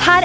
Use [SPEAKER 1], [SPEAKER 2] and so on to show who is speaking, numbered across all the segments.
[SPEAKER 1] her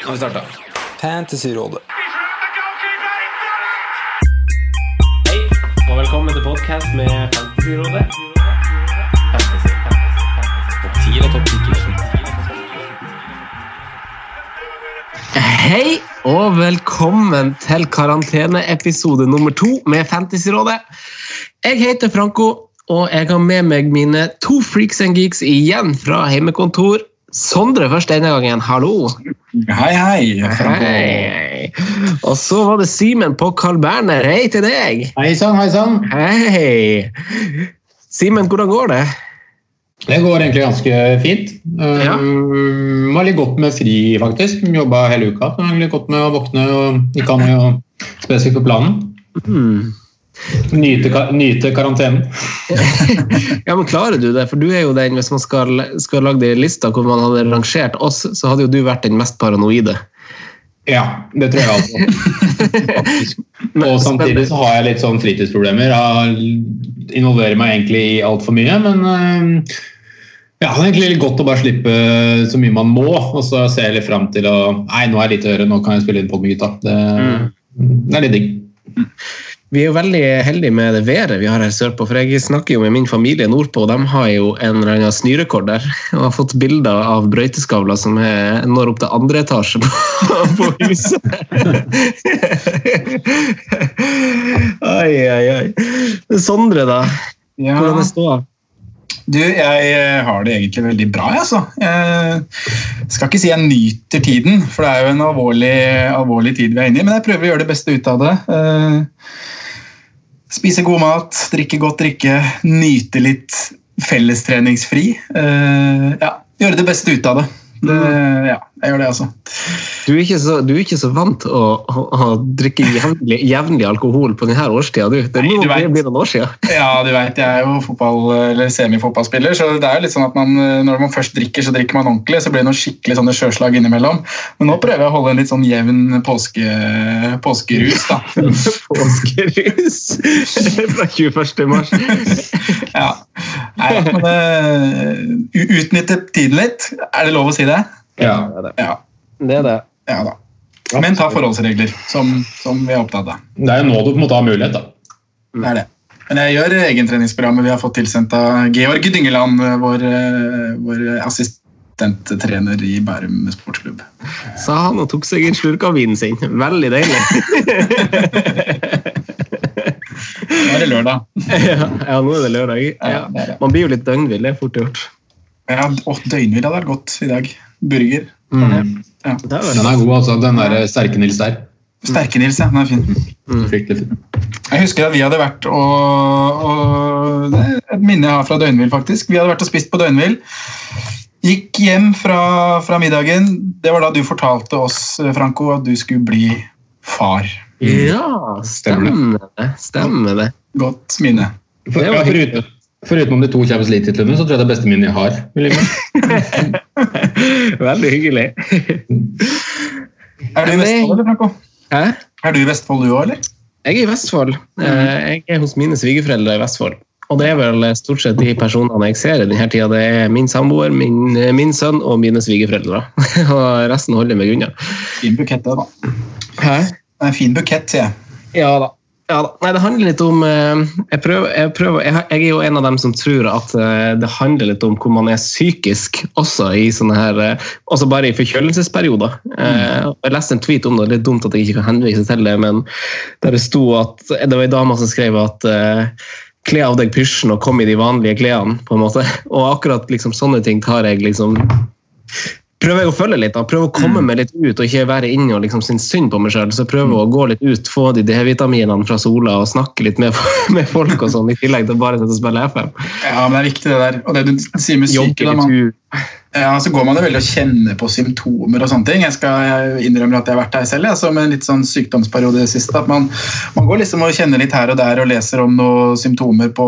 [SPEAKER 2] Nå har vi starta. Fantasyrådet.
[SPEAKER 3] Hei, og velkommen til podcast med Fantasyrådet. Fantasy, fantasy, fantasy. Topp 10 eller topp 10?
[SPEAKER 2] Hei og velkommen til karanteneepisode nummer to med Fantasyrådet. Jeg heter Franco, og jeg har med meg mine to freaks and geeks igjen fra hjemmekontor. Sondre først denne gangen. Hallo.
[SPEAKER 4] Hei, hei.
[SPEAKER 2] Hei. Og så var det Simen på Carl Berner. Hei til deg.
[SPEAKER 4] Hei sann, hei sann.
[SPEAKER 2] Hei. Simen, hvordan går det?
[SPEAKER 4] Det går egentlig ganske fint.
[SPEAKER 2] Ja.
[SPEAKER 4] Um, var litt godt med fri, faktisk. Jobba hele uka. Så det var egentlig godt med å våkne og ikke ha noe spesifikt på planen. Nyte, ka- nyte karantenen.
[SPEAKER 2] Ja, men klarer du det? For du er jo den, hvis man skal, skal lage de lista hvor man hadde rangert oss, så hadde jo du vært den mest paranoide.
[SPEAKER 4] Ja, det tror jeg altså.
[SPEAKER 2] Men-
[SPEAKER 4] Og samtidig så har jeg litt sånn fritidsproblemer. Jeg involverer meg egentlig i altfor mye, men um, ja, det er egentlig litt godt å bare slippe så mye man må, og så ser jeg litt fram til å Nei, nå er jeg litt øre, nå kan jeg spille inn på med gutta. Det, det er litt digg.
[SPEAKER 2] Vi er jo veldig heldige med det været vi har her sørpå, for jeg snakker jo med min familie nordpå, og de har jo en eller annen snørekord der, og har fått bilder av brøyteskavler som er, når opp til andre etasje på, på huset. Oi, oi, oi. Sondre, da. Hvordan er ståa?
[SPEAKER 5] Du, jeg eh, har det egentlig veldig bra, jeg, altså. Jeg skal ikke si jeg nyter tiden, for det er jo en alvorlig, alvorlig tid vi er inne i, men jeg prøver å gjøre det beste ut av det. Eh, Spise god mat, drikke godt drikke, nyte litt fellestreningsfri. Eh, Ja, gjøre det beste ut av det. det ja, jeg gjør det, altså.
[SPEAKER 2] Du er ikke så, du er ikke så vant å, å, å drikke jevnlig, jevnlig alkohol på denne årstida, du. Det
[SPEAKER 5] Nei,
[SPEAKER 2] må
[SPEAKER 5] du
[SPEAKER 2] bli
[SPEAKER 5] vet.
[SPEAKER 2] bli noen år siden.
[SPEAKER 5] Ja, du vet, jeg er jo fotball, eller semifotballspiller, så det er jo litt sånn at man, eh, når man først drikker, så drikker man ordentlig, så blir det noen skikkelig sånne sjøslag innimellom. Men nå prøver jeg å holde en litt sånn jevn påske, påskerus, da.
[SPEAKER 2] Påskerus fra 21. mars.
[SPEAKER 5] Ja. Nei, men eh, u- utnytte tiden litt, er det lov å si det?
[SPEAKER 4] Ja.
[SPEAKER 5] Ja,
[SPEAKER 2] Det er det.
[SPEAKER 5] ja da. Men ta forholdsregler, som, som vi er opptatt av.
[SPEAKER 4] Det er jo nå du på en måte har mulighet, da.
[SPEAKER 5] Det er det. Men jeg gjør egentreningsprogrammet vi har fått tilsendt av Georg Dyngeland, eh, vår, eh, vår assistenttrener i Bærum sportsklubb.
[SPEAKER 2] Sa han og tok seg en slurk av vinen sin. Veldig deilig.
[SPEAKER 5] Nå er det lørdag.
[SPEAKER 2] Ja, ja nå er det lørdag. Ja.
[SPEAKER 5] det er det.
[SPEAKER 2] Man blir jo litt døgnvill, det er fort gjort.
[SPEAKER 5] Ja, å, døgnhvil hadde vært godt i dag. Burger.
[SPEAKER 2] Mm.
[SPEAKER 5] Ja.
[SPEAKER 2] Det er
[SPEAKER 4] Den
[SPEAKER 2] vel.
[SPEAKER 4] er god, altså. Den der sterke Nils der.
[SPEAKER 5] Sterke Nils, ja. Den er fin.
[SPEAKER 2] Mm.
[SPEAKER 4] Fryktelig fin.
[SPEAKER 5] Jeg husker at vi hadde vært og, og det er Et minne jeg har fra døgnhvil, faktisk. Vi hadde vært og spist på døgnhvil. Gikk hjem fra, fra middagen. Det var da du fortalte oss, eh, Franco, at du skulle bli far.
[SPEAKER 2] Ja, stemmer det. Stemmer det.
[SPEAKER 5] Godt minne.
[SPEAKER 4] Mm. For,
[SPEAKER 2] Det var
[SPEAKER 4] ja, foruten, foruten om de to Champions League-titlene, så tror jeg det er beste minnet jeg har. vil jeg si.
[SPEAKER 2] Veldig hyggelig.
[SPEAKER 5] Er du i
[SPEAKER 2] Nei.
[SPEAKER 5] Vestfold, eller, Franco?
[SPEAKER 2] Hæ?
[SPEAKER 5] Er du i Vestfold, du òg, eller?
[SPEAKER 2] Jeg er i Vestfold. Eh, Jeg er hos mine svigerforeldre i Vestfold. Og det er vel eh, stort sett de personene jeg ser i denne tida. Det er min samboer, min, eh, min sønn og mine svigerforeldre. Og resten holder jeg meg unna.
[SPEAKER 5] Fin bukett, det, da.
[SPEAKER 2] Hæ?
[SPEAKER 5] Det er En fin bukett, sier jeg.
[SPEAKER 2] Ja da. Ja da. Nei, det handler litt om eh, Jeg prøver, jeg, prøver jeg, har- jeg er jo en av dem som tror at eh, det handler litt om hvor man er psykisk også i sånne her eh, Også bare i forkjølelsesperioder. Eh, Jeg leste en tweet om det, litt dumt at jeg ikke kan henvise til det, men der det sto at Det var ei dame som skrev at eh, Kle av deg pysjen og kom i de vanlige klærne, på en måte. Og akkurat liksom sånne ting tar jeg liksom prøver jeg å følge litt. da, Prøve å
[SPEAKER 4] Mm.
[SPEAKER 2] komme meg litt ut og ikke være inne og liksom synes synd på meg sjøl. Så prøve å gå litt ut, få de D-vitaminene fra sola og snakke litt med, med folk og sånn, i tillegg til bare å sitte og spille FM.
[SPEAKER 5] Ja, men det er viktig det der. Og det du sier med syke, da, man, ja, så Eh, altså, går man jo veldig og kjenner på symptomer og sånne ting. Jeg skal jeg innrømmer at jeg har vært der selv, jeg, som en litt sånn sykdomsperiode sist. At man, man går liksom og kjenner litt her og der og leser om noen symptomer på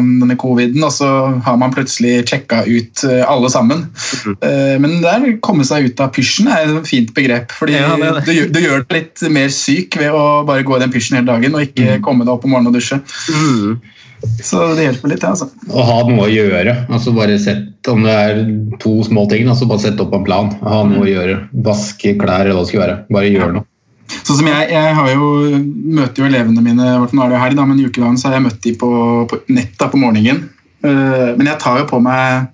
[SPEAKER 5] um, denne coviden, og så har man plutselig sjekka ut eh, alle sammen.
[SPEAKER 2] Mhm.
[SPEAKER 5] Eh, Men det er å komme seg ut av pysjen er et fint begrep. fordi
[SPEAKER 2] Ja, det er det.
[SPEAKER 5] Du, gjør- du gjør deg litt mer syk ved å bare gå i den pysjen hele dagen og
[SPEAKER 2] Mhm.
[SPEAKER 5] ikke komme deg opp om morgenen og dusje. Så det hjelper litt, det, altså.
[SPEAKER 4] Å ha noe å gjøre. altså bare sett Om det er to små ting, altså bare sett opp en plan. Ha noe å gjøre. Vaske klær eller hva det skulle være. Bare gjør noe.
[SPEAKER 5] Sånn som jeg, jeg har jo, møter jo elevene mine hvert- Nå er det jo helg, da, men i ukedagen så har jeg møtt de på, på nett da, på morgenen. Eh, men jeg tar jo på meg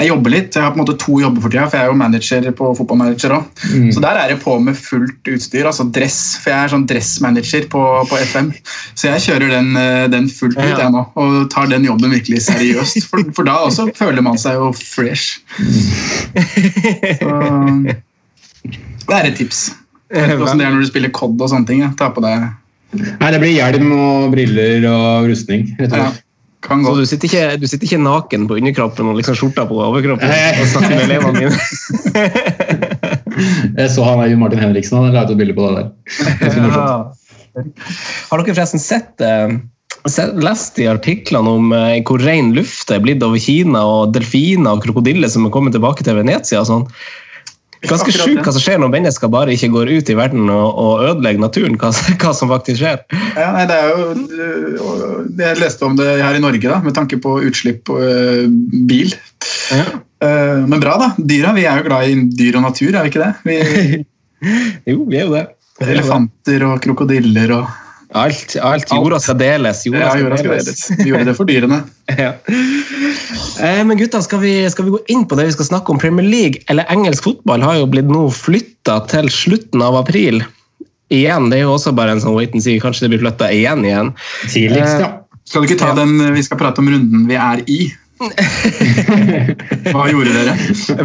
[SPEAKER 5] Jeg jobber litt. Jeg har på en måte to jobber for tida, for jeg er jo manager på fotballmanager òg.
[SPEAKER 4] Mm.
[SPEAKER 5] Så der er jeg på med fullt utstyr, altså dress. For jeg er sånn dressmanager på, på FM. Så jeg kjører den, eh, den fullt ut,
[SPEAKER 2] Ja.
[SPEAKER 5] jeg nå. Og tar den jobben virkelig seriøst. For, for da også føler man seg jo fresh. Så det er et tips. Jeg
[SPEAKER 4] Sånn
[SPEAKER 5] vet ikke hvordan det er når du spiller COD og sånne ting. ja. Ta på deg
[SPEAKER 4] Nei, det blir hjelm og briller og rustning. rett og
[SPEAKER 5] ja.
[SPEAKER 4] slett.
[SPEAKER 5] Kan
[SPEAKER 2] Så
[SPEAKER 5] gå.
[SPEAKER 2] du sitter, ikke, du sitter ikke naken på underkroppen og liksom skjorta på overkroppen
[SPEAKER 4] Nei.
[SPEAKER 2] og snakker med elevene dine?
[SPEAKER 4] Jeg så han der Jon Martin Henriksen han la ut et bilde på det der.
[SPEAKER 2] Har dere forresten sett eh, sett- lest i artiklene om eh, hvor ren luft det er blitt over Kina, og delfiner og krokodiller som er kommet tilbake til Venezia og sånn? Ganske
[SPEAKER 5] Akkurat
[SPEAKER 2] sjukt
[SPEAKER 5] det.
[SPEAKER 2] hva som skjer når mennesker bare ikke går ut i verden og, og ødelegger naturen. Hva, hva som faktisk skjer.
[SPEAKER 5] Ja, nei, det er jo øh, Jeg leste om det her i Norge, da, med tanke på utslipp og øh, bil. Eh, Men bra, da. Dyra. Vi er jo glad i dyr og natur, er vi ikke det? Vi,
[SPEAKER 2] Jo, vi er jo det.
[SPEAKER 5] elefanter og krokodiller og
[SPEAKER 2] Alt, alt jorda skal deles. Jorda
[SPEAKER 5] Ja,
[SPEAKER 2] skal
[SPEAKER 5] jorda skal
[SPEAKER 2] deles.
[SPEAKER 5] deles. Vi gjorde det for dyrene.
[SPEAKER 2] Ja. Eh, Men gutta, skal vi, skal vi gå inn på det vi skal snakke om? Premier League eller engelsk fotball har jo blitt nå flytta til slutten av april. Igjen, Det er jo også bare en sånn wait and see. Kanskje det blir flytta igjen igjen. Eh,
[SPEAKER 4] Tidligst, ja.
[SPEAKER 5] Skal du ikke ta den øh, vi skal prate om runden vi er i? Hva gjorde dere?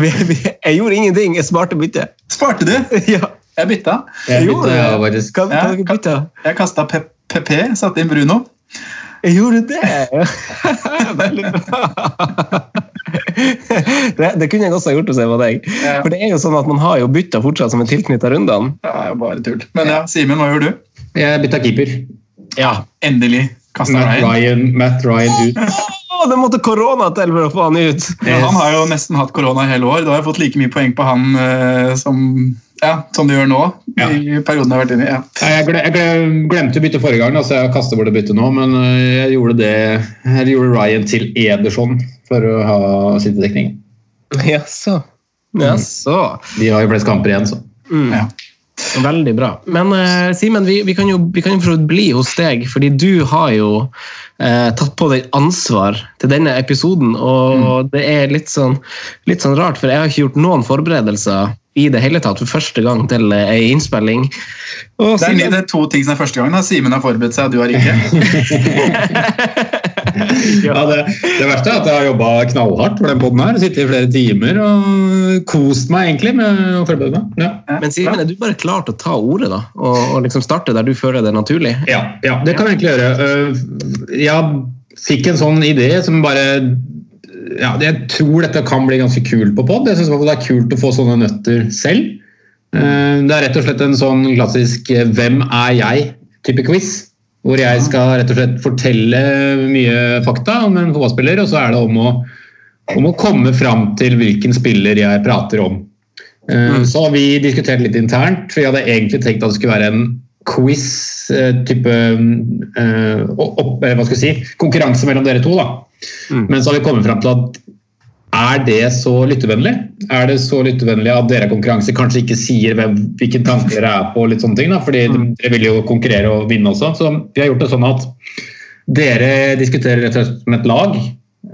[SPEAKER 2] Vi, vi, jeg gjorde ingenting, jeg sparte bytte.
[SPEAKER 5] Sparte du?
[SPEAKER 2] Ja.
[SPEAKER 5] Jeg bytta.
[SPEAKER 4] Jeg
[SPEAKER 2] Jo,
[SPEAKER 4] begynte å bare
[SPEAKER 2] Hva, hva
[SPEAKER 5] Ja,
[SPEAKER 2] dere bytta?
[SPEAKER 5] Jeg kasta PP, satte inn Bruno.
[SPEAKER 2] Jeg gjorde det! Veldig bra. Det, det kunne jeg også ha gjort hvis jeg var deg.
[SPEAKER 5] Ja.
[SPEAKER 2] For det er jo sånn at man har jo bytta fortsatt som er tilknytta rundene.
[SPEAKER 5] Det er jo bare tull. Men ja, Simen, hva gjorde du?
[SPEAKER 4] Jeg bytta keeper.
[SPEAKER 2] Ja,
[SPEAKER 5] Endelig kasta
[SPEAKER 4] Matt
[SPEAKER 5] Ryan.
[SPEAKER 4] Ryan, Matt Ryan ut.
[SPEAKER 2] Å, det måtte korona til for å få han ut!
[SPEAKER 5] Ja, han har jo nesten hatt korona i hele år. Da har jeg fått like mye poeng på han eh, som, ja, som du gjør nå.
[SPEAKER 4] Ja.
[SPEAKER 5] I perioden jeg har vært inne i. Ja.
[SPEAKER 4] Nei, Jeg gle- jeg gle- glemte å bytte forrige gang, da, så jeg kaster bort å bytte nå. Men øh, jeg gjorde, det, jeg gjorde Ryan til Ederson for å ha sittedekning.
[SPEAKER 2] Jaså. Jaså.
[SPEAKER 4] De har jo flest kamper igjen, så.
[SPEAKER 5] Ja.
[SPEAKER 2] Veldig bra. Men eh, Simen, vi, vi kan jo, vi kan jo for så vidt bli hos deg, fordi du har jo eh, tatt på deg ansvar til denne episoden, og det er litt sånn, litt sånn rart, for jeg har ikke gjort noen forberedelser i det hele tatt for første gang til eh, ei innspilling. Og
[SPEAKER 5] Det, er,
[SPEAKER 2] Simen-
[SPEAKER 5] det er to ting som er første gangen. da. Simen har forberedt seg, du har ikke.
[SPEAKER 4] Ja, det, det verste er at jeg har jobba knallhardt for den poden her. Sittet i flere timer og kost meg egentlig med å forberede meg. Ja.
[SPEAKER 5] Ja,
[SPEAKER 2] Men Simen,
[SPEAKER 5] bra.
[SPEAKER 2] er du bare klar til å ta ordet, da? Og, og liksom starte der du føler det er naturlig?
[SPEAKER 4] Ja, ja, det kan jeg egentlig gjøre. Øh, Jeg fikk en sånn idé som bare ja, Jeg tror dette kan bli ganske kult på pod. Jeg syns det er kult å få sånne nøtter selv. Eh, Det er rett og slett en sånn klassisk eh, 'Hvem er jeg?'-type quiz. Hvor jeg skal rett og slett fortelle mye fakta om en fotballspiller, og så er det om å, om å komme fram til hvilken spiller jeg prater om. Eh, Så har vi diskutert litt internt, for jeg hadde egentlig tenkt at det skulle være en quiz eh, type eh, opp, eh, hva skal jeg si, konkurranse mellom dere to. da. Men så har vi kommet fram til at Er det så lyttevennlig? Er det så lyttevennlig at dere er konkurranse kanskje ikke sier hvem, hvilke tanker dere er på? og litt sånne ting da, fordi Dere vil jo konkurrere og vinne også. Så vi har gjort det sånn at dere diskuterer rett og slett som et lag.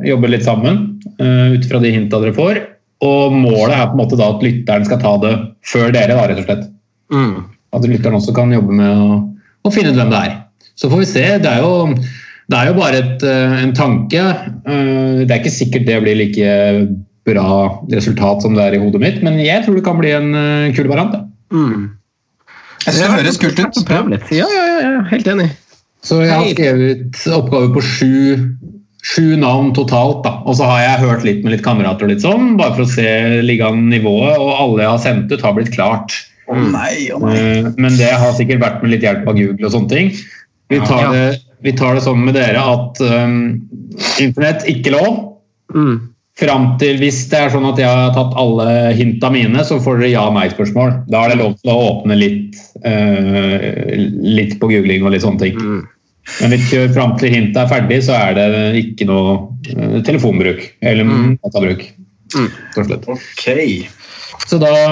[SPEAKER 4] Jobber litt sammen eh, ut fra de hinta dere får. Og målet er på en måte da at lytteren skal ta det før dere, da, rett og slett. At lytteren også kan jobbe med å, å finne ut hvem det er. Så får vi se. Det er jo, det er jo bare et, eh, en tanke. Eh, Det er ikke sikkert det blir like bra resultat som det er i hodet mitt, men jeg tror det kan bli en eh, kul variant. da.
[SPEAKER 2] Mm.
[SPEAKER 5] Jeg synes det høres kult ut.
[SPEAKER 2] Prøv litt. Ja, ja, ja, ja, helt enig.
[SPEAKER 4] Så jeg har skrevet oppgave på sju, sju navn totalt. da. Og så har jeg hørt litt med litt kamerater, og litt sånn, bare for å se liganivået. Og alle jeg har sendt ut, har blitt klart.
[SPEAKER 5] Å nei, å nei.
[SPEAKER 4] Eh, Men det har sikkert vært med litt hjelp av Google og sånne ting. Vi tar
[SPEAKER 2] Ja.
[SPEAKER 4] det, vi tar det sånn med dere at eh, internett ikke lov.
[SPEAKER 2] Mm.
[SPEAKER 4] Fram til hvis det er sånn at jeg har tatt alle hinta mine, så får dere ja-nei-spørsmål. Da er det lov til å åpne litt, eh, litt på googling og litt sånne ting.
[SPEAKER 2] Mm.
[SPEAKER 4] Men hvis vi fram til hintet er ferdig, så er det ikke noe eh, telefonbruk eller databruk. rett og slett.
[SPEAKER 5] Ok.
[SPEAKER 4] Så da jeg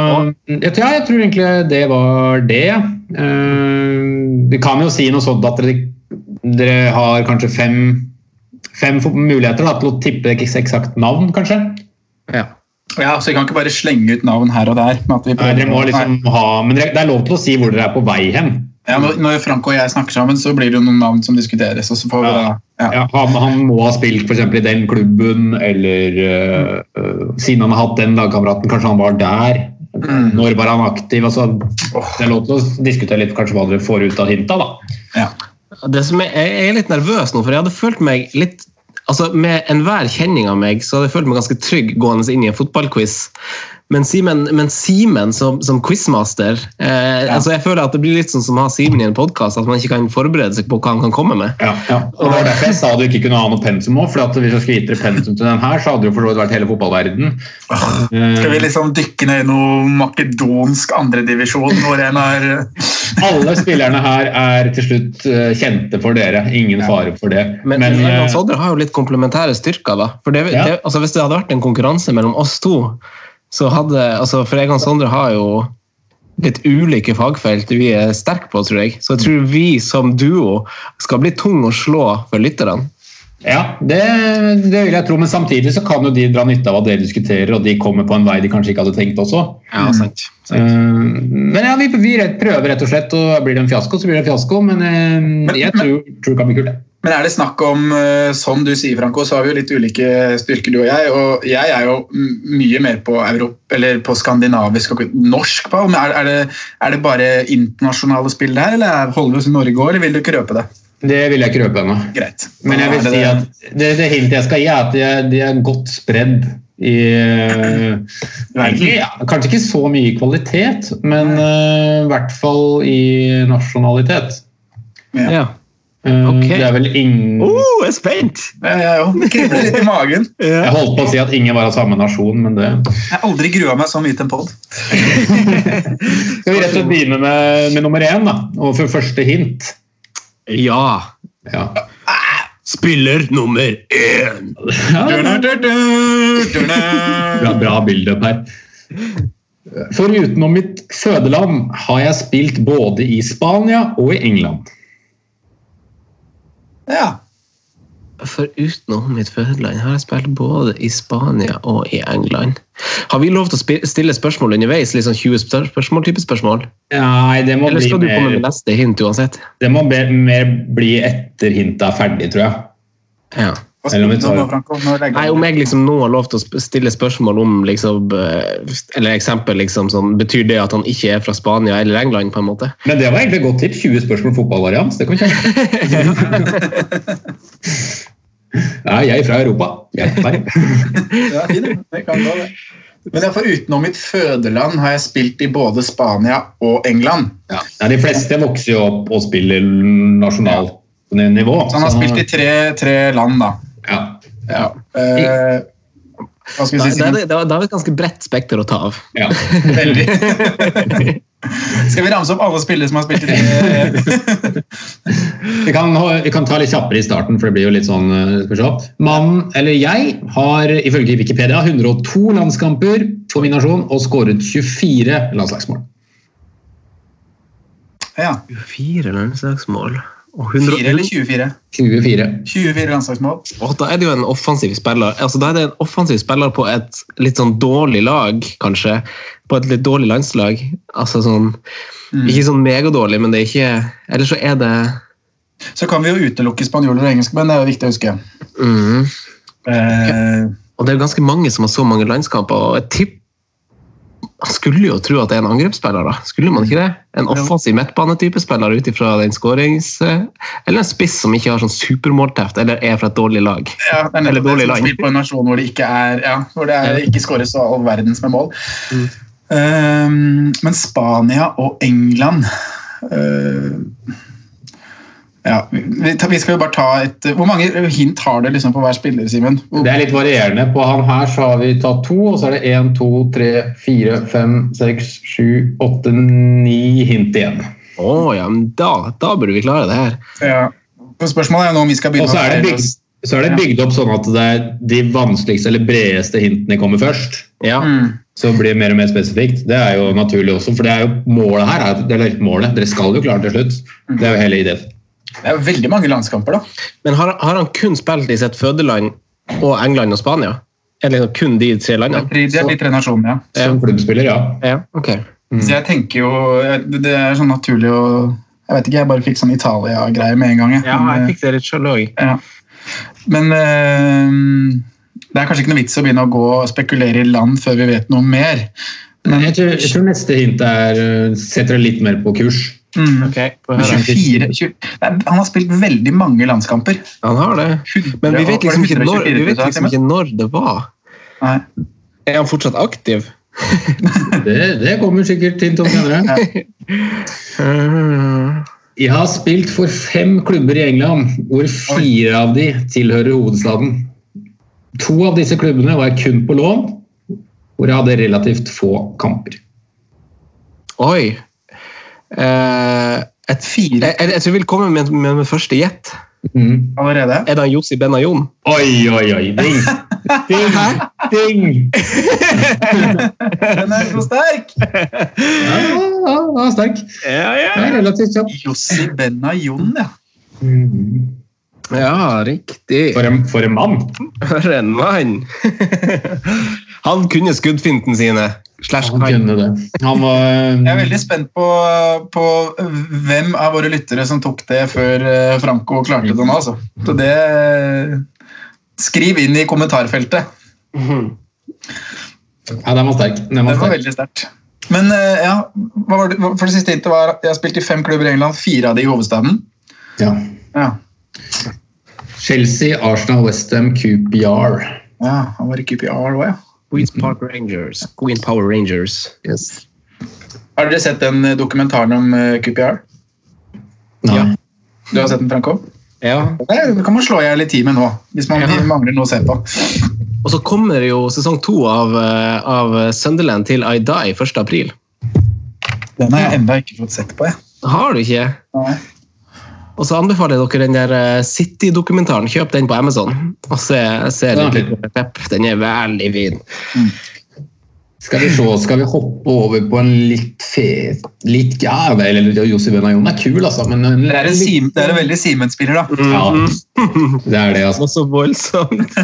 [SPEAKER 4] tror, ja, jeg tror egentlig det var det. Eh, Vi kan jo si noe sånt at dere, dere har kanskje fem, fem muligheter da, til å tippe eksakt navn, kanskje.
[SPEAKER 2] Ja.
[SPEAKER 5] Ja, så Vi kan ikke bare slenge ut navn her og der. Men, at vi
[SPEAKER 4] Nei, dere må liksom ha, men dere, det er lov til å si hvor dere er på vei hen.
[SPEAKER 5] ja, når, når Franco og jeg snakker sammen, så blir det jo noen navn som diskuteres. og så får vi da... Ja.
[SPEAKER 4] Ja, han, han må ha spilt for eksempel i den klubben, eller øh, øh, siden han har hatt den lagkameraten, kanskje han var der. Når var han aktiv? Altså, det er lov til å diskutere litt kanskje hva dere får ut av hinta. da.
[SPEAKER 5] Ja.
[SPEAKER 2] Det som er, jeg er litt nervøs nå, for jeg hadde følt meg litt altså Med enhver kjenning av meg så hadde jeg følt meg ganske trygg gående inn i en fotballquiz. Men Simen, men Simen som, som quizmaster eh, altså Jeg føler at det blir litt sånn som å ha Simen i en podkast, at man ikke kan forberede seg på hva han kan komme med.
[SPEAKER 4] Ja, ja. Og Det var derfor jeg sa du ikke kunne ha noe pensum òg. Hvis jeg skulle gitt dere pensum til den her, så hadde det jo for så vidt vært hele fotballverden. Eh, Mm.
[SPEAKER 5] Skal vi liksom dykke ned i noe makedonsk andredivisjon hvor en er
[SPEAKER 4] Alle spillerne her er til slutt øh, kjente for dere. Ingen fare for det.
[SPEAKER 2] Men, eh, men,
[SPEAKER 4] øh,
[SPEAKER 2] Jørgen Sodder har jo litt komplementære styrker. da. For det,
[SPEAKER 4] Ja.
[SPEAKER 2] det, altså, Hvis det hadde vært en konkurranse mellom oss to så hadde, altså, For jeg og Sondre har jo litt ulike fagfelt vi er sterke på, tror jeg. Så jeg tror vi som duo skal bli tung å slå for lytterne.
[SPEAKER 4] Ja, det, det vil jeg tro, men samtidig så kan jo de dra nytte av hva dere diskuterer, og de kommer på en vei de kanskje ikke hadde tenkt også.
[SPEAKER 2] Ja, sant.
[SPEAKER 4] Eh, Men ja, vi, vi rett- prøver rett og slett, og blir det en fiasko, så blir det en fiasko, men eh, jeg tror, tror det kan bli kult. det.
[SPEAKER 5] Men er det snakk om, eh, som du sier, Franco, så har vi jo litt ulike styrker, du og jeg. Og jeg er jo m- mye mer på, Europ- eller på skandinavisk og norsk ball. Men er, er, det, er det bare internasjonale spill der, eller er- holder vi oss i Norge òg, eller vil du ikke røpe det?
[SPEAKER 4] Det vil jeg ikke røpe ennå.
[SPEAKER 5] Greit.
[SPEAKER 4] Men jeg vil
[SPEAKER 5] Da er
[SPEAKER 4] si
[SPEAKER 5] det-
[SPEAKER 4] at det, det hintet jeg skal gi, er at de er, de er godt spredd i eh, egentlig, ja, Kanskje ikke så mye i kvalitet, men eh, i hvert fall i nasjonalitet.
[SPEAKER 5] Ja.
[SPEAKER 2] Ja.
[SPEAKER 4] Eh,
[SPEAKER 2] Ok.
[SPEAKER 4] Det er vel ingen
[SPEAKER 2] Oh, jeg er spent!
[SPEAKER 5] Ja, jeg òg. Det kribler litt i magen.
[SPEAKER 4] Jeg holdt på å si at ingen var av samme nasjon, men det
[SPEAKER 5] Jeg har aldri grua meg så mye til en pod.
[SPEAKER 4] Skal vi rett og slett begynne med, med nummer én, da? Og for første hint.
[SPEAKER 2] Ja.
[SPEAKER 4] Ja.
[SPEAKER 2] Spiller nummer én!
[SPEAKER 4] Bra, bra build-up her. For utenom mitt fødeland har jeg spilt både i Spania og i England.
[SPEAKER 5] Ja.
[SPEAKER 2] For utenom mitt fødeland har jeg spilt både i Spania og i England. Har vi lov til å spi- stille spørsmål underveis? Litt sånn 20 spør- spørsmål, type spørsmål?
[SPEAKER 4] Nei, det må,
[SPEAKER 2] Eller
[SPEAKER 4] bli
[SPEAKER 2] skal du komme med
[SPEAKER 4] mer,
[SPEAKER 2] neste hint uansett?
[SPEAKER 4] det må be, mer bli etter hintet er ferdig, tror jeg.
[SPEAKER 2] Ja.
[SPEAKER 5] Hva
[SPEAKER 4] Eller om vi
[SPEAKER 5] spiller du
[SPEAKER 4] tar-
[SPEAKER 5] nå, Franco? Nå legger
[SPEAKER 2] Nei,
[SPEAKER 5] jeg
[SPEAKER 2] Om jeg liksom nå har lov til å sp- stille spørsmål om liksom, eh, Eller eksempel liksom sånn Betyr det at han ikke er fra Spania eller England, på en måte?
[SPEAKER 4] Men det var egentlig et godt tips. 20 spørsmål fotballvarians. Det kan vi kjøre. Nei, jeg er fra Europa. Jeg er der.
[SPEAKER 5] Ja, fin, det. Det kan gå, det. Men jeg får utenom mitt fødeland har jeg spilt i både Spania og England.
[SPEAKER 4] Nei, de fleste vokser jo opp og spiller nasjonalt nivå.
[SPEAKER 5] Så han har
[SPEAKER 4] så-
[SPEAKER 5] spilt i
[SPEAKER 2] Altså,
[SPEAKER 5] tre, tre land, da.
[SPEAKER 4] ja.
[SPEAKER 5] Ja. Eh, hva skal
[SPEAKER 2] Da,
[SPEAKER 5] vi si?
[SPEAKER 2] da, er
[SPEAKER 5] Simen?
[SPEAKER 2] det- da, da er det et ganske bredt spekter å ta av.
[SPEAKER 4] ja.
[SPEAKER 5] Veldig. Skal vi ramse opp alle spillere som har spilt i det?
[SPEAKER 4] Vi kan, vi kan ta litt kjappere i starten, for det blir jo litt sånn eh, skal vi se. Mannen, eller jeg, har ifølge Wikipedia 102 landskamper for min nasjon og skåret 24 landslagsmål.
[SPEAKER 5] Ja.
[SPEAKER 2] Fire landslagsmål. Og 100,
[SPEAKER 5] Fire eller 24?
[SPEAKER 4] 24.
[SPEAKER 5] 24 landslagsmål.
[SPEAKER 2] Åh, da er det jo en offensiv spiller altså, Da er det en offensiv spiller på et litt sånn dårlig lag, kanskje. På et litt dårlig landslag. Altså sånn
[SPEAKER 5] Mm.
[SPEAKER 2] Ikke sånn megadårlig, men det er ikke Eller så er det
[SPEAKER 5] Så kan vi jo utelukke spanjoler og engelskmenn, det er jo viktig å huske.
[SPEAKER 2] mm,
[SPEAKER 5] Eh,
[SPEAKER 2] Og det er jo ganske mange som har så mange landskamper, og et tipp Man skulle jo tro at det er en angrepsspiller, da. Skulle man ikke det? En offensiv midtbanetypespiller ut ifra den skårings... Eller en spiss som ikke har sånn supermålteft, eller er fra et dårlig lag.
[SPEAKER 5] ja, det er
[SPEAKER 2] Eller
[SPEAKER 5] nettopp
[SPEAKER 2] dårlig
[SPEAKER 5] det som
[SPEAKER 2] lag.
[SPEAKER 5] spiller på en nasjon hvor det ikke er ja, hvor det er, ikke skåres så all verdens med mål.
[SPEAKER 2] Mm.
[SPEAKER 5] Eh, men Spania og England eh, ja, vi, vi tar- vi skal jo bare ta et Hvor mange hint har du liksom på hver spiller, Simen? Hvor-
[SPEAKER 4] Det er litt varierende. På han her så har vi tatt to, og så er det én, to, tre, fire, fem, seks, sju, åtte, ni hint igjen.
[SPEAKER 2] Å ja, men da, da burde vi klare det her.
[SPEAKER 5] Ja. Spørsmålet er jo nå om vi skal
[SPEAKER 4] Og
[SPEAKER 5] begynne
[SPEAKER 4] så er det bygd, så er det bygd opp sånn at det er de vanskeligste eller bredeste hintene kommer først.
[SPEAKER 2] Ja.
[SPEAKER 5] Mm.
[SPEAKER 4] Så blir det mer og mer spesifikt. Det er jo naturlig også, for det er jo målet her. er- Eller ikke målet, dere skal jo klare det til slutt. Det er jo hele ideen.
[SPEAKER 5] Det er jo veldig mange landskamper, da.
[SPEAKER 2] Men har, har han kun spilt i sitt fødeland og England og Spania? Er det liksom kun de tre
[SPEAKER 5] Det er
[SPEAKER 2] landene?
[SPEAKER 5] tre, det er de tre nasjonene, ja.
[SPEAKER 4] Som klubbspiller, ja.
[SPEAKER 2] Ja, ok.
[SPEAKER 4] Mm.
[SPEAKER 5] Så jeg tenker jo jeg- Det er sånn naturlig å Jeg vet ikke, jeg bare fikk sånn Italia-greie med en gang. jeg. sånn
[SPEAKER 2] Ja,
[SPEAKER 5] men eh,
[SPEAKER 2] jeg fikk det litt sjøl òg.
[SPEAKER 5] ja. men eh, det er kanskje ikke noe vits å begynne å gå og spekulere i land før vi vet noe mer.
[SPEAKER 4] Jeg tror, jeg tror neste hint er eh, setter deg litt mer på kurs.
[SPEAKER 5] Mm. Men
[SPEAKER 2] Han
[SPEAKER 5] 24, 20, nei, han har spilt veldig mange landskamper.
[SPEAKER 2] har det. Men vi vet liksom ikke når, vi vet liksom ikke når det var.
[SPEAKER 5] Nei.
[SPEAKER 2] Er han fortsatt aktiv?
[SPEAKER 4] Det, det kommer sikkert hint om senere.
[SPEAKER 2] Mm.
[SPEAKER 4] Jeg har spilt for fem klubber i England, hvor fire av de tilhører hovedstaden. To av disse klubbene var jeg kun på lån, hvor jeg hadde relativt få kamper.
[SPEAKER 2] Oi. Eh, et
[SPEAKER 5] Fire.
[SPEAKER 2] Jeg, jeg, jeg tror jeg vil komme med, med, med første gjett.
[SPEAKER 4] Mm.
[SPEAKER 5] Allerede?
[SPEAKER 2] Er det han Jossi Benayoun?
[SPEAKER 4] Oi, oi, oi! Ding, ding, ding!
[SPEAKER 5] Den er så sterk!
[SPEAKER 4] Ja, ja, ja, sterk.
[SPEAKER 2] Ja,
[SPEAKER 4] Det er relativt kjapp.
[SPEAKER 5] Jossi Benayoun, ja.
[SPEAKER 2] Ja, riktig.
[SPEAKER 4] For en, for en mann!
[SPEAKER 2] For en mann! Han kunne skuddfinten sine. Slash
[SPEAKER 4] Han
[SPEAKER 2] kan.
[SPEAKER 4] kunne det. Han var
[SPEAKER 5] Jeg er veldig spent på, på hvem av våre lyttere som tok det før eh, Franco klarte det nå. Altså. Så det eh, Skriv inn i kommentarfeltet.
[SPEAKER 4] Ja, den var sterk. Den
[SPEAKER 5] Det
[SPEAKER 4] var
[SPEAKER 5] var
[SPEAKER 4] sterk.
[SPEAKER 5] veldig sterkt. Men eh, ja, hva var det, hva- for det siste hintet var jeg har spilt i fem klubber i England, fire av de i hovedstaden.
[SPEAKER 4] Ja.
[SPEAKER 5] Ja,
[SPEAKER 4] Chelsea, Arsenal, Westham, QPR.
[SPEAKER 5] ja Han var i QPR òg, ja.
[SPEAKER 2] Queens Park Rangers. Queen Power Rangers.
[SPEAKER 4] Yes.
[SPEAKER 5] Har dere sett den eh, dokumentaren om eh, QPR?
[SPEAKER 4] Nei.
[SPEAKER 2] Ja.
[SPEAKER 5] Du har sett den, Franco?
[SPEAKER 2] Ja.
[SPEAKER 5] Det kan man slå i hjel i ti med nå, hvis man
[SPEAKER 2] Ja.
[SPEAKER 5] mangler noe å se på.
[SPEAKER 2] Og så kommer jo sesong to av, eh, av Sunderland til I Die 1. april.
[SPEAKER 5] Den har jeg ennå ikke fått sett på, jeg.
[SPEAKER 2] Har du ikke?
[SPEAKER 5] Nei.
[SPEAKER 2] Og så anbefaler jeg dere den der eh, City-dokumentaren. Kjøp den på Amazon. Og se, se litt
[SPEAKER 4] Ja.
[SPEAKER 2] litt på Pep. Den er veldig fin.
[SPEAKER 4] Skal vi se, skal vi hoppe over på en litt fet litt, Ja, vel, eller Jossi Benayoun er kul, altså, men en-
[SPEAKER 5] Det er en, Sim, det er en veldig Simen-spiller, da.
[SPEAKER 4] Ja, det er det, altså.
[SPEAKER 2] Og så voldsomt.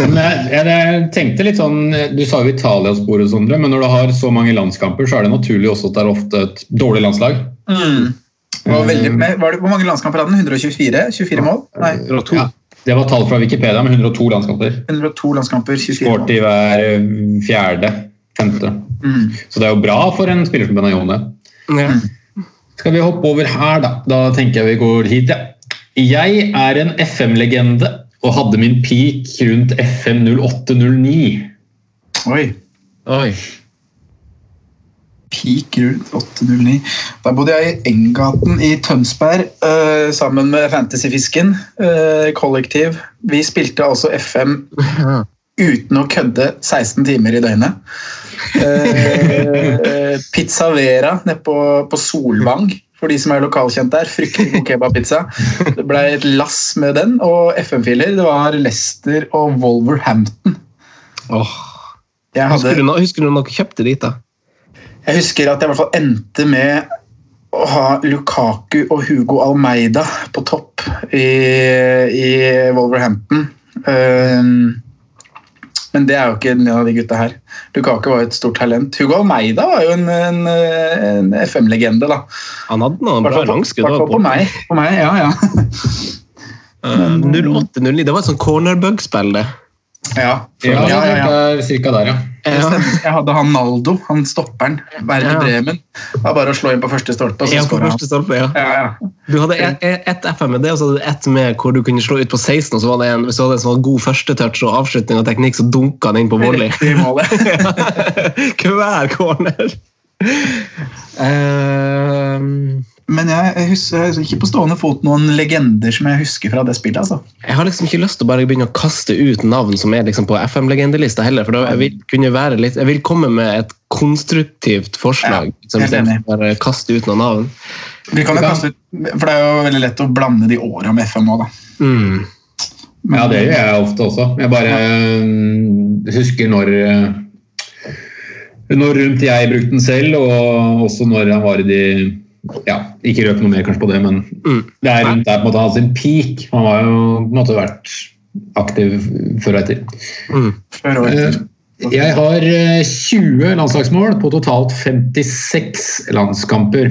[SPEAKER 4] Men eh, jeg, jeg, jeg tenkte litt sånn, Du sa jo Italia-sporet, Sondre, men når du har så mange landskamper, så er det naturlig også at det er ofte et dårlig landslag. Mm,
[SPEAKER 5] Mm. Det Var veldig, men var det, hvor mange landskamper hadde han? 124? 24 mål? Nei,
[SPEAKER 4] Ja, det var tall fra Wikipedia med 102 landskamper.
[SPEAKER 5] 102 landskamper, 24
[SPEAKER 4] Skåret
[SPEAKER 5] mål.
[SPEAKER 4] i hver eh, fjerde, femte.
[SPEAKER 5] Mm.
[SPEAKER 4] Så det er jo bra for en spiller som Benayoun. det.
[SPEAKER 2] Ja.
[SPEAKER 4] Skal vi hoppe over her, da? Da tenker jeg vi går hit, ja. Jeg er en FM-legende og hadde min peak rundt FM 0809.
[SPEAKER 5] Oi.
[SPEAKER 2] Oi.
[SPEAKER 5] Peak rundt 809. Da bodde jeg i Enggaten i Tønsberg eh, sammen med Fantasyfisken eh, kollektiv. Vi spilte altså FM uten å kødde 16 timer i døgnet. Eh, pizza Vera nede på, på Solvang, for de som er lokalkjent der. Fryktelig god kebabpizza. Det ble et lass med den, og FM-filer. Det var Leicester og Wolverhampton. Jeg, hadde,
[SPEAKER 2] Husker, du, no- husker du når dere kjøpte dit, da?
[SPEAKER 5] jeg husker at jeg i hvert fall endte med å ha Lukaku og Hugo Almeida på topp i, i Wolverhampton. Ehm, men det er jo ikke noen av de gutta her. Lukaku var jo et stort talent. Hugo Almeida var jo en, en, en FM-legende, da.
[SPEAKER 2] Han hadde noen bra
[SPEAKER 5] Hvertfall på-
[SPEAKER 2] langskudd.
[SPEAKER 5] hvertfall på meg. På meg, ja, ja.
[SPEAKER 2] Eh, 08-09. Det var et sånt cornerbug-spill, det.
[SPEAKER 5] Ja,
[SPEAKER 4] Ja,
[SPEAKER 5] ja, ja, ja.
[SPEAKER 4] Cirka der, ja.
[SPEAKER 5] Det
[SPEAKER 2] Ja.
[SPEAKER 5] stemmer. Jeg hadde han Naldo, han stopperen. Werner
[SPEAKER 2] Ja.
[SPEAKER 5] Bremen. Det var bare å slå inn på første stolpe, og så
[SPEAKER 2] Ja, på
[SPEAKER 5] skåra han.
[SPEAKER 2] første stolpe, ja.
[SPEAKER 5] Ja, ja.
[SPEAKER 2] Du hadde ett et FM med det, og så hadde du ett med hvor du kunne slå ut på 16, og så var det en, hvis du hadde en som var god førstetouch og avslutning og teknikk, så dunka han inn på volley.
[SPEAKER 5] Rett i målet.
[SPEAKER 2] Hver corner. Ehm,
[SPEAKER 5] Men jeg, jeg husker jeg husker ikke på stående fot noen legender som jeg husker fra det spillet. altså.
[SPEAKER 2] jeg har liksom ikke lyst til å bare begynne å kaste ut navn som er liksom på FM-legendelista heller, for da jeg vil kunne være litt Jeg vil komme med et konstruktivt forslag,
[SPEAKER 5] Ja,
[SPEAKER 2] som
[SPEAKER 5] helt enig.
[SPEAKER 2] istedenfor bare kaste ut noen navn.
[SPEAKER 5] Vi kan jo kaste ut, For det er jo veldig lett å blande de åra med FM òg, da.
[SPEAKER 2] Mm.
[SPEAKER 5] Men-
[SPEAKER 4] Ja, det gjør jeg ofte også. Jeg bare eh, husker når eh, når rundt jeg brukte den selv, og også når han var i de ja, Ikke røp noe mer kanskje på det, men
[SPEAKER 2] Mm.
[SPEAKER 4] det er rundt der på en måte han hadde sin peak. Han har jo på en måte vært aktiv før og etter.
[SPEAKER 2] Mm.
[SPEAKER 5] Før og
[SPEAKER 4] Eh,
[SPEAKER 5] etter.
[SPEAKER 4] Jeg har eh, 20 landslagsmål på totalt 56 landskamper.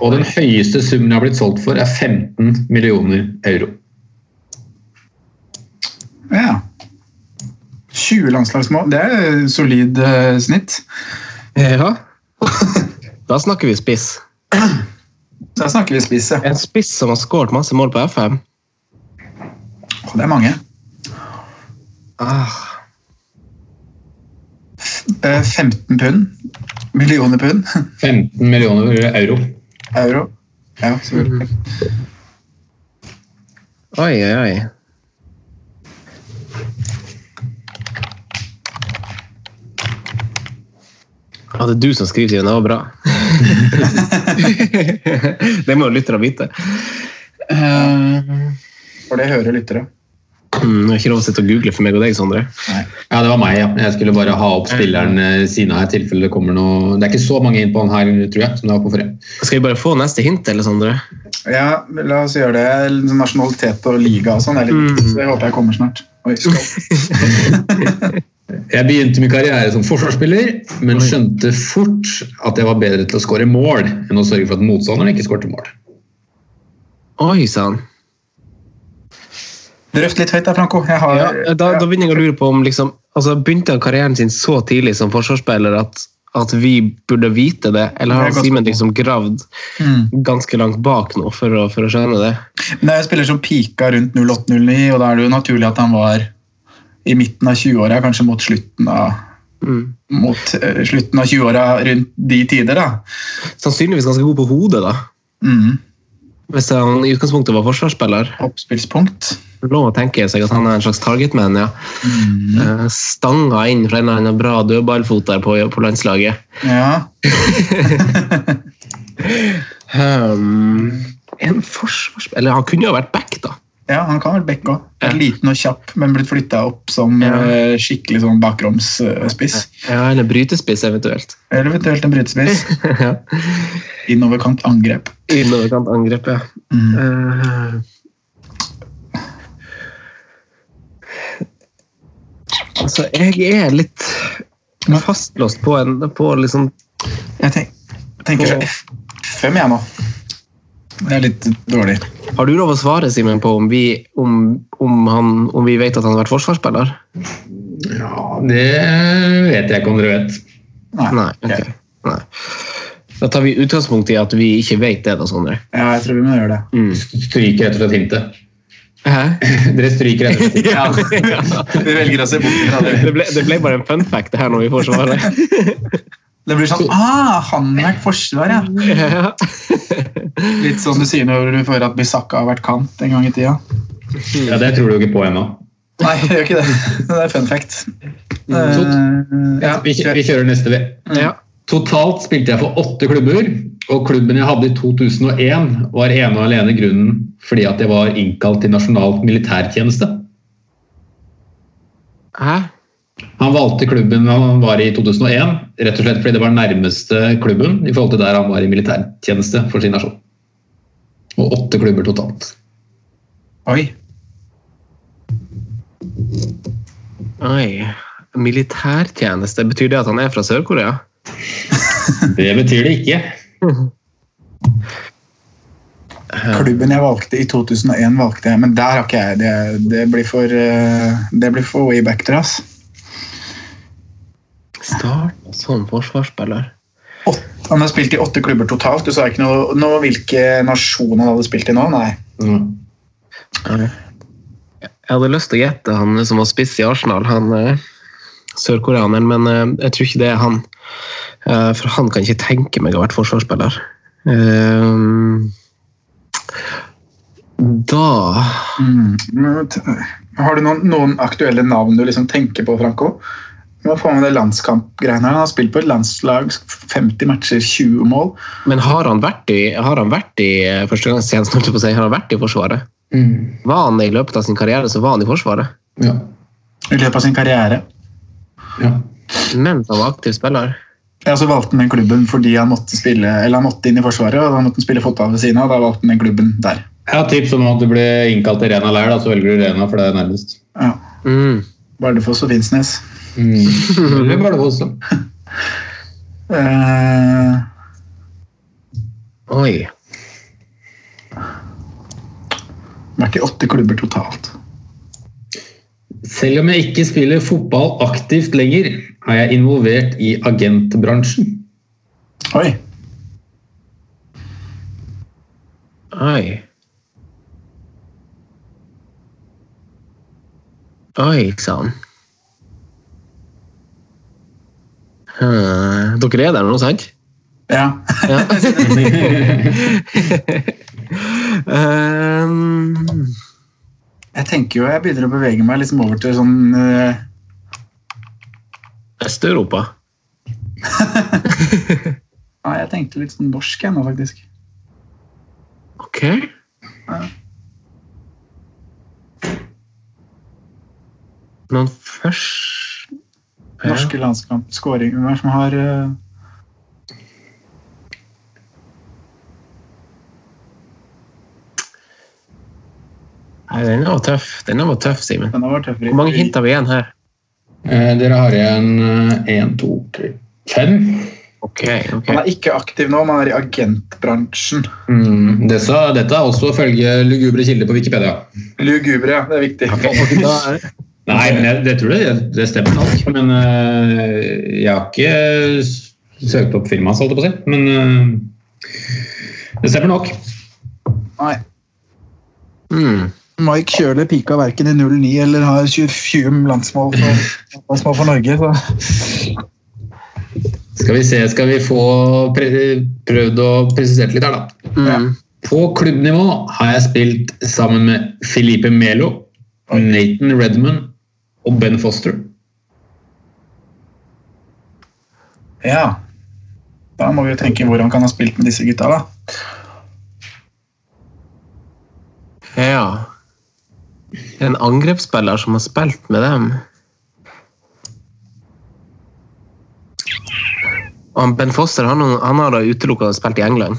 [SPEAKER 4] Og den høyeste summen jeg har blitt solgt for, er 15 millioner euro.
[SPEAKER 5] Ja. 20 landslagsmål, det er solid eh, snitt.
[SPEAKER 2] Ja. da snakker vi spiss.
[SPEAKER 5] Da snakker vi spiss, ja.
[SPEAKER 2] En spiss som har skåret masse mål på FM.
[SPEAKER 5] Og Det er mange.
[SPEAKER 2] Ah.
[SPEAKER 5] Eh, 15 pund. Millioner pund.
[SPEAKER 4] 15 millioner euro.
[SPEAKER 5] Euro. Ja, selvfølgelig.
[SPEAKER 2] Oi, oi, oi. Ja, det er du som skriver til henne, det var bra. det må jo lytterne vite. Eh,
[SPEAKER 5] For det hører lyttere.
[SPEAKER 2] mm, det er ikke lov å sitte og google for meg og deg, Sondre.
[SPEAKER 4] Ja, det var meg. ja. Jeg skulle bare ha opp spilleren eh, siden her, i tilfelle det kommer noe Det er ikke så mange inn på han her, tror jeg, som det var på forrige.
[SPEAKER 2] Skal vi bare få neste hint, eller, Sondre?
[SPEAKER 5] Ja, la oss gjøre det. Nasjonalitet og liga og sånn er litt viktig, så det håper jeg kommer snart. Oi, skål.
[SPEAKER 4] Jeg begynte min karriere som forsvarsspiller, men skjønte fort at jeg var bedre til å skåre mål enn å sørge for at motstanderen ikke skårte mål.
[SPEAKER 2] Oi sann.
[SPEAKER 5] Drøft litt høyt der, Franco. Jeg har,
[SPEAKER 2] Ja, eh, da, da begynner jeg å lure på om liksom, altså, Begynte han karrieren sin så tidlig som forsvarsspiller at, at vi burde vite det, eller har han
[SPEAKER 5] Det er godt
[SPEAKER 2] Simen
[SPEAKER 5] spørsmål.
[SPEAKER 2] liksom gravd
[SPEAKER 5] Mm.
[SPEAKER 2] ganske langt bak nå for å, for å skjønne det.
[SPEAKER 5] Det er jo spiller som pika rundt 08-09, og da er det jo naturlig at han var i midten av 20-åra, kanskje mot slutten av
[SPEAKER 2] Mm.
[SPEAKER 5] mot eh, slutten av 20-åra rundt de tider, da.
[SPEAKER 2] Sannsynligvis ganske god på hodet, da.
[SPEAKER 5] Mm.
[SPEAKER 2] Hvis han i utgangspunktet var forsvarsspiller.
[SPEAKER 5] Oppspillspunkt.
[SPEAKER 2] Lov å tenke seg at han er en slags targetman, ja. Eh, Stanga inn fra en eller annen bra dødballfot der på, på landslaget.
[SPEAKER 5] Ja.
[SPEAKER 2] Hmm, en forsvarsspiller Eller han kunne jo ha vært back, da.
[SPEAKER 5] ja, han kan vel backe òg.
[SPEAKER 2] Ja.
[SPEAKER 5] Liten og kjapp, men blitt flytta opp som
[SPEAKER 2] Ja.
[SPEAKER 5] eh, skikkelig sånn bakromsspiss.
[SPEAKER 2] Ja, eller brytespiss, eventuelt.
[SPEAKER 5] Eller eventuelt en brytespiss.
[SPEAKER 2] Ja.
[SPEAKER 5] Innoverkant angrep.
[SPEAKER 2] Innen overkant angrep, ja. Eh, altså, jeg er litt fastlåst på en på liksom
[SPEAKER 5] Jeg tenk, tenker så F- FM, jeg nå. Det er litt dårlig.
[SPEAKER 2] Har du lov å svare, Simen, på om vi, om, om, han, om vi vet at han har vært forsvarsspiller?
[SPEAKER 4] Ja, det vet jeg ikke om dere vet.
[SPEAKER 2] Nei. ok.
[SPEAKER 5] ok.
[SPEAKER 2] Nei. Da tar vi utgangspunkt i at vi ikke vet det, da, Sondre.
[SPEAKER 5] Ja, jeg tror vi må gjøre det.
[SPEAKER 4] Stryker rett og slett hintet.
[SPEAKER 2] Hæ?
[SPEAKER 4] Dere stryker rett og slett hintet.
[SPEAKER 2] Ja.
[SPEAKER 5] Vi velger å se bort fra det.
[SPEAKER 2] Det ble, det ble bare en fun fact det her når vi får svaret.
[SPEAKER 5] Det blir sånn ah, han har vært forsvar, ja.
[SPEAKER 2] Ja.
[SPEAKER 5] Litt sånn du sier når du får at Bisakka har vært kant en gang i tida.
[SPEAKER 4] Ja, det tror du jo ikke på ennå.
[SPEAKER 5] Nei, jeg gjør ikke det. Det er fun fact. Eh,
[SPEAKER 4] Mm,
[SPEAKER 5] ja,
[SPEAKER 4] vi, kjø- vi kjører neste, vi.
[SPEAKER 2] Mm. Ja.
[SPEAKER 4] Totalt spilte jeg for åtte klubber, og klubben jeg hadde i 2001 var ene og alene grunnen fordi at jeg var innkalt til nasjonal militærtjeneste.
[SPEAKER 2] Hæ?
[SPEAKER 4] Han valgte klubben han var i 2001, rett og slett fordi det var nærmeste klubben i forhold til der han var i militærtjeneste for sin nasjon. Og åtte klubber totalt.
[SPEAKER 5] Oi.
[SPEAKER 2] Oi. Militærtjeneste, betyr det at han er fra Sør-Korea?
[SPEAKER 4] Det betyr det ikke.
[SPEAKER 5] Klubben jeg valgte i 2001, valgte jeg, men der har ikke jeg det. Det blir for, eh, det blir for way back der, ass.
[SPEAKER 2] Starta som forsvarsspiller.
[SPEAKER 5] Han har spilt i åtte klubber totalt. Du sa ikke noe, noe hvilke nasjon han hadde spilt i nå? Nei.
[SPEAKER 2] Jeg hadde lyst til å gjette han som var spiss i Arsenal, han eh, sørkoreaneren, men eh, jeg tror ikke det er han. Eh, For han kan ikke tenke meg å ha vært forsvarsspiller. Eh, Da
[SPEAKER 5] Mm. men t- Har du noen, noen aktuelle navn du liksom tenker på, Franco? Nå får man det landskampgreiene her. Han har spilt på et landslag, 50 matcher, 20 mål.
[SPEAKER 2] Men har han vært i, har han vært i eh, førstegangstjenesten, holdt jeg på å si, har han vært i Forsvaret? Var han i løpet av sin karriere, så var han i Forsvaret.
[SPEAKER 4] Ja.
[SPEAKER 5] I løpet av sin karriere.
[SPEAKER 4] ja.
[SPEAKER 2] Mens han var aktiv spiller.
[SPEAKER 5] Ja, så valgte han den klubben fordi han måtte spille, eller han måtte inn i Forsvaret, og da måtte han spille fotball ved siden av, og da valgte han den klubben der.
[SPEAKER 4] Jeg har tips om at du blir innkalt til Rena leir, da, så velger du Rena, for det er nærmest.
[SPEAKER 5] Ja.
[SPEAKER 2] Mm.
[SPEAKER 5] Bardufoss og Finnsnes.
[SPEAKER 4] Eller Bardufoss, da.
[SPEAKER 5] Eh,
[SPEAKER 2] Oi.
[SPEAKER 5] vært i åtte klubber totalt.
[SPEAKER 4] Selv om jeg ikke spiller fotball aktivt lenger, er jeg involvert i agentbransjen.
[SPEAKER 5] Oi!
[SPEAKER 2] Oi. Oi, sa han. Eh, Dere er der nå, sant?
[SPEAKER 5] Ja.
[SPEAKER 2] Ja. um,
[SPEAKER 5] Jeg tenker jo jeg begynner å bevege meg liksom over til sånn eh,
[SPEAKER 2] Øst-Europa.
[SPEAKER 5] Nei, jeg tenkte litt sånn norsk jeg nå, faktisk.
[SPEAKER 2] Ok. Men først
[SPEAKER 5] Norske landskamp, scoring Hvem er det som har eh,
[SPEAKER 2] Nei, Den var tøff, Den var tøff, Simen.
[SPEAKER 5] Den har vært tøffere.
[SPEAKER 2] Hvor mange hint har vi igjen her?
[SPEAKER 4] Eh, dere har igjen én, to, tre, fem.
[SPEAKER 2] Ok, ok.
[SPEAKER 5] Han er ikke aktiv nå, man er i agentbransjen.
[SPEAKER 4] Mm, disse, dette er også følge lugubre kilder på Wikipedia.
[SPEAKER 5] Lugubre, ja. Det er viktig.
[SPEAKER 2] Da er-
[SPEAKER 4] Nei, men jeg, det tror jeg det stemmer. alt. Men eh, jeg har ikke s- søkt opp firmaet, holdt jeg på å si. Men eh, det stemmer nok.
[SPEAKER 5] Nei.
[SPEAKER 2] Mm.
[SPEAKER 5] Mike Kjøle pika verken i 09 eller har 20 landsmål for, landsmål for Norge. Så.
[SPEAKER 4] Skal vi se, skal vi få pre prøvd å presisere litt her, da.
[SPEAKER 2] Mm.
[SPEAKER 4] På klubbnivå har jeg spilt sammen med Felipe Melo, Nathan Redmond og Ben Foster.
[SPEAKER 5] Ja. Da må vi jo tenke hvor han kan ha spilt med disse gutta. da.
[SPEAKER 2] Ja. Det er en angrepsspiller som har spilt med dem. Og han ben Foster han, han har da utelukka spilt i England.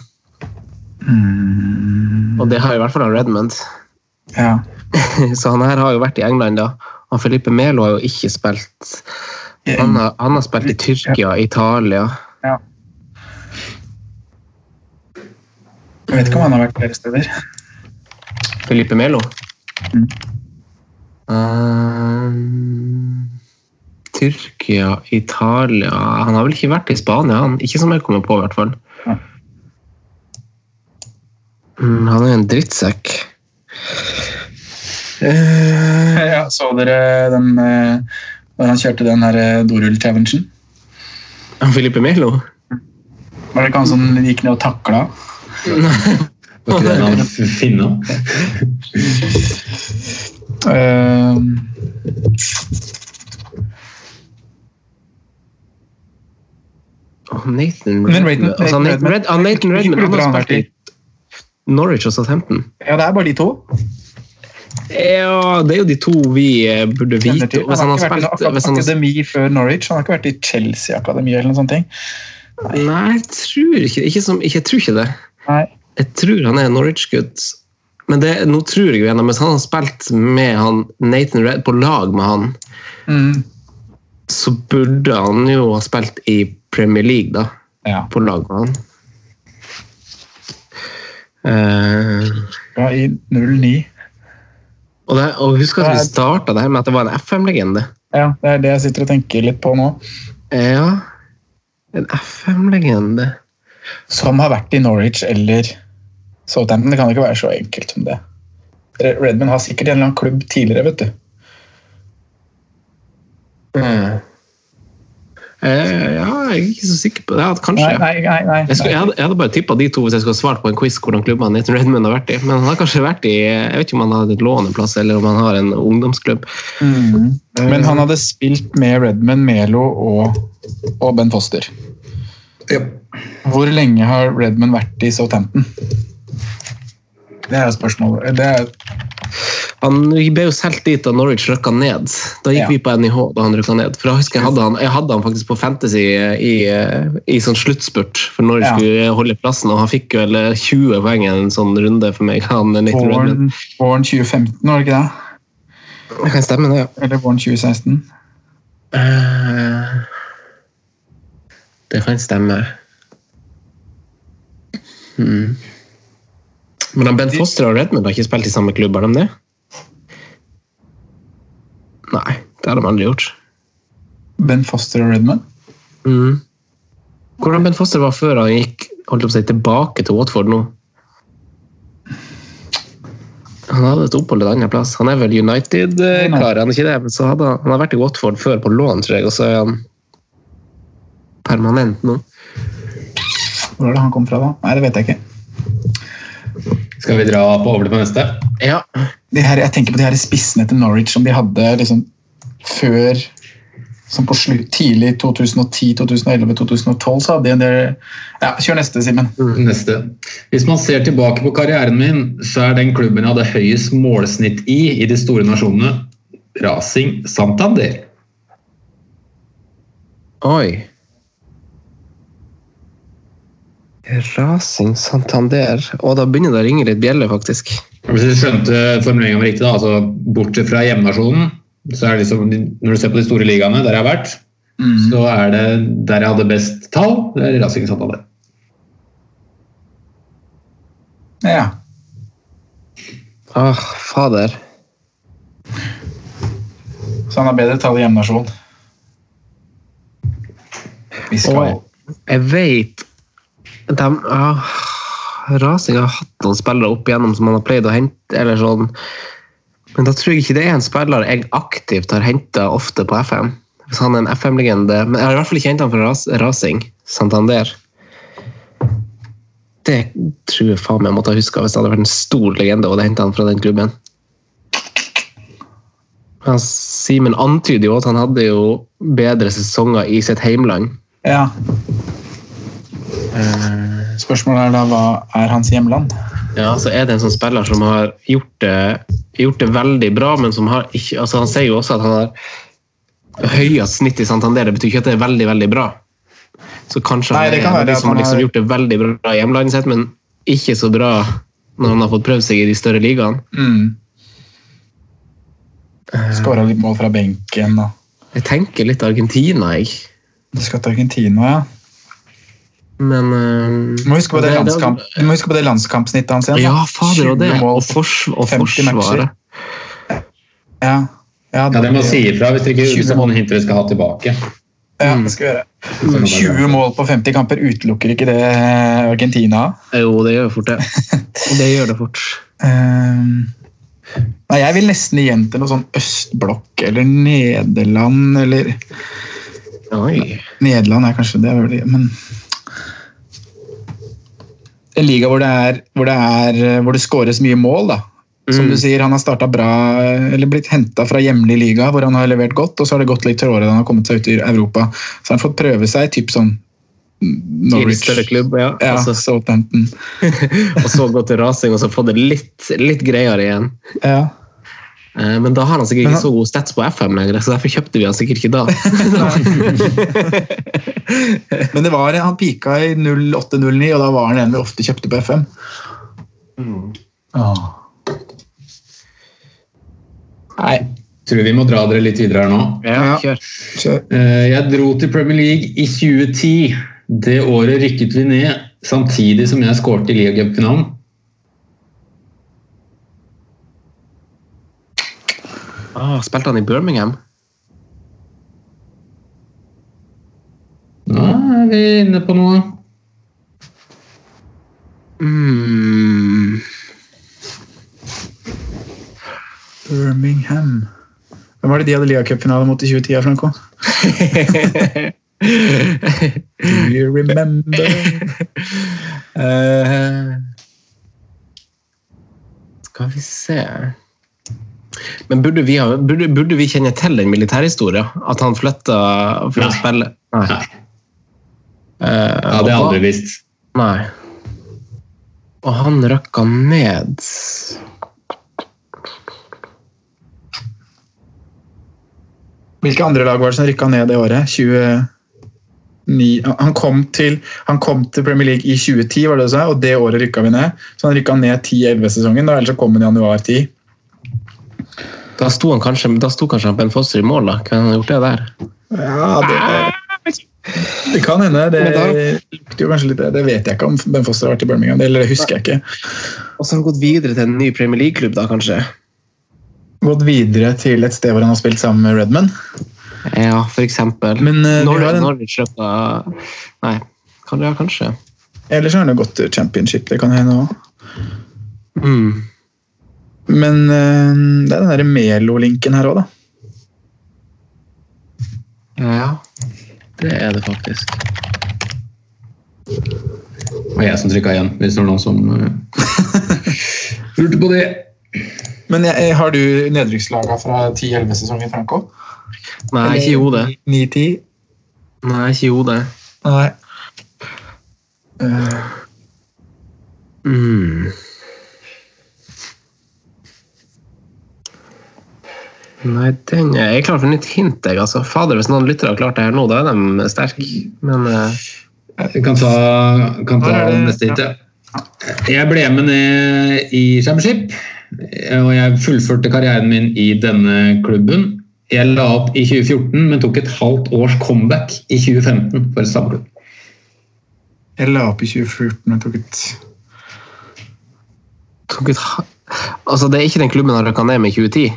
[SPEAKER 2] Og det har i hvert fall han Redmond.
[SPEAKER 5] Ja.
[SPEAKER 2] Så han her har jo vært i England, da. Han Felipe Melo har jo ikke spilt. Han har, han har spilt i Tyrkia, Italia
[SPEAKER 5] Jeg vet ikke om han har vært flere steder.
[SPEAKER 2] Felipe Melo?
[SPEAKER 5] Mm.
[SPEAKER 2] Ehm, Tyrkia, Italia Han har vel ikke vært i Spania, han. Ikke som jeg kommer på, i hvert fall.
[SPEAKER 5] Ja.
[SPEAKER 2] Mm, han er en drittsekk. Eh,
[SPEAKER 5] Ja, Så dere den eh, når han kjørte den her eh, dorull-challengen?
[SPEAKER 2] han Felipe Melo?
[SPEAKER 5] Var det ikke han som gikk ned og takla?
[SPEAKER 4] Var ikke det en annen finne?
[SPEAKER 5] Eh,
[SPEAKER 2] Og Nathan
[SPEAKER 5] Men
[SPEAKER 2] Redmond
[SPEAKER 5] Redmond-
[SPEAKER 2] altså, Nathan, Red, ah, Nathan Redmond han
[SPEAKER 5] Hvor
[SPEAKER 2] har
[SPEAKER 5] har han
[SPEAKER 2] spilt i
[SPEAKER 5] vært i?
[SPEAKER 2] Norwich og Southampton.
[SPEAKER 5] Ja, det er bare de to.
[SPEAKER 2] Ja, det er jo de to vi eh, burde
[SPEAKER 5] Kjenner
[SPEAKER 2] vite.
[SPEAKER 5] til.
[SPEAKER 2] Hvis han har
[SPEAKER 5] ikke vært i noe
[SPEAKER 2] spilt hvis han,
[SPEAKER 5] ak- akademi før Norwich. Han har ikke vært i Chelsea-akademi eller noen sånne ting.
[SPEAKER 2] Nei, jeg tror ikke, ikke, som, ikke, jeg tror ikke det.
[SPEAKER 5] Nei.
[SPEAKER 2] Jeg tror han er Norwich-gutt. Men det, nå tror jeg jo igjen, mens han har spilt med han, Nathan Red på lag med han,
[SPEAKER 5] Mm.
[SPEAKER 2] så burde han jo ha spilt i Premier League, da.
[SPEAKER 5] Ja.
[SPEAKER 2] På lag med han. Eh,
[SPEAKER 5] Ja, I 09.
[SPEAKER 2] og, det, og husk at vi starta det her med at det var en FM-legende.
[SPEAKER 5] Ja, det er det jeg sitter og tenker litt på nå.
[SPEAKER 2] Ja, en FM-legende.
[SPEAKER 5] Som har vært i Norwich eller Southampton. Det kan ikke være så enkelt som det. Redman har sikkert en eller annen klubb tidligere, vet du. Mm.
[SPEAKER 2] Eh, ja, jeg er ikke så sikker på det. Ja, kanskje.
[SPEAKER 5] Nei, nei, nei. nei,
[SPEAKER 2] Jeg, skulle, jeg,
[SPEAKER 5] nei.
[SPEAKER 2] hadde, jeg hadde bare tippa de to hvis jeg skulle ha svart på en quiz hvordan klubben Nathan Redmond har vært i. Men han har kanskje vært i Jeg vet ikke om han har et låneplass eller om han har en ungdomsklubb.
[SPEAKER 5] Mm. Men han hadde spilt med Redman, Melo og, og Ben Foster. Hvor lenge har Redman vært i Southampton? Det er jo spørsmålet. Det er,
[SPEAKER 2] Han ble jo solgt dit da Norwich røkka ned. Da gikk
[SPEAKER 5] Ja.
[SPEAKER 2] vi på NIH da han røkka ned. For da husker Jeg hadde han, jeg hadde han faktisk på Fantasy i, i sånn sluttspurt for Norwich
[SPEAKER 5] Ja.
[SPEAKER 2] skulle holde plassen, og han fikk jo eller 20 poeng i en sånn runde for meg. Han, Nathan Redmond.
[SPEAKER 5] våren, våren 2015, var det ikke det?
[SPEAKER 2] Det kan stemme, det, ja.
[SPEAKER 5] Eller våren 2016?
[SPEAKER 2] Eh, Det kan stemme. Hmm. Men han Bent Foster og Redmond har ikke spilt i samme klubb, har de det? Nei, det har de aldri gjort.
[SPEAKER 5] Ben Foster og Redman?
[SPEAKER 2] Mm. Hvordan Bent Foster var før han gikk holdt opp seg tilbake til Watford nå? Han hadde et opphold et annet plass. Han er vel United-kar, han er ikke det? Men så hadde han, han har vært i Watford før på lån, tror jeg, og så er han permanent nå.
[SPEAKER 5] Hvor er det han kom fra, da? Nei, det vet jeg ikke.
[SPEAKER 4] Skal vi dra på over til på neste?
[SPEAKER 2] Ja.
[SPEAKER 5] de her, jeg tenker på de her spissene til Norwich som de hadde liksom før som på slutt, Tidlig 2010, 2011, 2012 så hadde de en del ja, Kjør neste, Simen.
[SPEAKER 4] Neste. Hvis man ser tilbake på karrieren min, så er den klubben jeg hadde høyest målsnitt i i de store nasjonene, Racing Santander.
[SPEAKER 2] Oi. Rasing Santander. Og da begynner det å ringe litt bjeller, faktisk.
[SPEAKER 4] Hvis jeg skjønte formuleringen var riktig, da, altså bortsett fra hjemmenasjonen, så er det liksom, når du ser på de store ligaene der jeg har vært, så er det der jeg hadde best tall, det er Racing Santander.
[SPEAKER 5] Ja.
[SPEAKER 2] Ah, fader.
[SPEAKER 5] Så han har bedre tall i hjemnasjon. Vi skal
[SPEAKER 2] Og jeg veit de ah, Rasing har hatt noen spillere opp igjennom som han har pleid å hente, eller sånn. Men da tror jeg ikke det er en spiller jeg aktivt har henta ofte på FM. Hvis han er en FM-legende. Men jeg har i hvert fall ikke henta han fra ras Rasing Santander. Det tror jeg faen meg jeg måtte ha huska hvis det hadde vært en stor legende og det henta han fra den klubben. Men Simen antyder jo at han hadde jo bedre sesonger i sitt heimland.
[SPEAKER 5] Ja.
[SPEAKER 2] Eh.
[SPEAKER 5] Spørsmålet er da hva er hans hjemland?
[SPEAKER 2] Ja, så er det en sånn spiller som har gjort det, gjort det veldig bra, men som har ikke altså Han sier jo også at han har høyest snitt i Santander. Det betyr ikke at det er veldig, veldig bra. Så kanskje
[SPEAKER 5] Nei,
[SPEAKER 2] han
[SPEAKER 5] det
[SPEAKER 2] er
[SPEAKER 5] kan
[SPEAKER 2] en av
[SPEAKER 5] være
[SPEAKER 2] de
[SPEAKER 5] at
[SPEAKER 2] som
[SPEAKER 5] han
[SPEAKER 2] har liksom
[SPEAKER 5] har-
[SPEAKER 2] gjort det veldig bra i hjemlandet sitt, men ikke så bra når han har fått prøvd seg i de større ligaene.
[SPEAKER 5] Mm. Skåra litt mål fra benken og
[SPEAKER 2] Jeg tenker litt Argentina, jeg.
[SPEAKER 5] Du skal til Argentina, ja.
[SPEAKER 2] Men eh,
[SPEAKER 5] Du må huske på det,
[SPEAKER 2] det- det-
[SPEAKER 5] landskamp, du må huske på det landskampsnittet hans igjen. da.
[SPEAKER 2] Ja, fader, og det.
[SPEAKER 5] 20 mål.
[SPEAKER 2] Og, fors og
[SPEAKER 5] 50 matcher.
[SPEAKER 2] forsvaret.
[SPEAKER 5] Ja. Ja,
[SPEAKER 4] Ja, det må si ifra hvis dere ikke hvis det er noen hinter dere skal ha tilbake.
[SPEAKER 5] Ja, det skal vi gjøre. 20 mål på 50 kamper utelukker ikke det eh, Argentina.
[SPEAKER 2] Jo, det gjør fort det. Det gjør det fort.
[SPEAKER 5] Ehm, nei, jeg vil nesten igjen til noe sånn østblokk eller Nederland eller
[SPEAKER 2] Oi.
[SPEAKER 5] Nederland er kanskje det, vel, men En liga hvor det er hvor det, er, hvor det skåres mye mål, da.
[SPEAKER 2] Mm.
[SPEAKER 5] Som du sier, han har startet bra, eller blitt henta fra hjemlig liga, hvor han har levert godt, og så har det gått litt tråere da han har kommet seg ut i Europa. Så har han fått prøve seg, typ sånn
[SPEAKER 2] I en
[SPEAKER 5] Norwich.
[SPEAKER 2] større klubb, altså. ja.
[SPEAKER 5] Ja,
[SPEAKER 2] Og, så,
[SPEAKER 5] Southampton.
[SPEAKER 2] og så gå til rasing, og så få det litt, litt greiere igjen.
[SPEAKER 5] Ja.
[SPEAKER 2] Eh, Men da har han sikkert
[SPEAKER 5] Men
[SPEAKER 2] ikke
[SPEAKER 5] han-
[SPEAKER 2] så god stats på FM lenger, så derfor kjøpte vi han sikkert ikke da.
[SPEAKER 5] Men det var, han pika i 08-09, og da var han en vi ofte kjøpte på FM. Ja.
[SPEAKER 4] Nei. Tror vi må dra dere litt videre her nå.
[SPEAKER 2] Ja, kjør.
[SPEAKER 5] Kjør.
[SPEAKER 4] Eh, Jeg dro til Premier League i 2010. Det året rykket vi ned, samtidig som jeg skårte i ligacupfinalen.
[SPEAKER 2] Ah, spilte han i Birmingham?
[SPEAKER 4] Nå er vi inne på noe.
[SPEAKER 2] Mm.
[SPEAKER 5] Birmingham. Hvem var det de hadde Lia-cupfinale mot i 2010, Franco? Do
[SPEAKER 2] Mm.
[SPEAKER 5] you remember?
[SPEAKER 2] Eh, skal vi se Men burde vi, ha, burde, burde vi kjenne til den militærhistorien? At han flytta for å
[SPEAKER 4] Nei.
[SPEAKER 2] spille? Nei.
[SPEAKER 4] Nei.
[SPEAKER 2] Eh,
[SPEAKER 4] Ja, det har jeg
[SPEAKER 2] og
[SPEAKER 4] aldri
[SPEAKER 2] da-
[SPEAKER 4] visst.
[SPEAKER 2] Nei. Og han røkka ned
[SPEAKER 5] Hvilke andre lag var det som rykka ned det året? 29 han kom, til, han kom til Premier League i 2010, var det du sa, og det året rykka vi ned. Så han rykka ned 10-11-sesongen, da, ellers så kom han i januar 10.
[SPEAKER 2] Da sto, han kanskje, da sto kanskje han Ben Foster i mål, da. Kunne han gjort det der?
[SPEAKER 5] Ja, det, det kan hende. Det
[SPEAKER 2] Men da-
[SPEAKER 5] lukter jo kanskje litt Det vet jeg ikke om Ben Foster har vært i Birmingham, det- eller det husker jeg ikke.
[SPEAKER 2] Og så har han gått videre til en ny Premier League-klubb, da, kanskje?
[SPEAKER 5] Gått videre til et sted hvor han har spilt sammen med Redman.
[SPEAKER 2] Ja, for eksempel.
[SPEAKER 5] Men, eh, vi
[SPEAKER 2] Norwich,
[SPEAKER 5] har en-
[SPEAKER 2] Norwich røkka Nei, kan det, ja, kanskje.
[SPEAKER 5] Ellers har han jo gått til championship, det kan hende òg.
[SPEAKER 2] Mm.
[SPEAKER 5] Men eh, det er den der Melo-linken her òg, da.
[SPEAKER 2] Ja, det er det faktisk.
[SPEAKER 4] Det var jeg som trykka igjen, hvis det var noen som eh, lurte på det.
[SPEAKER 5] Men jeg, jeg- har du nedrykkslaga fra 10-11-sesongen, Franco?
[SPEAKER 2] Nei, ikke jo det.
[SPEAKER 5] 9-10?
[SPEAKER 2] Nei, ikke jo det.
[SPEAKER 5] Nei. Eh,
[SPEAKER 2] Mm. Nei, den er Jeg er klar for nytt hint, jeg. altså. Fader, hvis noen lyttere har klart det her nå, da er de sterke. Men eh,
[SPEAKER 4] Jeg kan ta, kan ta
[SPEAKER 5] Her er det-
[SPEAKER 4] neste hit. ja. Jeg ble med ned i Championship, og jeg fullførte karrieren min i denne klubben. Jeg la opp i 2014, men tok et halvt års comeback i 2015 for samme klubb.
[SPEAKER 5] jeg la opp i 2014 og tok et
[SPEAKER 2] tok et ha- Altså, det er ikke den klubben han røkka ned med i 2010.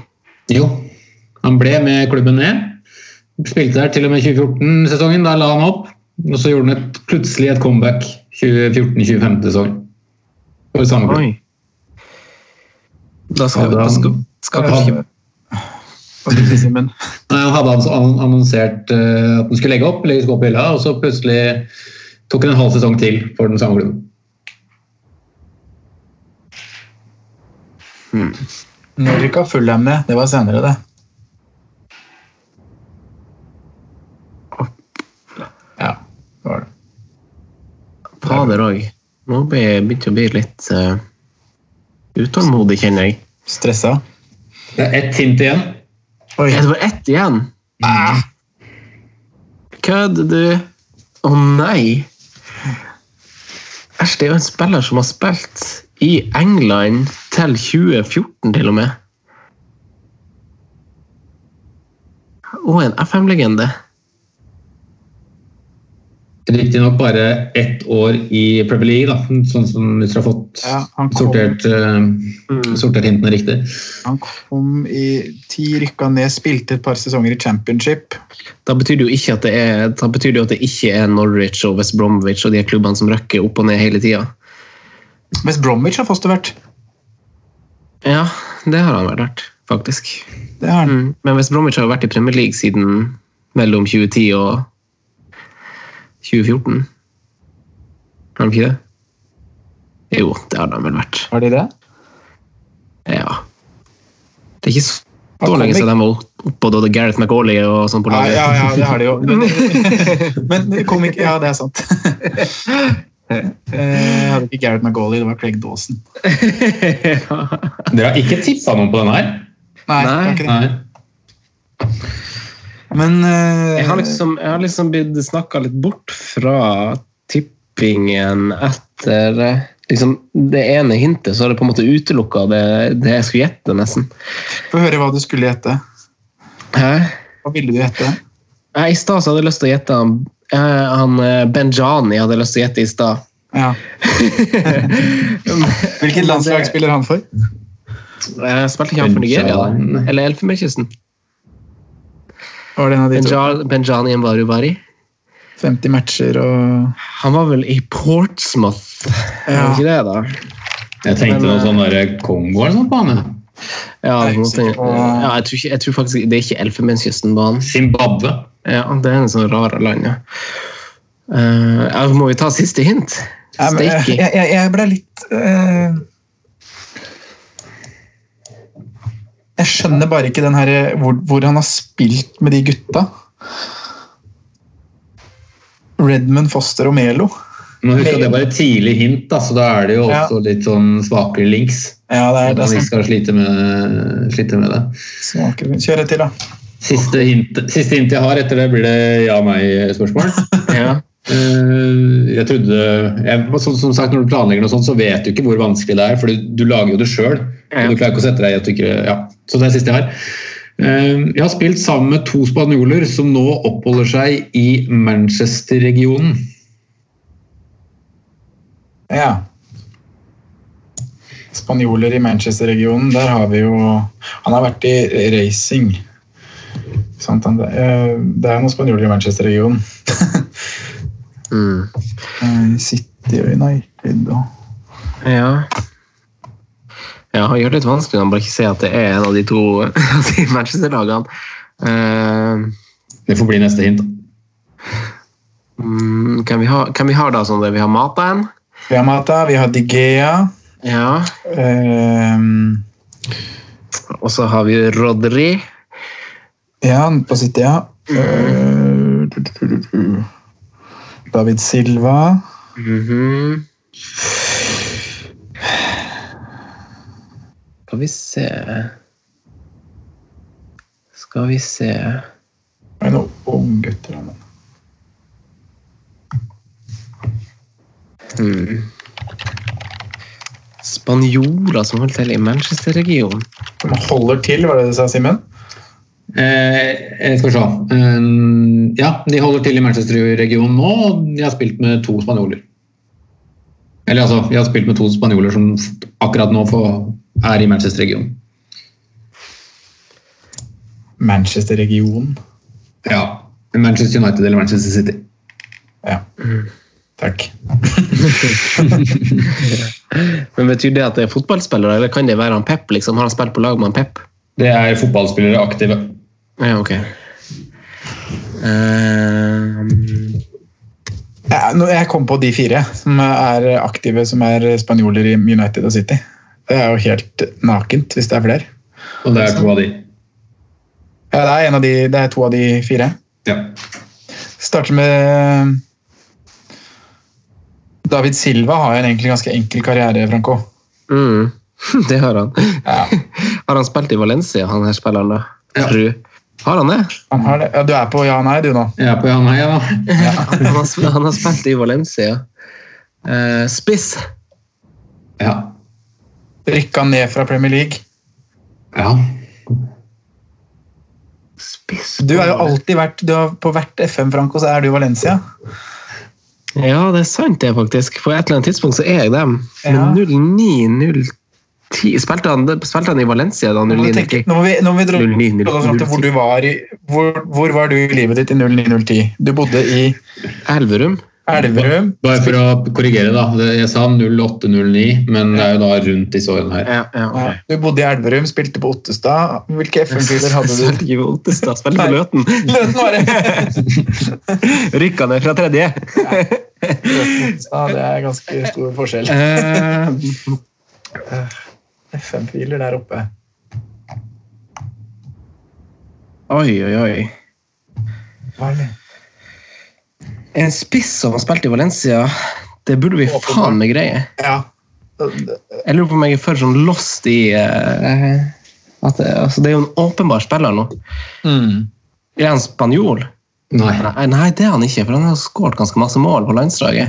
[SPEAKER 4] Jo, han ble med klubben ned. Spilte der til og med 2014-sesongen, da la han opp. Og så gjorde han et, plutselig et comeback 2014-2015-sesong. For samme klubb.
[SPEAKER 2] Oi. Da skal vi
[SPEAKER 4] Hadde
[SPEAKER 2] da
[SPEAKER 4] han-
[SPEAKER 2] skal, skal kanskje ikke
[SPEAKER 5] Hva skal jeg si, Simen?
[SPEAKER 4] Nei, Han hadde ans- an- annonsert eh, at han skulle legge opp, legge seg opp i hylla, og så plutselig tok han en halv sesong til for den samme klubben.
[SPEAKER 5] Når rykka Fulham ned? E, Det var senere, det. Ja, det var det.
[SPEAKER 2] Fader òg. Nå ble jeg begynte å bli litt eh, utålmodig, kjenner jeg.
[SPEAKER 5] Stressa?
[SPEAKER 4] Det er ett hint igjen.
[SPEAKER 5] Oi.
[SPEAKER 2] Er det bare ett igjen? Mm. Kødder du? Å nei! Æsj, det er jo en spiller som har spilt i England til 2014, til og med. Og en FM-legende.
[SPEAKER 4] Riktignok bare ett år i Premier League, da, sånn som hvis dere har fått
[SPEAKER 5] Ja, han kom- Mm.
[SPEAKER 4] sortert, eh, sortert hintene riktig.
[SPEAKER 5] Han kom i ti rykka ned, spilte et par sesonger i championship.
[SPEAKER 2] Da betyr det jo ikke at det er, da betyr det jo at det ikke er Norwich og West Bromwich og de her klubbene som røkker opp og ned hele tida.
[SPEAKER 5] West Bromwich har fostervært.
[SPEAKER 2] Ja, det har han vært, faktisk.
[SPEAKER 5] Det har han.
[SPEAKER 2] Mm. Men West Bromwich har jo vært i Premier League siden mellom 2010 og 2014. Har de ikke det? Jo, det har de vel vært.
[SPEAKER 5] Har de det?
[SPEAKER 2] Ja. Det er ikke så lenge siden de var oppå da Gareth McAuley og sånn på
[SPEAKER 5] Ja,
[SPEAKER 2] laget.
[SPEAKER 5] ja, ja, det har de jo. Men, men det kom ikke Ja, det er sant. Jeg hadde ikke Gareth McGauley, det var Craig Dawson.
[SPEAKER 4] Dere har ikke tippa noen på denne her?
[SPEAKER 5] Nei, det var ikke det.
[SPEAKER 4] Nei.
[SPEAKER 5] Men eh,
[SPEAKER 2] Jeg har liksom, jeg har liksom blitt snakka litt bort fra tippingen etter eh, liksom, det ene hintet, så har det på en måte utelukka det, det jeg skulle gjette, nesten.
[SPEAKER 5] Få høre hva du skulle gjette.
[SPEAKER 2] Hæ?
[SPEAKER 5] Hva ville du gjette?
[SPEAKER 2] Jeg, I stad så hadde jeg lyst til å gjette han, eh, han eh, Benjani hadde jeg lyst til å gjette i stad.
[SPEAKER 5] Ja. Hvilket landslag spiller han for?
[SPEAKER 2] Eh, Spilte ikke han for Nigeria, da? Eller Elfenbenskysten?
[SPEAKER 5] Var det en av de to?
[SPEAKER 2] Benja- Benjani Mbaruwari?
[SPEAKER 5] 50 matcher og
[SPEAKER 2] Han var vel i Portsmouth,
[SPEAKER 5] Ja.
[SPEAKER 2] var ikke det, da?
[SPEAKER 4] Jeg tenkte
[SPEAKER 5] eh,
[SPEAKER 4] noe sånn der Kongo eller noe på han. jeg.
[SPEAKER 2] Ja,
[SPEAKER 5] Jeg er
[SPEAKER 2] på en
[SPEAKER 5] ikke
[SPEAKER 2] måte.
[SPEAKER 5] sikker på-
[SPEAKER 2] ja jeg, tror ikke, jeg tror faktisk det er ikke Elfenbenskysten-banen.
[SPEAKER 4] Zimbabwe.
[SPEAKER 2] Ja, det er en sånn rare land, ja. Eh, ja, må vi ta siste hint?
[SPEAKER 5] Ja, men, eh,
[SPEAKER 2] Steaky.
[SPEAKER 5] jeg, jeg, jeg ble litt eh, Jeg skjønner bare ikke den her, eh, hvor, hvor han har spilt med de gutta. Redmond, Foster og Melo.
[SPEAKER 4] Men husk at det er bare et tidlig hint, da, så da er det jo også litt sånn svakere links.
[SPEAKER 5] Ja, det er sånn
[SPEAKER 4] At
[SPEAKER 5] det
[SPEAKER 4] man
[SPEAKER 5] som
[SPEAKER 4] ikke skal slite med, slite med det.
[SPEAKER 5] smaker. Kjør et til, da.
[SPEAKER 4] Siste hint, siste hint jeg har, etter det blir det ja-nei-spørsmål.
[SPEAKER 2] Ja.
[SPEAKER 4] Eh, jeg trodde jeg, som, som sagt, Når du planlegger noe sånt, så vet du ikke hvor vanskelig det er, for du, du lager jo det sjøl.
[SPEAKER 2] Ja.
[SPEAKER 4] Du klarer ikke å sette deg i at du ikke Ja, så det er siste jeg har. Eh, jeg har spilt sammen med to spanjoler som nå oppholder seg i Manchester-regionen.
[SPEAKER 5] Ja. Spanjoler i Manchester-regionen, der har vi jo Han har vært i racing. Sant, han, eh, det er noen spanjoler i Manchester-regionen.
[SPEAKER 2] Mm.
[SPEAKER 5] Eh, City og United og
[SPEAKER 2] ja. Ja, han gjør det litt vanskelig når han bare ikke ser at det er en av de to av de Manchester-lagene. Eh,
[SPEAKER 4] Det får bli neste hint.
[SPEAKER 2] mm, kan, vi ha, kan vi ha da sånn det vi har mata en?
[SPEAKER 5] Vi har Mata, vi har Digea.
[SPEAKER 2] Ja.
[SPEAKER 5] ehm,
[SPEAKER 2] Og så har vi Rodri.
[SPEAKER 5] ja, han på City, ja. Eh, du, du, du, du. David Silva.
[SPEAKER 2] Mhm. Skal vi se Skal vi se
[SPEAKER 5] Det er noen unggutter. han.
[SPEAKER 2] Hmm. Spanjoler som holder til i Manchester-regionen.
[SPEAKER 5] De holder til, var det det du sa, Simen?
[SPEAKER 4] Eh, jeg skal vi se. Eh, ja, de holder til i Manchester-regionen nå, og jeg har spilt med to spanjoler. Eller altså, jeg har spilt med to spanjoler som akkurat nå får, er i Manchester-regionen.
[SPEAKER 5] Manchester-regionen.
[SPEAKER 4] Ja. Manchester United eller Manchester City.
[SPEAKER 5] Ja. Takk.
[SPEAKER 2] Men Betyr det at det er fotballspillere, eller kan det være han Pep? liksom? Har han spilt på lag med han Pep?
[SPEAKER 4] Det er fotballspillere aktive.
[SPEAKER 2] Ja, ok. Ehm,
[SPEAKER 5] Ja, nå- Jeg kom på de fire som er aktive, som er spanjoler i United og City. Det er jo helt nakent, hvis det er flere.
[SPEAKER 4] Og det er to av de.
[SPEAKER 5] Ja, det er, en av de, det er to av de fire.
[SPEAKER 4] Ja.
[SPEAKER 5] Starter med David Silva har en egentlig ganske enkel karriere, Franco.
[SPEAKER 2] mm, det har han.
[SPEAKER 5] Ja.
[SPEAKER 2] Har han spilt i Valencia, han her spilleren, da?
[SPEAKER 4] Ja.
[SPEAKER 2] Tror du? Har han det?
[SPEAKER 5] Han har det. Ja, du er på ja nei, du nå.
[SPEAKER 4] Jeg er på Jan Heia, da.
[SPEAKER 2] Han har, sp- han har spilt i Valencia. Eh, spiss.
[SPEAKER 4] Ja.
[SPEAKER 5] Rykka ned fra Premier League.
[SPEAKER 4] ja.
[SPEAKER 2] Spiss?
[SPEAKER 5] Du har jo alltid vært du har, På hvert FM, Franco, så er du Valencia.
[SPEAKER 2] Ja, det er sant det, faktisk. På et eller annet tidspunkt så er jeg dem.
[SPEAKER 5] Ja.
[SPEAKER 2] Men 09-010 spilte, han- spilte han i Valencia da?
[SPEAKER 5] Nå må, du tenke,
[SPEAKER 2] 09-10?
[SPEAKER 5] nå må vi, nå må vi dra
[SPEAKER 2] 09,
[SPEAKER 5] dra oss fram til hvor du var i hvor, hvor var du i livet ditt i 09010? Du bodde i
[SPEAKER 2] Elverum?
[SPEAKER 5] Elverum.
[SPEAKER 4] Bare for å korrigere, da. Det- Jeg sa 0809, men det er jo da rundt disse årene her.
[SPEAKER 2] Ja, ja,
[SPEAKER 5] Ja,
[SPEAKER 2] ok.
[SPEAKER 5] du bodde i Elverum, spilte på Ottestad. Hvilke FM-klubber hadde
[SPEAKER 2] Spilte
[SPEAKER 5] du?
[SPEAKER 2] ikke i Ottestad, spilte på
[SPEAKER 5] Nei.
[SPEAKER 2] Løten.
[SPEAKER 5] Løten var det!
[SPEAKER 2] Rykka ned fra tredje.
[SPEAKER 5] Løten, Ottestad, det er ganske stor forskjell.
[SPEAKER 2] Eh,
[SPEAKER 5] FM-filer der oppe. Oi, oi, oi. Hva er det?
[SPEAKER 2] En spiss som har spilt i Valencia, det burde vi faen meg greie.
[SPEAKER 5] Ja.
[SPEAKER 2] Jeg lurer på om jeg er for sånn lost i eh, at det, altså, det er jo en åpenbar spiller nå.
[SPEAKER 5] Mm.
[SPEAKER 2] Er han spanjol?
[SPEAKER 4] Nei.
[SPEAKER 2] Nei, nei, det er han ikke, for han har skåret ganske masse mål på landslaget.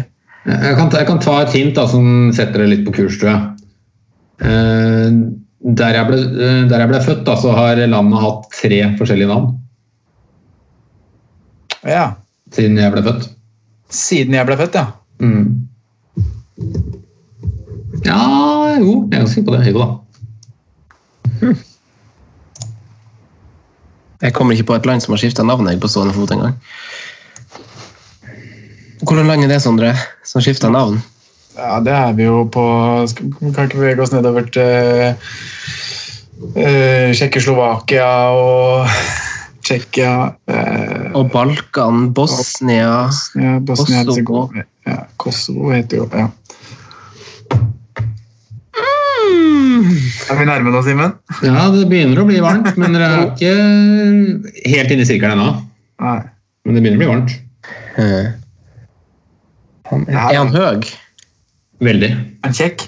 [SPEAKER 4] Jeg kan, ta- jeg kan ta et hint da, som setter det litt på kurs, tror jeg. Eh, der, jeg ble, eh, der jeg ble født, da, så har landet hatt tre forskjellige navn
[SPEAKER 5] ja.
[SPEAKER 4] siden jeg ble født.
[SPEAKER 5] Siden jeg ble født, ja.
[SPEAKER 4] Mm. Ja, jo, jeg er ganske sikker på det. Jo da.
[SPEAKER 2] Jeg kommer ikke på et land som har skifta navn jeg på stående fot engang. Hvordan land er det, Sondre, som skifter navn?
[SPEAKER 5] Ja, det er vi jo på skal- Vi kan ikke bevege oss nedover til eh, Tsjekkoslovakia og Tsjekkia eh,
[SPEAKER 2] Og Balkan, Bosnia
[SPEAKER 5] ja,
[SPEAKER 2] Kosovo.
[SPEAKER 5] Bosnia-Hercegovina ja, Kosovo heter jo ja.
[SPEAKER 4] Mm.
[SPEAKER 5] Er vi nærme da, Simen?
[SPEAKER 4] Ja, det begynner å bli varmt, men dere er ikke helt inne i sirkelen ennå.
[SPEAKER 5] Nei.
[SPEAKER 4] Men det begynner å bli varmt.
[SPEAKER 2] Eh. Han, er han høy?
[SPEAKER 4] Veldig.
[SPEAKER 5] Er han kjekk?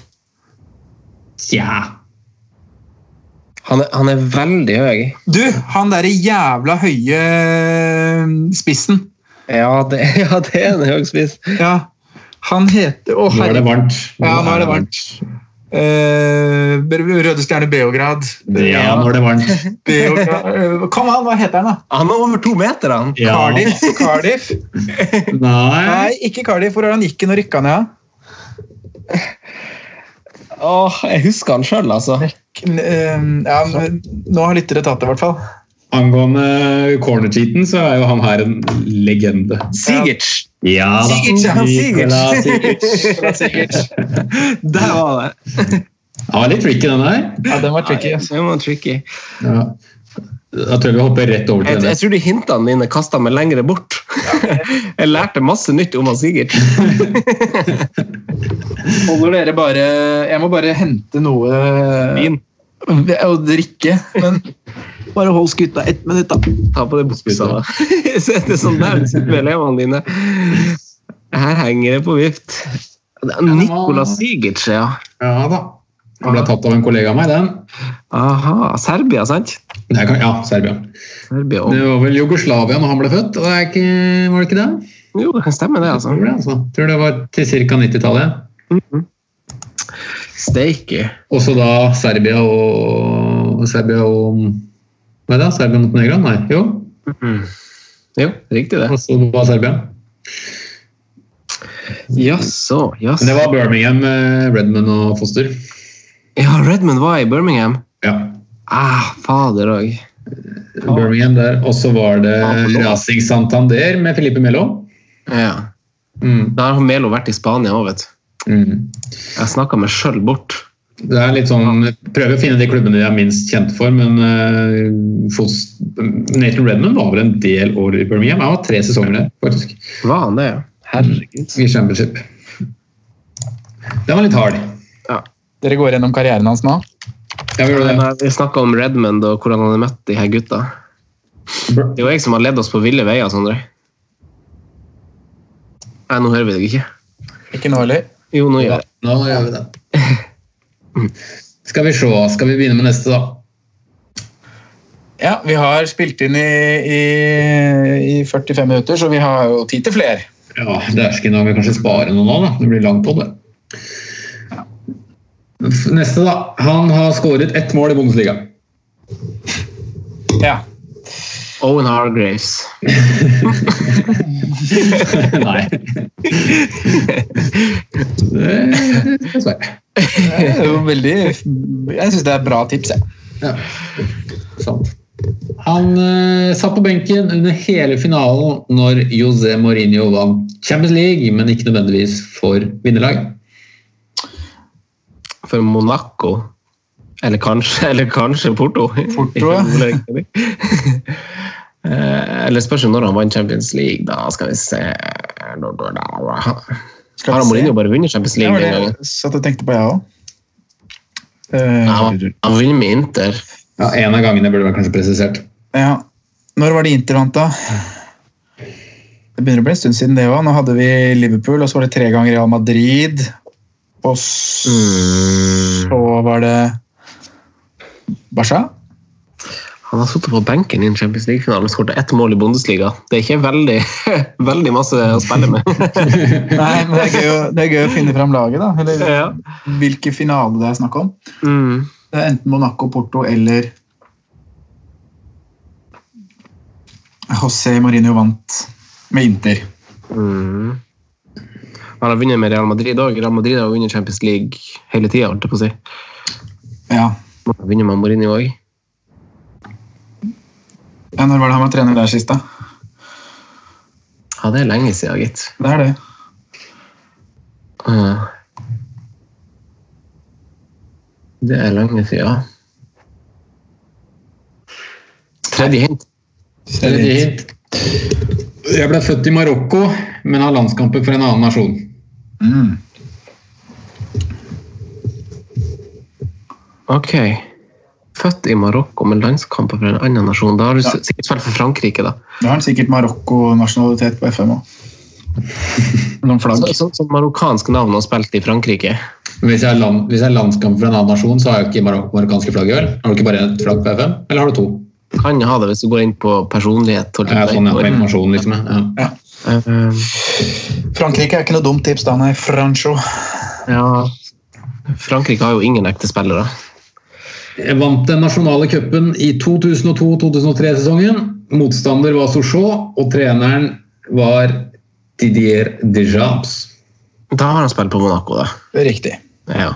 [SPEAKER 4] Tja.
[SPEAKER 2] Han er, han er veldig høy.
[SPEAKER 5] Du, han derre jævla høye eh, spissen.
[SPEAKER 2] Ja, det, ja, det er en høy spiss.
[SPEAKER 5] Ja. Han heter Å,
[SPEAKER 4] Nå er det
[SPEAKER 5] herregud.
[SPEAKER 4] varmt.
[SPEAKER 5] Ja, nå er det varmt. Eh, Røde Stjerne Beograd.
[SPEAKER 4] Ja, nå er det varmt.
[SPEAKER 5] Beograd. eh, Kom an, hva heter han, da?
[SPEAKER 2] Han er over to meter, han!
[SPEAKER 4] Ja.
[SPEAKER 5] Cardiff? Cardiff?
[SPEAKER 4] Nei.
[SPEAKER 5] Nei, ikke Cardiff. Hvor er han gikk han og rykka ned?
[SPEAKER 2] Åh, jeg husker han sjøl, altså.
[SPEAKER 5] Kn- eh, Ja, men nå har lyttere tatt det, i hvert fall.
[SPEAKER 4] Angående corner-cheaten, så er jo han her en legende.
[SPEAKER 2] Sigerts!
[SPEAKER 4] Ja da.
[SPEAKER 5] Sigurd, ja, Sigurd.
[SPEAKER 4] Nicolas Sigurd.
[SPEAKER 2] Der var det!
[SPEAKER 4] Ja, litt tricky, den her.
[SPEAKER 5] Ja, den var tricky. ass.
[SPEAKER 2] Det var tricky.
[SPEAKER 4] Ja. Da tror jeg vi hopper rett over
[SPEAKER 2] Jeg,
[SPEAKER 4] til
[SPEAKER 2] jeg
[SPEAKER 4] den.
[SPEAKER 2] tror de hintene mine kasta meg lengre bort. Jeg lærte masse nytt om han Sigurd.
[SPEAKER 5] Holder dere bare Jeg må bare hente noe
[SPEAKER 2] Vin.
[SPEAKER 5] og drikke. Men bare hold skuta ett minutt, da.
[SPEAKER 2] Ta på deg buksa, da. Se det sånn der du sitter med elevene dine. Her henger det på vift. Det er Nicolas Sigurd, ja.
[SPEAKER 4] Ja da. Den ble tatt av en kollega av meg, den.
[SPEAKER 2] Aha. Serbia, sant?
[SPEAKER 4] Nei, kan- Ja, Serbia.
[SPEAKER 2] Serbia og
[SPEAKER 4] Det var vel Jugoslavia når han ble født, og det er ikke, var det ikke det?
[SPEAKER 2] Jo, det kan stemme, det, altså. Mhm.
[SPEAKER 4] Tror det, altså. Tror det var til ca. 90-tallet.
[SPEAKER 2] Steike.
[SPEAKER 4] Også da Serbia og Serbia og Nei da, Serbia mot Negra? Nei, jo.
[SPEAKER 2] Mm. Jo, riktig det.
[SPEAKER 4] Altså, det var Serbia.
[SPEAKER 2] Jaså,
[SPEAKER 4] Men det
[SPEAKER 2] jaså.
[SPEAKER 4] var Birmingham, eh, Redmond og Foster.
[SPEAKER 2] Ja, Redmond var i Birmingham.
[SPEAKER 4] Ja.
[SPEAKER 2] Ah, fader òg. Ah.
[SPEAKER 4] Birmingham der. Og så var det Racing Santander med Felipe Melo.
[SPEAKER 2] Ja.
[SPEAKER 4] Mm.
[SPEAKER 2] Da har Melo vært i Spania òg, vet du.
[SPEAKER 4] Mm.
[SPEAKER 2] Jeg snakka meg sjøl bort.
[SPEAKER 4] Det er litt sånn,
[SPEAKER 2] Ah.
[SPEAKER 4] Prøver å finne de klubbene de er minst kjent for, men eh, Fos- Nathan Redmond var vel en del år i Birmingham. Han var tre sesonger der, faktisk.
[SPEAKER 2] Var han det, ja? Herregud.
[SPEAKER 4] I Championship. Den var litt hard.
[SPEAKER 5] Dere går gjennom karrieren hans nå?
[SPEAKER 4] Ja, vi gjorde det.
[SPEAKER 2] Nei, Vi snakka om Redmond og hvordan han hadde møtt de her gutta.
[SPEAKER 4] Br-
[SPEAKER 2] Det er jo jeg som har ledd oss på ville veier, Sondre. Nei, nå hører vi deg ikke.
[SPEAKER 5] Ikke nå heller?
[SPEAKER 2] Jo, nå gjør jeg det.
[SPEAKER 4] Nå gjør vi det. Skal vi se, skal vi begynne med neste, da?
[SPEAKER 5] Ja, vi har spilt inn i, i, i 45 minutter, så vi har jo tid til flere.
[SPEAKER 4] Ja, dæsken, da må vi kanskje spare noe nå, da. Det blir langt på det. F- Neste, da. Han har skåret ett mål i Bundesliga.
[SPEAKER 5] Ja.
[SPEAKER 2] Owen Hargraves.
[SPEAKER 4] Nei. Det Dessverre.
[SPEAKER 5] Det er jo veldig Jeg syns det er bra tips, jeg.
[SPEAKER 4] Ja. Sant. Han eh, satt på benken under hele finalen når José Mourinho vant Champions League, men ikke nødvendigvis for vinnerlag.
[SPEAKER 2] For Monaco. Eller kanskje, eller kanskje Porto.
[SPEAKER 5] Porto,
[SPEAKER 2] Eh, eller spørs jo når han vant Champions League, da. Skal vi se Da, da, da. Har
[SPEAKER 5] vi
[SPEAKER 2] han
[SPEAKER 5] se?
[SPEAKER 2] Mourinho bare vunnet Champions
[SPEAKER 5] Det
[SPEAKER 2] League
[SPEAKER 5] var
[SPEAKER 2] den
[SPEAKER 5] det
[SPEAKER 2] gangen?
[SPEAKER 5] jeg satt og tenkte på, jeg òg.
[SPEAKER 2] Han han vinner med Inter.
[SPEAKER 4] Ja, En av gangene burde vært kanskje presisert.
[SPEAKER 5] Ja. Når var det Inter vant, da? Det begynner å bli en stund siden det òg. Nå hadde vi Liverpool, og så var det tre ganger Real Madrid. Og så var det Barca.
[SPEAKER 2] Han har sittet på benken i en Champions League-finale og skåret ett mål i Bundesliga. Det er ikke veldig, veldig masse å spille med.
[SPEAKER 5] Nei, men det er, gøy, å- det er gøy å finne fram laget, da. Eller hvilken finale det er snakk om.
[SPEAKER 2] Mm.
[SPEAKER 5] Det er enten Monaco, Porto eller José Marino vant med Inter.
[SPEAKER 2] Mm. Han har vunnet med Real Madrid òg. Real Madrid har vunnet Champions League hele tida, holdt jeg på å si.
[SPEAKER 5] Ja.
[SPEAKER 2] Må ha vunnet med Mourinho òg.
[SPEAKER 5] Ja, når var det han var trener der sist, da?
[SPEAKER 2] Ja, det er lenge siden, gitt.
[SPEAKER 5] Det er det.
[SPEAKER 2] Ja. Det er lenge siden. Tredje hint.
[SPEAKER 4] Tredje hint. Jeg ble født i Marokko, men har landskamper for en annen nasjon.
[SPEAKER 5] Mm.
[SPEAKER 2] Ok. Født i Marokko, men landskamper for en annen nasjon. Da har du
[SPEAKER 5] Ja.
[SPEAKER 2] s- sikkert spilt for Frankrike, da.
[SPEAKER 5] Da har han sikkert Marokko-nasjonalitet på FM òg. Noen flagg.
[SPEAKER 2] Altså, Så, så, så marokkansk navn og spilt i Frankrike.
[SPEAKER 4] Men Hvis jeg, er land, hvis jeg er landskamp for en annen nasjon, så har jeg ikke marok marokkanske flagget, vel? Har du ikke bare ett flagg på FM, eller har du to?
[SPEAKER 2] Kan ha det hvis du går inn på personlighet. holdt jeg
[SPEAKER 4] Ja,
[SPEAKER 2] på å si.
[SPEAKER 4] sånn, ja, på informasjon, liksom. Ja.
[SPEAKER 2] Eh,
[SPEAKER 5] Frankrike er ikke noe dumt tips, da. Nei, Francho.
[SPEAKER 2] Ja Frankrike har jo ingen ekte spillere.
[SPEAKER 4] Jeg Eh, vant den nasjonale cupen i 2002-2003-sesongen. Motstander var Sochaux, og treneren var Didier Deschamps.
[SPEAKER 2] Da har han spilt på Monaco, da.
[SPEAKER 5] Det er riktig.
[SPEAKER 2] Ja.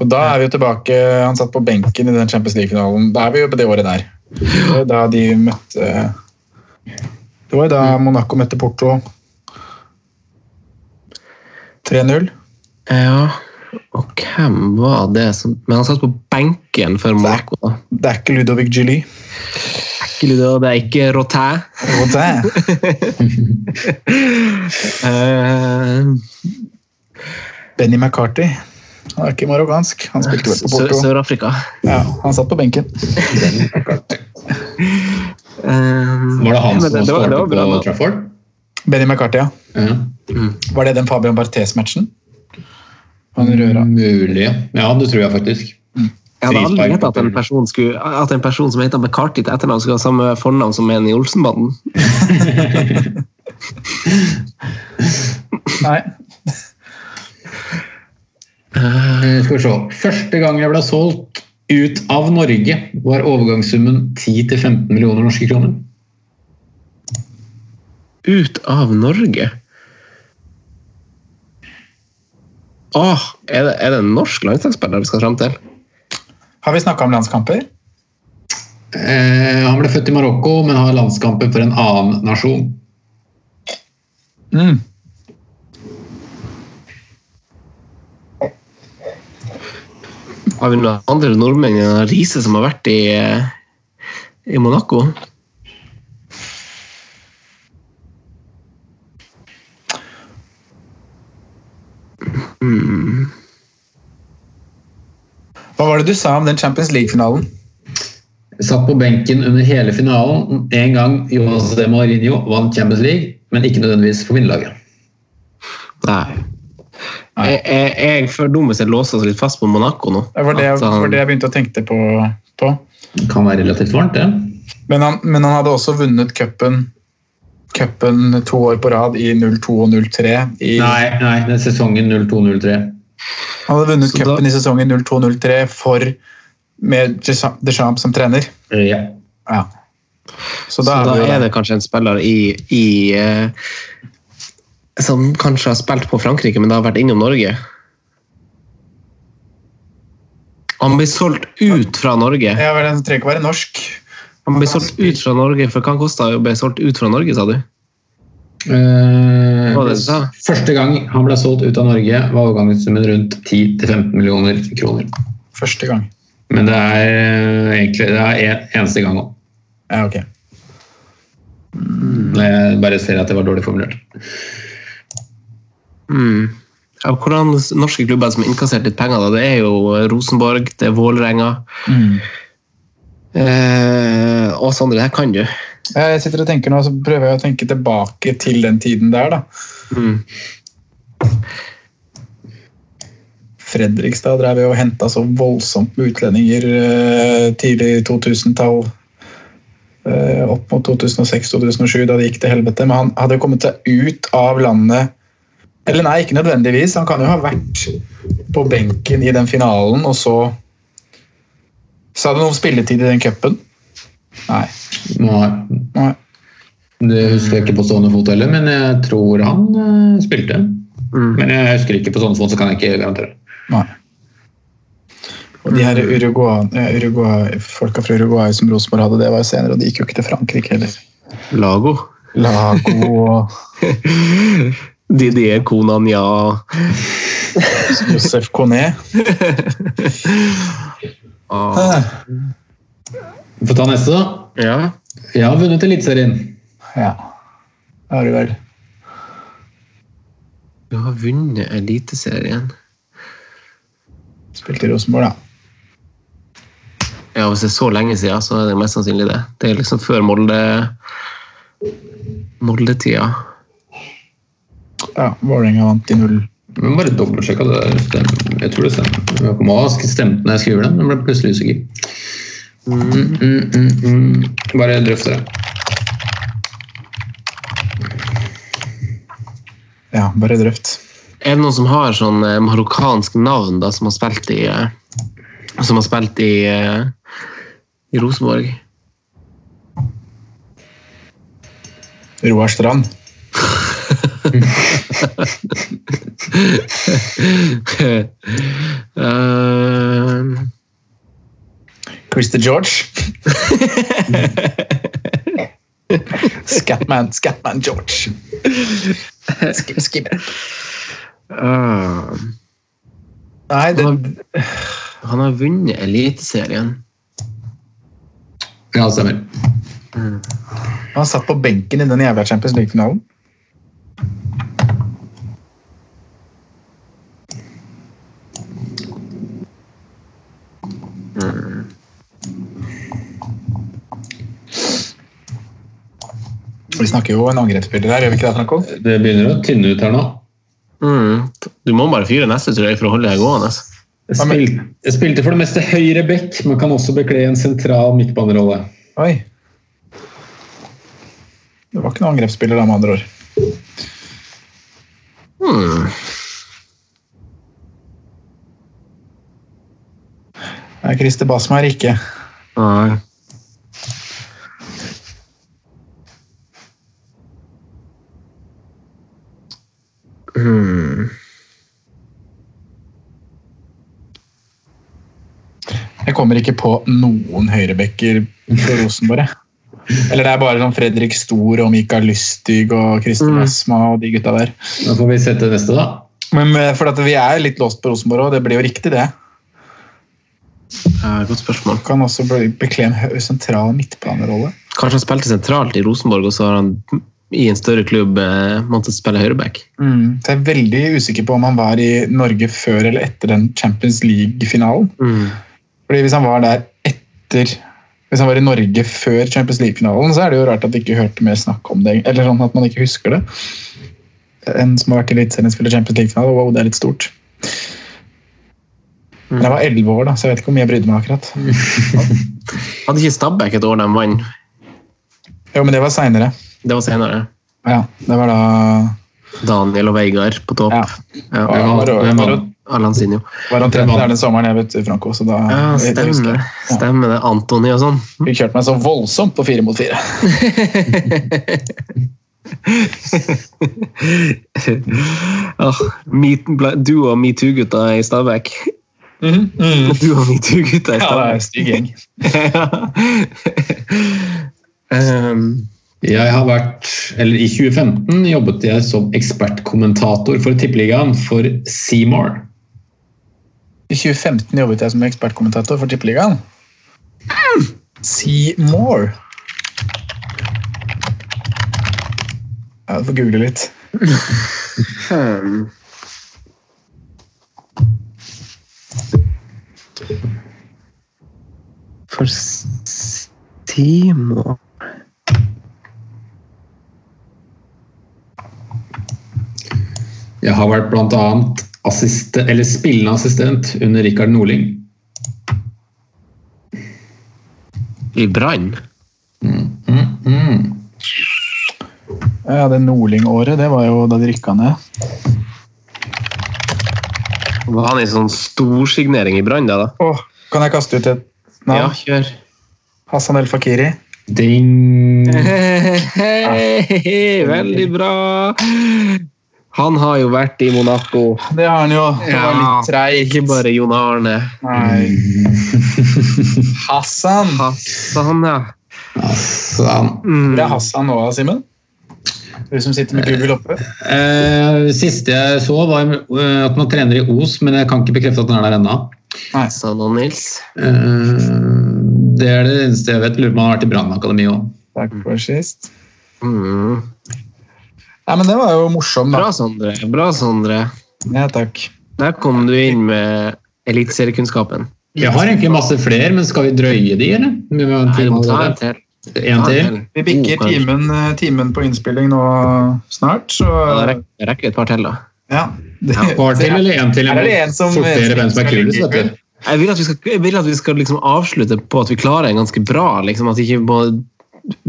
[SPEAKER 5] Og da er vi jo tilbake Han satt på benken i den Champions League-finalen. Da er vi jo på det året der. Det var jo da de møtte Det var jo da Monaco møtte Porto 3-0.
[SPEAKER 2] ja. Og hvem var det som Men han satt på benken for Monaco, da.
[SPEAKER 5] Det er ikke Ludovic Gilly.
[SPEAKER 2] Ikke Ludo, det er ikke Rotin.
[SPEAKER 5] Og det-
[SPEAKER 2] eh,
[SPEAKER 5] Benny McCarthy. Han er ikke marokkansk. Han spilte vel på Porto.
[SPEAKER 2] Sør-Afrika.
[SPEAKER 5] Ja, han satt på benken.
[SPEAKER 2] Eh,
[SPEAKER 4] Var det
[SPEAKER 2] men
[SPEAKER 4] han som
[SPEAKER 2] det- det var- det
[SPEAKER 4] skåret
[SPEAKER 2] var
[SPEAKER 4] på
[SPEAKER 2] bra, da.
[SPEAKER 4] Trafford?
[SPEAKER 5] Benny McCarthy, ja.
[SPEAKER 4] Ja.
[SPEAKER 5] Var det den Fabian Barthes-matchen? Han røra.
[SPEAKER 4] Mulig. Ja, det tror jeg faktisk.
[SPEAKER 2] Jeg hadde aldri
[SPEAKER 4] Frispark
[SPEAKER 2] gjetta at,
[SPEAKER 4] på
[SPEAKER 2] en
[SPEAKER 4] Torp.
[SPEAKER 2] person skulle- at en person som heter McCarthy til etternavn, skulle ha samme fornavn som en i Olsenbanden.
[SPEAKER 5] Nei.
[SPEAKER 4] Eh, Skal vi se. Første gang jeg ble solgt ut av Norge, var overgangssummen 10-15 millioner norske kroner.
[SPEAKER 2] Ut av Norge? Åh, er det, er det en norsk landslagsspiller vi skal fram til?
[SPEAKER 5] Har vi snakka om landskamper?
[SPEAKER 4] Eh, han ble født i Marokko, men har landskamper for en annen nasjon.
[SPEAKER 5] Mm.
[SPEAKER 2] Har vi noen andre nordmenn enn han Riise som har vært i, eh, i Monaco?
[SPEAKER 5] Hva var det du sa om den Champions League-finalen?
[SPEAKER 4] Satt på benken under hele finalen. En gang José Mourinho vant Champions League, men ikke nødvendigvis for vinnerlaget.
[SPEAKER 2] Nei. Jeg, jeg, jeg er for dum hvis jeg låser oss litt fast på Monaco nå.
[SPEAKER 5] Det var det,
[SPEAKER 2] At han-
[SPEAKER 5] var det jeg begynte å tenke på. på.
[SPEAKER 4] Det Kan være relativt varmt, det.
[SPEAKER 5] Men, han, men han hadde også vunnet cupen cupen to år på rad i 02 og 03. I, han
[SPEAKER 4] Nei, nei, det er sesongen 02-03.
[SPEAKER 5] hadde vunnet
[SPEAKER 2] Så da-
[SPEAKER 5] cupen i sesongen 02-03 for med Deschamps Deschamps som trener.
[SPEAKER 4] Ja.
[SPEAKER 5] Ja. Så
[SPEAKER 2] Så
[SPEAKER 5] da,
[SPEAKER 2] da
[SPEAKER 5] er, vi jo
[SPEAKER 2] er
[SPEAKER 5] der.
[SPEAKER 2] det kanskje en spiller i, i eh, Som kanskje har spilt på Frankrike, men da har vært innom Norge. Han blir solgt ut fra Norge.
[SPEAKER 5] Ja, vel, Den trenger ikke være norsk.
[SPEAKER 2] Han blir solgt ut fra Norge, for hva kosta det å bli solgt ut fra Norge, sa du?
[SPEAKER 4] Eh,
[SPEAKER 2] Hva var det du sa?
[SPEAKER 4] første gang han ble solgt ut av Norge, var overgangssummen rundt 10-15 millioner kroner.
[SPEAKER 5] Første gang.
[SPEAKER 4] Men det er eh, egentlig det er en, eneste gang òg.
[SPEAKER 5] Ja, ok.
[SPEAKER 2] Mm.
[SPEAKER 4] Jeg bare ser at det var dårlig formulert.
[SPEAKER 2] Mm. Ja, hvordan norske klubber som har innkassert litt penger, da, det er jo Rosenborg, det er Vålerenga eh, Og Sondre, det her kan du.
[SPEAKER 5] Ja, Jeg sitter og tenker nå, så prøver jeg å tenke tilbake til den tiden der, da. Fredrikstad drev jo og henta så voldsomt med utlendinger eh, tidlig 2000-tall. eh, Opp mot 2006-2007, da det gikk til helvete. Men han hadde jo kommet seg ut av landet Eller nei, ikke nødvendigvis. Han kan jo ha vært på benken i den finalen, og så Så hadde han noe spilletid i den cupen. Nei.
[SPEAKER 4] Nei.
[SPEAKER 5] Nei.
[SPEAKER 4] Det husker jeg ikke på stående fot heller, men jeg tror han eh, spilte.
[SPEAKER 2] Mm.
[SPEAKER 4] Men jeg husker ikke på stående fot, så kan jeg ikke garantere.
[SPEAKER 5] Nei. Og de her Uruguay, eh, Uruguay, folka fra Uruguay som Rosenborg hadde, det var jo senere, og de gikk jo ikke til Frankrike heller.
[SPEAKER 2] Lago.
[SPEAKER 5] Lago og
[SPEAKER 2] Didier Konan, ja.
[SPEAKER 5] Josef Coné.
[SPEAKER 2] Ah,
[SPEAKER 5] Ah,
[SPEAKER 4] Vi får ta neste, da.
[SPEAKER 2] ja.
[SPEAKER 4] Jeg har vunnet Eliteserien.
[SPEAKER 5] Ja. Det har du vel.
[SPEAKER 2] Du har vunnet Eliteserien.
[SPEAKER 5] Spilte i Rosenborg, da.
[SPEAKER 2] Ja, hvis det er så lenge siden, så er det mest sannsynlig det. Det er liksom før Molde Molde-tida.
[SPEAKER 5] Ja, Vålerenga vant i null.
[SPEAKER 4] Jeg må bare dobbeltsjekke at det der stemmer. Jeg tror det stemmer. Jeg må ha stemt når jeg skriver den. Jeg ble plutselig usikker. Mm, mm, mm, mm. Bare drøft det.
[SPEAKER 5] Ja, bare drøft.
[SPEAKER 2] Er det noen som har sånn eh, marokkansk navn da, som har spilt i eh, Som har spilt i, eh, i Rosenborg?
[SPEAKER 5] Roar Strand.
[SPEAKER 2] Eh,
[SPEAKER 5] Christer George. Scatman, Scatman George. Sk skip.
[SPEAKER 2] eh,
[SPEAKER 5] Nei, det,
[SPEAKER 2] han har vunnet Eliteserien.
[SPEAKER 4] Ja, det stemmer.
[SPEAKER 5] han satt på benken i den jævla Champions League-finalen. Vi snakker jo en angrepsspiller her, gjør vi ikke det, Franco?
[SPEAKER 4] Det begynner å tynne ut her nå.
[SPEAKER 2] Mm. Du må bare fyre neste, tror jeg, for å holde deg gående.
[SPEAKER 4] Jeg
[SPEAKER 5] Ja, men-
[SPEAKER 4] spilte, jeg spilte for det meste høyre back, men kan også bekle en sentral midtbanerolle.
[SPEAKER 5] Oi. Det var ikke noen angrepsspiller da, med andre ord.
[SPEAKER 2] Mm.
[SPEAKER 5] Nei, Christer Basmar ikke.
[SPEAKER 2] Nei. Mm.
[SPEAKER 5] Jeg kommer ikke på noen høyrebekker fra Rosenborg. jeg. Eller det er bare sånn Fredrik Stor og Mikael Lystig og Christer
[SPEAKER 2] Mm.
[SPEAKER 5] Basma og de gutta der.
[SPEAKER 4] Da får vi sette neste, da.
[SPEAKER 5] Men eh, for at vi er litt låst på Rosenborg, og det blir jo riktig, det.
[SPEAKER 2] Ja, godt spørsmål.
[SPEAKER 5] Kan også bli- bekle en hø- sentral midtbanerolle.
[SPEAKER 2] Kanskje han spilte sentralt i Rosenborg, og så har han i en større klubb eh, måttet spille høyreback.
[SPEAKER 5] Mm. Så jeg er veldig usikker på om han var i Norge før eller etter den Champions League-finalen.
[SPEAKER 2] Mm.
[SPEAKER 5] Fordi hvis han var der etter hvis han var i Norge før Champions League-finalen, så er det jo rart at vi ikke hørte mer snakk om det. Eller sånn at man ikke husker det. En som har vært i Eliteserien spiller Champions League-finale, wow, det er litt stort. Men jeg var elleve år, da, så jeg vet ikke hvor mye jeg brydde meg akkurat.
[SPEAKER 2] Hadde ikke Stabæk et år de vant?
[SPEAKER 5] Jo, men det var seinere.
[SPEAKER 2] Det var senere.
[SPEAKER 5] Ja, det var da
[SPEAKER 2] Daniel og Veigar på topp.
[SPEAKER 5] Ja.
[SPEAKER 2] Ja.
[SPEAKER 5] Ja, var, var,
[SPEAKER 4] Hvem
[SPEAKER 5] var,
[SPEAKER 4] var-
[SPEAKER 2] Alanzinho.
[SPEAKER 5] var omtrent der den sommeren jeg vet du, Franco, så da
[SPEAKER 2] Ja,
[SPEAKER 5] jeg- jeg husker
[SPEAKER 2] stemmer
[SPEAKER 5] det.
[SPEAKER 2] det. Stemmer det. Antony og sånn.
[SPEAKER 5] Fikk kjørt meg så voldsomt på fire mot fire.
[SPEAKER 2] Ah, meet, bla- du og metoo-gutta i Stabæk.
[SPEAKER 5] Mm,
[SPEAKER 2] Du og metoo-gutta i
[SPEAKER 5] Ja, det er
[SPEAKER 2] Stabæk.
[SPEAKER 5] en stygg gjeng.
[SPEAKER 2] um,
[SPEAKER 4] Jeg har vært, eller I 2015 jobbet jeg som ekspertkommentator for Tippeligaen for Seymour.
[SPEAKER 5] I 2015 jobbet jeg som ekspertkommentator for Tippeligaen. Hmm. See more. Ja, du får google litt.
[SPEAKER 2] um. hmm. For Steam og
[SPEAKER 4] Jeg har vært bl.a. Assiste, eller spillende assistent under Rikard Norling.
[SPEAKER 2] I Brann?
[SPEAKER 5] Ja, det Nordling-året, det var jo da de rykka ned.
[SPEAKER 2] Var han i sånn storsignering i Brann, da? da?
[SPEAKER 5] Åh, kan jeg kaste ut et navn?
[SPEAKER 2] Ja, kjør.
[SPEAKER 5] Hassan El Fakiri.
[SPEAKER 4] Ding!
[SPEAKER 2] Hei, veldig bra! Han har jo vært i Monaco.
[SPEAKER 5] Det har han jo. Det var litt treig.
[SPEAKER 2] Ikke bare Jon Arne.
[SPEAKER 5] Nei. Hassan.
[SPEAKER 2] Hassan, ja. Mm.
[SPEAKER 4] Sånn.
[SPEAKER 5] Hvor er Hassan nå, Simen? Du som sitter med Google oppe.
[SPEAKER 4] Eh, siste jeg så, var eh, at man trener i Os, men jeg kan ikke bekrefte at den er der ennå.
[SPEAKER 2] Hassan og Nils.
[SPEAKER 4] Eh, det er det eneste jeg vet. Lurer på om han har vært i Brannakademiet òg.
[SPEAKER 5] Takk for sist.
[SPEAKER 2] Mm.
[SPEAKER 5] Nei, men det var jo morsom, da.
[SPEAKER 2] Bra, Sondre. Bra, Sondre.
[SPEAKER 5] Ja, takk.
[SPEAKER 2] Der kom du inn med eliteseriekunnskapen.
[SPEAKER 4] Jeg har egentlig masse flere, men skal vi drøye de, eller? Vi må ha en
[SPEAKER 2] Nei, du
[SPEAKER 4] time
[SPEAKER 2] må ta en
[SPEAKER 4] allerede.
[SPEAKER 2] til.
[SPEAKER 4] En
[SPEAKER 2] Ta
[SPEAKER 4] til?
[SPEAKER 5] Vi
[SPEAKER 2] To, Oh,
[SPEAKER 5] bikker
[SPEAKER 2] kanskje.
[SPEAKER 5] timen, eh, timen på innspilling nå snart, så
[SPEAKER 2] Ja, da rekker- rekker vi et par til, da.
[SPEAKER 5] ja. Det,
[SPEAKER 4] Par til eller en til?
[SPEAKER 5] Her er det en som-
[SPEAKER 4] sortere hvem som er kulest, vet du.
[SPEAKER 2] Jeg vil at vi skal, jeg vil at vi skal liksom avslutte på at vi klarer en ganske bra. Liksom, at vi ikke må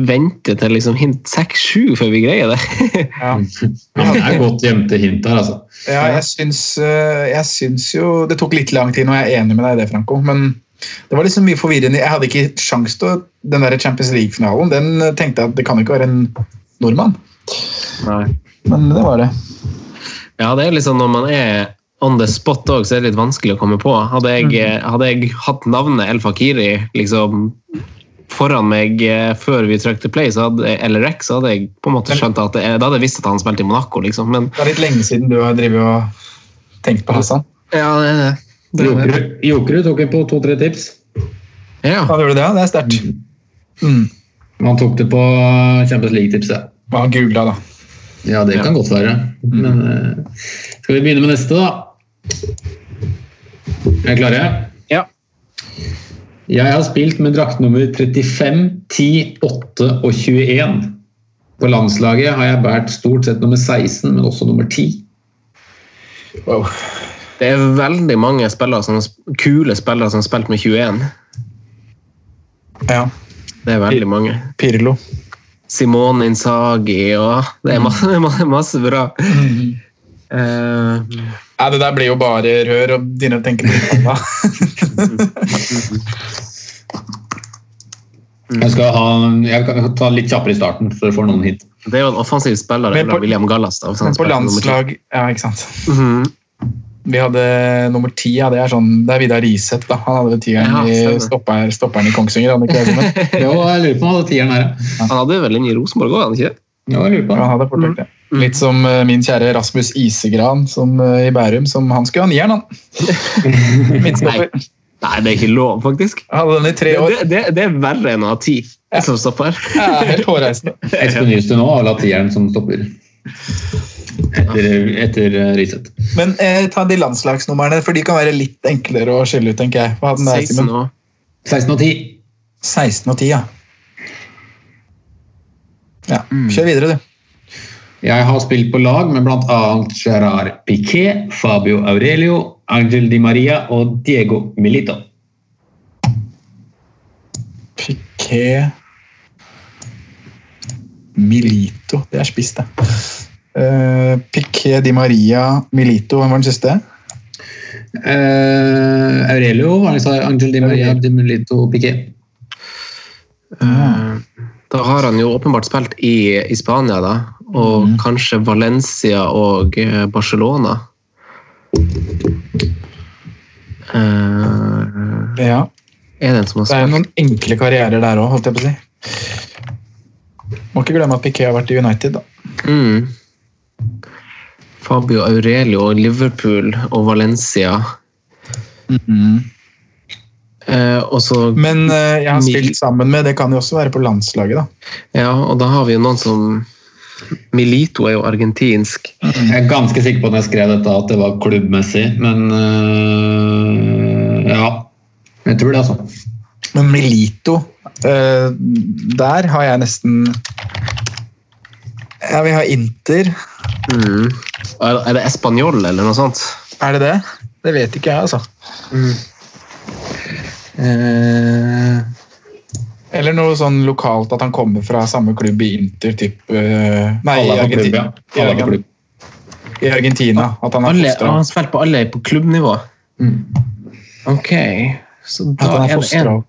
[SPEAKER 2] vente til liksom hint 6-7 før vi greier det.
[SPEAKER 5] ja.
[SPEAKER 4] Ja, men det er godt gjemte hint her, altså.
[SPEAKER 5] ja, jeg syns, eh, jeg syns jo Det tok litt lang tid, og jeg er enig med deg i det, Franco. Men det var liksom mye forvirrende. Jeg hadde ikke sjans til å Den der Champions League-finalen den eh, tenkte jeg at det kan jo ikke være en nordmann.
[SPEAKER 2] Nei.
[SPEAKER 5] Men det var det.
[SPEAKER 2] Ja, det er liksom når man er on the spot òg, så er det litt vanskelig å komme på. Hadde
[SPEAKER 5] Mhm.
[SPEAKER 2] jeg, eh, hadde jeg hatt navnet El Fakiri liksom foran meg eh, før vi trykte play, så hadde, eller rec, så hadde jeg på en måte skjønt at det, er- Da hadde jeg visst at han spilte i Monaco, liksom. Men
[SPEAKER 5] Det er litt lenge siden du har drevet og tenkt på Hassan.
[SPEAKER 2] ja, det er det. det, er det.
[SPEAKER 4] Jokerud- Jokerud tok en på to-tre tips.
[SPEAKER 2] Ja.
[SPEAKER 5] Ja, du gjorde det, ja. det er sterkt. Mm.
[SPEAKER 4] Han tok det på eh, Champions League-tipset.
[SPEAKER 5] Hva han googla, da.
[SPEAKER 4] Ja, det kan godt være. Men eh, skal vi begynne med neste, da? Er dere klare?
[SPEAKER 2] Ja.
[SPEAKER 4] Jeg har spilt med draktnummer 35, 10, 8 og 21. På landslaget har jeg båret stort sett nummer 16, men også nummer 10.
[SPEAKER 2] det er veldig mange spillere som, kule spillere som har spilt med 21.
[SPEAKER 5] Ja.
[SPEAKER 2] Det er veldig mange.
[SPEAKER 5] Pirlo.
[SPEAKER 2] Simone Inzaghi og Det er
[SPEAKER 5] Mhm.
[SPEAKER 2] masse, masse, masse bra.
[SPEAKER 5] Mm.
[SPEAKER 2] Eh,
[SPEAKER 5] Nei, det der blir jo bare rør og begynner å tenke på det.
[SPEAKER 4] Jeg skal, ha, jeg kan ta litt kjappere i starten, så dere får noen hit.
[SPEAKER 2] det er jo en offensiv spiller.
[SPEAKER 5] Men
[SPEAKER 2] det er
[SPEAKER 5] på-
[SPEAKER 2] William Gallas. Da, hvis han
[SPEAKER 5] Men på
[SPEAKER 2] spiller nummer ti.
[SPEAKER 5] landslag Ja, ikke sant.
[SPEAKER 2] Mhm.
[SPEAKER 5] Vi hadde nummer ti, ja, det er sånn Det er Vidar Riseth, da. Han hadde
[SPEAKER 2] Ja,
[SPEAKER 5] vel tieren i
[SPEAKER 2] stemmer.
[SPEAKER 5] stopper, stopperen i Kongsvinger. hadde ikke det, Simen?
[SPEAKER 4] Jo, jeg lurer på om han hadde tieren her. ja.
[SPEAKER 2] Han hadde vel en i Rosenborg òg, hadde han ikke det?
[SPEAKER 4] Jo, jeg lurer på.
[SPEAKER 5] Ja, han hadde fort gjort det.
[SPEAKER 2] Mm,
[SPEAKER 5] Litt som eh, min kjære Rasmus Isegran som, eh, i Bærum. som Han skulle ha nieren, han. Midtstopper.
[SPEAKER 2] Nei, det er ikke lov, faktisk.
[SPEAKER 5] Han Hadde den i tre
[SPEAKER 2] Det,
[SPEAKER 5] år.
[SPEAKER 2] det, det, det er verre enn å ha ti som stopper.
[SPEAKER 5] Ja, helt hårreisende.
[SPEAKER 4] Espen Nystuen òg har latt tieren som stopper. Etter, etter eh, Riseth.
[SPEAKER 5] Men eh, ta de landslagsnumrene, for de kan være litt enklere å skille ut, tenker jeg. Hva hadde den der,
[SPEAKER 2] 16
[SPEAKER 5] Simen?
[SPEAKER 2] år.
[SPEAKER 4] 16 og 10.
[SPEAKER 5] 16 og 10, ja. Ja, Kjør videre, du.
[SPEAKER 4] Jeg har spilt på lag med bl.a. Gerard Piquet, Fabio Aurelio, Angel Di Maria og Diego Milito.
[SPEAKER 5] Piquet Milito. Det er spiss, det. Eh, Piquet Di Maria Milito, hvem var den siste?
[SPEAKER 4] Eh, Aurelio, hva sa jeg? Angel Di Maria, Di Milito Piquet.
[SPEAKER 2] Da har han jo åpenbart spilt i, i Spania, da. Og kanskje Valencia og eh, Barcelona. Eh,
[SPEAKER 5] Ja,
[SPEAKER 2] er det en som har
[SPEAKER 5] Det er jo
[SPEAKER 2] spilt
[SPEAKER 5] noen enkle karrierer der òg, holdt jeg på å si. Må ikke glemme at Piquet har vært i United, da.
[SPEAKER 2] mm. Fabio Aurelio og Liverpool og Valencia.
[SPEAKER 5] Mm-hmm.
[SPEAKER 2] Eh, og så
[SPEAKER 5] Men eh, jeg har
[SPEAKER 2] Mil-
[SPEAKER 5] spilt sammen med, det kan jo også være på landslaget, da.
[SPEAKER 2] Ja, og da har vi jo noen som Milito er jo argentinsk.
[SPEAKER 4] Jeg er ganske sikker på at jeg skrev dette at det var klubbmessig, men eh, ja. Jeg tror det, altså.
[SPEAKER 5] Men Melito eh, Der har jeg nesten Ja, vi har Inter.
[SPEAKER 2] Mm. Er er det Español eller noe sånt?
[SPEAKER 5] Er det det? Det vet ikke jeg, altså. Eller noe sånn lokalt at han kommer fra samme klubb i Inter, typ eh, Nei, i
[SPEAKER 4] Alle er på klubb,
[SPEAKER 5] Argentina.
[SPEAKER 4] ja. Alle er på klubb.
[SPEAKER 5] I Argentina. At han har
[SPEAKER 2] Alle,
[SPEAKER 5] fostra
[SPEAKER 2] Ah, han spiller på alle på klubbnivå.
[SPEAKER 4] Mm.
[SPEAKER 2] Ok, så
[SPEAKER 5] At
[SPEAKER 2] da
[SPEAKER 5] han
[SPEAKER 2] er det
[SPEAKER 5] er
[SPEAKER 2] en Mm.
[SPEAKER 5] fostra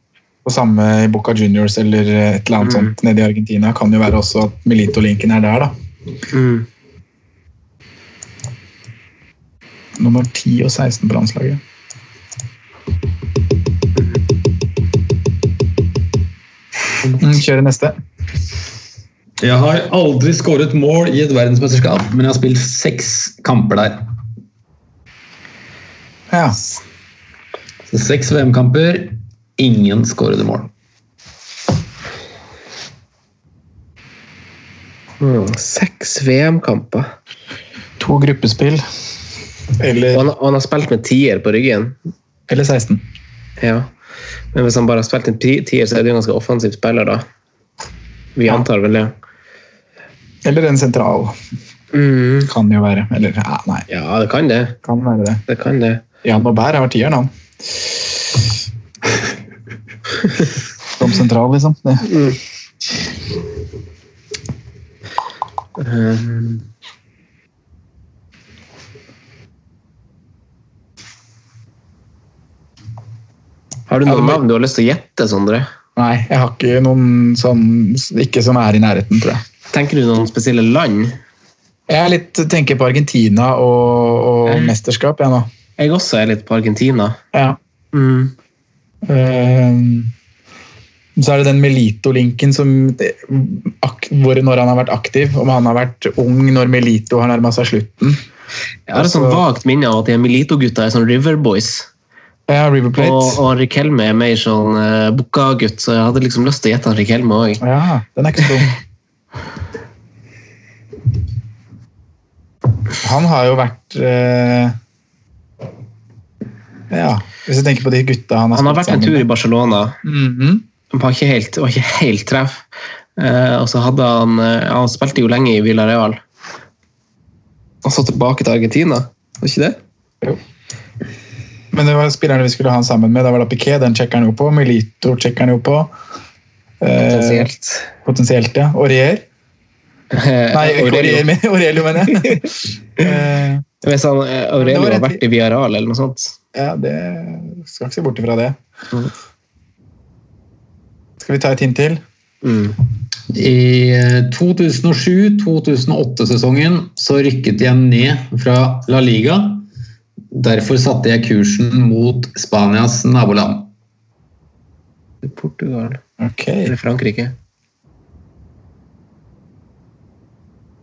[SPEAKER 5] på samme i Boca Juniors eller eh, et eller annet sånt nede i Argentina. Kan jo være også at Milito-linken er der, da.
[SPEAKER 2] mm.
[SPEAKER 5] Nummer 10 og 16 på landslaget. Mm, Kjøre neste.
[SPEAKER 4] Jeg har aldri skåret mål i et verdensmesterskap, men jeg har spilt seks kamper der.
[SPEAKER 5] Ja.
[SPEAKER 4] Så seks VM-kamper, ingen skårede mål.
[SPEAKER 2] Mm. Seks VM-kamper.
[SPEAKER 5] To gruppespill.
[SPEAKER 2] Og
[SPEAKER 5] Eller,
[SPEAKER 2] han, og han har spilt med tier på ryggen.
[SPEAKER 5] eller 16.
[SPEAKER 2] Ja. Men hvis han bare har spilt en ti- tier, så er det jo en ganske offensiv spiller, da. Vi antar vel det.
[SPEAKER 5] Eller en sentral.
[SPEAKER 2] Mm.
[SPEAKER 5] Kan jo være. Eller ja, nei,
[SPEAKER 2] Ja, det kan det.
[SPEAKER 5] kan være det.
[SPEAKER 2] Det kan det.
[SPEAKER 5] Jan Aubert har tieren, han. Som sentral, liksom. Det.
[SPEAKER 2] Um, Har du
[SPEAKER 5] Ja, det
[SPEAKER 2] noen
[SPEAKER 5] må-
[SPEAKER 2] navn du har lyst til å gjette, Sondre?
[SPEAKER 5] Nei, jeg har ikke noen sånn Ikke som er i nærheten, tror jeg.
[SPEAKER 2] Tenker du noen spesielle land?
[SPEAKER 5] Jeg er litt, tenker på Argentina og, og
[SPEAKER 2] Mm.
[SPEAKER 5] mesterskap, jeg nå.
[SPEAKER 2] Jeg også er litt på Argentina.
[SPEAKER 5] Ja.
[SPEAKER 2] Mm.
[SPEAKER 5] Ehm, så er det den Melito-linken som ak, hvor, Når han har vært aktiv. Om han har vært ung når Melito har nærma seg slutten.
[SPEAKER 2] Jeg har et sånn
[SPEAKER 5] Altså-
[SPEAKER 2] vagt minne av at de Milito-gutta er sånn River Boys.
[SPEAKER 5] Ja, River
[SPEAKER 2] Og,
[SPEAKER 5] Plate.
[SPEAKER 2] og Rikelme er mer sånn uh, Bukka-gutt, så jeg hadde liksom lyst til å gjette han Rikelme òg.
[SPEAKER 5] Ja, den er ikke så dum. Han har jo vært eh, Ja, hvis jeg tenker på de gutta han har
[SPEAKER 2] Han har vært en tur i Barcelona,
[SPEAKER 5] Mhm.
[SPEAKER 2] men var ikke helt, var ikke helt treff. Eh, og så hadde han eh, Han spilte jo lenge i Villarreal. Og så tilbake til Argentina, var ikke det?
[SPEAKER 5] Men det var spillerne vi skulle ha han sammen med. Da var det Piquet, den sjekker han jo på. Milito sjekker han jo på. Eh,
[SPEAKER 2] Potensielt.
[SPEAKER 5] potensielt, ja. Aurier. Nei, ikke Aurier, men Aurelio, mener jeg. Eh,
[SPEAKER 2] Hvis han eh,
[SPEAKER 5] Det
[SPEAKER 2] Aurelio
[SPEAKER 5] var
[SPEAKER 2] har
[SPEAKER 5] rett-
[SPEAKER 2] vært i Villarreal eller noe sånt.
[SPEAKER 5] ja, det skal ikke se bort ifra det. Skal vi ta et hint til?
[SPEAKER 2] Mm.
[SPEAKER 4] I eh, 2007-2008-sesongen så rykket jeg ned fra La Liga. Derfor satte jeg kursen mot Spanias naboland.
[SPEAKER 2] Portugal.
[SPEAKER 5] Ok.
[SPEAKER 2] Eller Frankrike.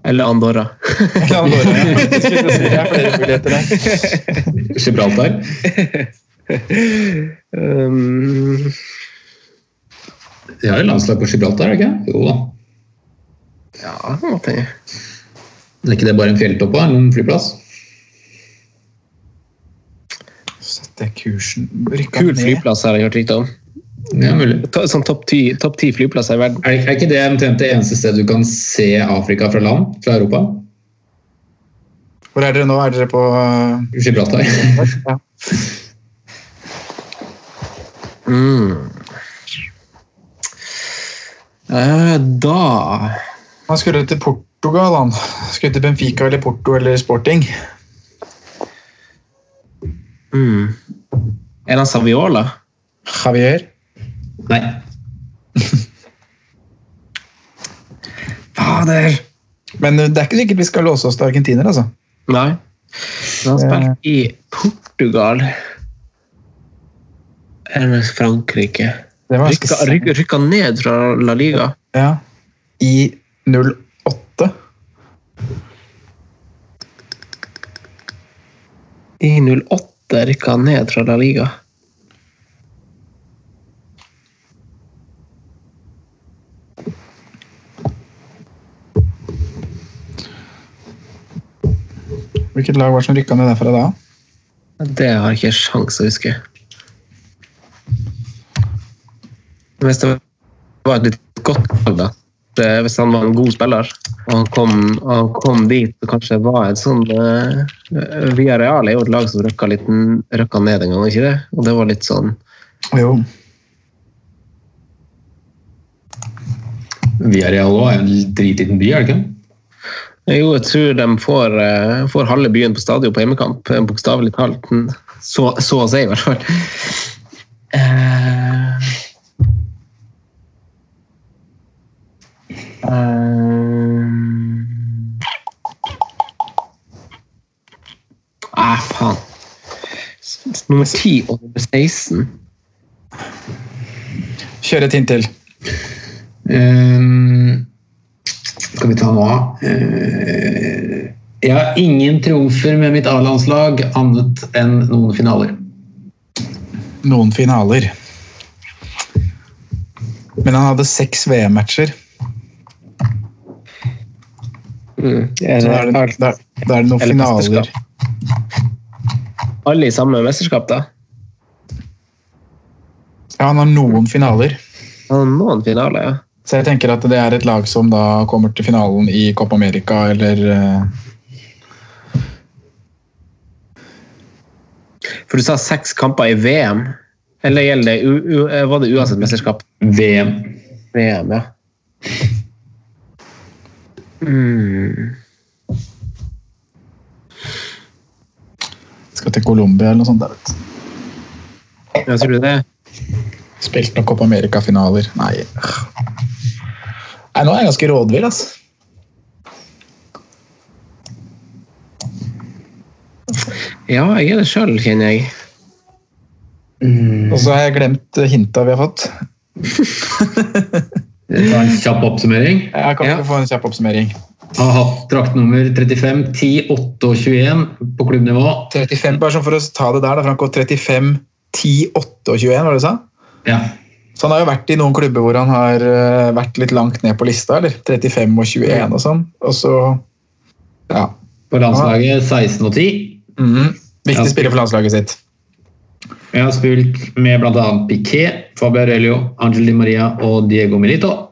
[SPEAKER 2] Eller Andorra.
[SPEAKER 5] La han gå, ja. Det er flere muligheter der.
[SPEAKER 4] Gibraltar.
[SPEAKER 2] um,
[SPEAKER 4] De har jo landslag på Gibraltar, er det ikke? Jo da.
[SPEAKER 2] ja, det måtte jeg.
[SPEAKER 4] Men Er ikke det bare en fjelltopp da, eller en flyplass?
[SPEAKER 5] Sette kursen Rykka
[SPEAKER 2] Kul
[SPEAKER 5] ned.
[SPEAKER 2] flyplass har jeg hørt rykte om.
[SPEAKER 4] Det er mulig.
[SPEAKER 2] To- Sånn topp ti topp ti flyplasser i verden.
[SPEAKER 4] Er, er ikke det omtrent det eneste stedet du kan se Afrika fra land? Fra Europa?
[SPEAKER 5] Hvor er dere nå? Er dere på
[SPEAKER 4] Gibraltar.
[SPEAKER 5] ja.
[SPEAKER 2] Mm. Eh, da
[SPEAKER 5] Han skulle til Portugal, han. Skulle til Benfica eller Porto eller Sporting.
[SPEAKER 2] mm. Er det Saviola?
[SPEAKER 5] Javier.
[SPEAKER 4] Nei.
[SPEAKER 2] Fader!
[SPEAKER 5] Men eh, det er ikke sikkert vi skal låse oss til argentiner, altså.
[SPEAKER 2] Nei. Men han spilte i Portugal. Eller Frankrike.
[SPEAKER 5] Det var ganske
[SPEAKER 2] Rykka, ryk- rykka ned fra La Liga.
[SPEAKER 5] Ja. I 08.
[SPEAKER 2] I 08 rykka han ned fra La Liga.
[SPEAKER 5] Hvilket lag var det som rykka ned derfra da?
[SPEAKER 2] Det har jeg ikke sjans å huske. Hvis det var et litt godt lag, da. Det, hvis han var en god spiller, og han kom, og han kom dit og kanskje var et sånn uh, Via Real er jo et lag som røkka, litt, røkka ned en gang, ikke det? Og det var litt sånn
[SPEAKER 5] Jo.
[SPEAKER 4] Villarreal også er en dritliten by, er det ikke? det?
[SPEAKER 2] Jo, jeg tror de får, eh, får halve byen på stadion på hjemmekamp. eh, Bokstavelig talt. Så, så å si, i hvert fall. Eh, eh, Ah, faen. S- Nummer 10 og nummer 16.
[SPEAKER 5] Kjør et hint til.
[SPEAKER 4] Ehm, skal vi ta nå? Eh, jeg har ingen triumfer med mitt A-landslag annet enn noen finaler.
[SPEAKER 5] Noen finaler. Men han hadde seks VM-matcher.
[SPEAKER 2] Mm,
[SPEAKER 5] Så da er det, da, da er det noen
[SPEAKER 2] Eller
[SPEAKER 5] finaler.
[SPEAKER 2] mesterskap. Alle i samme mesterskap, da?
[SPEAKER 5] Ja, han har noen finaler.
[SPEAKER 2] Ja, Noen finaler, ja.
[SPEAKER 5] Så jeg tenker at det er et lag som da kommer til finalen i Copa America eller eh,
[SPEAKER 2] For du sa seks kamper i VM. Eller gjelder det, u, u, eh, var det uansett mesterskap?
[SPEAKER 4] VM.
[SPEAKER 2] VM, ja. Mm.
[SPEAKER 5] skal til Colombia eller noe sånt. Der, vet du.
[SPEAKER 2] Ja, tror du det?
[SPEAKER 5] Spilt noen Copa America-finaler. Nei. Nei, nå er jeg ganske rådvill, altså.
[SPEAKER 2] Ja, jeg er det sjøl, kjenner jeg.
[SPEAKER 5] Og så har jeg glemt eh, hinta vi har fått.
[SPEAKER 4] Ta en kjapp oppsummering.
[SPEAKER 5] Jeg kan
[SPEAKER 2] Ja.
[SPEAKER 5] ikke få en kjapp oppsummering.
[SPEAKER 4] Har hatt draktnummer 35, 10, 8 og 21 på klubbnivå.
[SPEAKER 5] 35, bare sånn for å ta det der, da, Franco. 35, 10, 8 og 21, var det du sa?
[SPEAKER 4] Ja.
[SPEAKER 5] Så han har jo vært i noen klubber hvor han har eh, vært litt langt ned på lista, eller? 35 og 21 og sånn. Og så Ja.
[SPEAKER 4] På landslaget 16 og 10.
[SPEAKER 5] Mhm. Viktig
[SPEAKER 4] Ja.
[SPEAKER 5] spiller for landslaget sitt.
[SPEAKER 4] Jeg har spilt med bl.a. Piquet, Fabio Aurelio, Angel Di Maria og Diego Milito.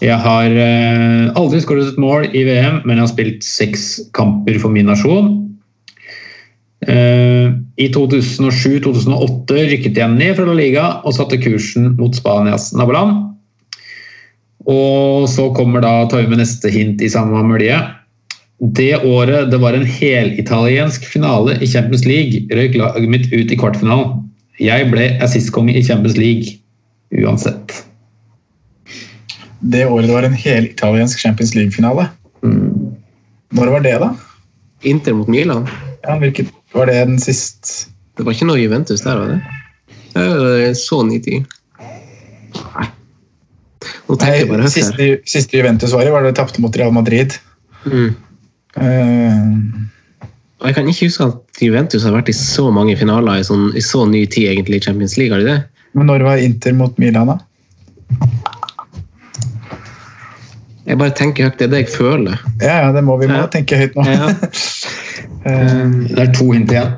[SPEAKER 4] Jeg har eh, aldri skåret et mål i VM, men jeg har spilt seks kamper for min nasjon. Eh, I 2007-2008 rykket jeg ned fra La Liga og satte kursen mot Spanias naboland. Og så kommer da tar vi med neste hint i samme mølje. Det året det var en helitaliensk finale i Champions League, røyk laget mitt ut i kvartfinalen. Jeg ble assistkonge i Champions League uansett.
[SPEAKER 5] Det året det var en helitaliensk Champions League-finale. Når var det, da?
[SPEAKER 2] Inter mot Milan.
[SPEAKER 5] Ja, hvilket var det den sist
[SPEAKER 2] Det var ikke noe Juventus der, var det? Eh, Så 90. Nei. Nå tenker jeg bare høyt
[SPEAKER 5] Nei,
[SPEAKER 2] her.
[SPEAKER 5] siste, siste Juventus var i, var det tapte mot Real Madrid.
[SPEAKER 2] Mm.
[SPEAKER 5] Eh,
[SPEAKER 2] Og jeg kan ikke huske at Juventus har vært i så mange finaler i, sånn, i så ny tid, egentlig, i Champions League, har de det?
[SPEAKER 5] men når var Inter mot Milan, da?
[SPEAKER 2] Jeg bare tenker høyt, det er det jeg føler.
[SPEAKER 5] Ja, ja, det må vi må
[SPEAKER 2] Ja.
[SPEAKER 5] tenke høyt nå.
[SPEAKER 2] Ja.
[SPEAKER 5] Eh,
[SPEAKER 4] Det er to hint igjen.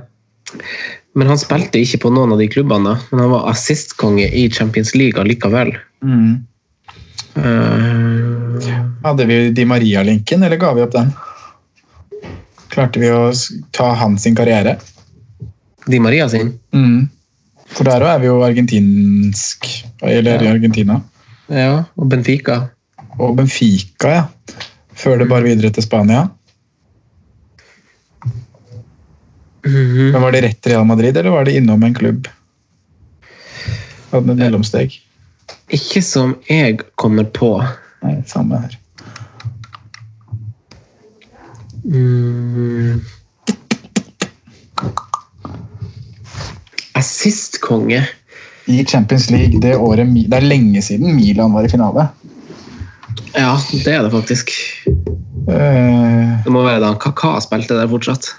[SPEAKER 2] Men han spilte ikke på noen av de klubbene, da. men han var assistkonge i Champions League allikevel.
[SPEAKER 5] mm.
[SPEAKER 2] Eh,
[SPEAKER 5] Hadde vi Di Maria-linken, eller ga vi opp den? Klarte vi å s- ta hans sin karriere?
[SPEAKER 2] Di Maria sin?
[SPEAKER 5] Mm. For der òg er vi jo argentinsk, eller i Argentina.
[SPEAKER 2] Ja, og Benfica.
[SPEAKER 5] Og Benfica, ja. Før det bare videre til Spania.
[SPEAKER 2] Mhm.
[SPEAKER 5] Men Var det rett til Real Madrid, eller var det innom en klubb? Hadde den et mellomsteg?
[SPEAKER 2] Ikke som jeg kommer på.
[SPEAKER 5] Nei, samme her.
[SPEAKER 2] Mm. Assistkonge?
[SPEAKER 5] I Champions League det året Mi- Det er lenge siden Milan var i finale.
[SPEAKER 2] Ja, det er det faktisk.
[SPEAKER 5] Eh,
[SPEAKER 2] Det må være da han Kaka spilte der fortsatt.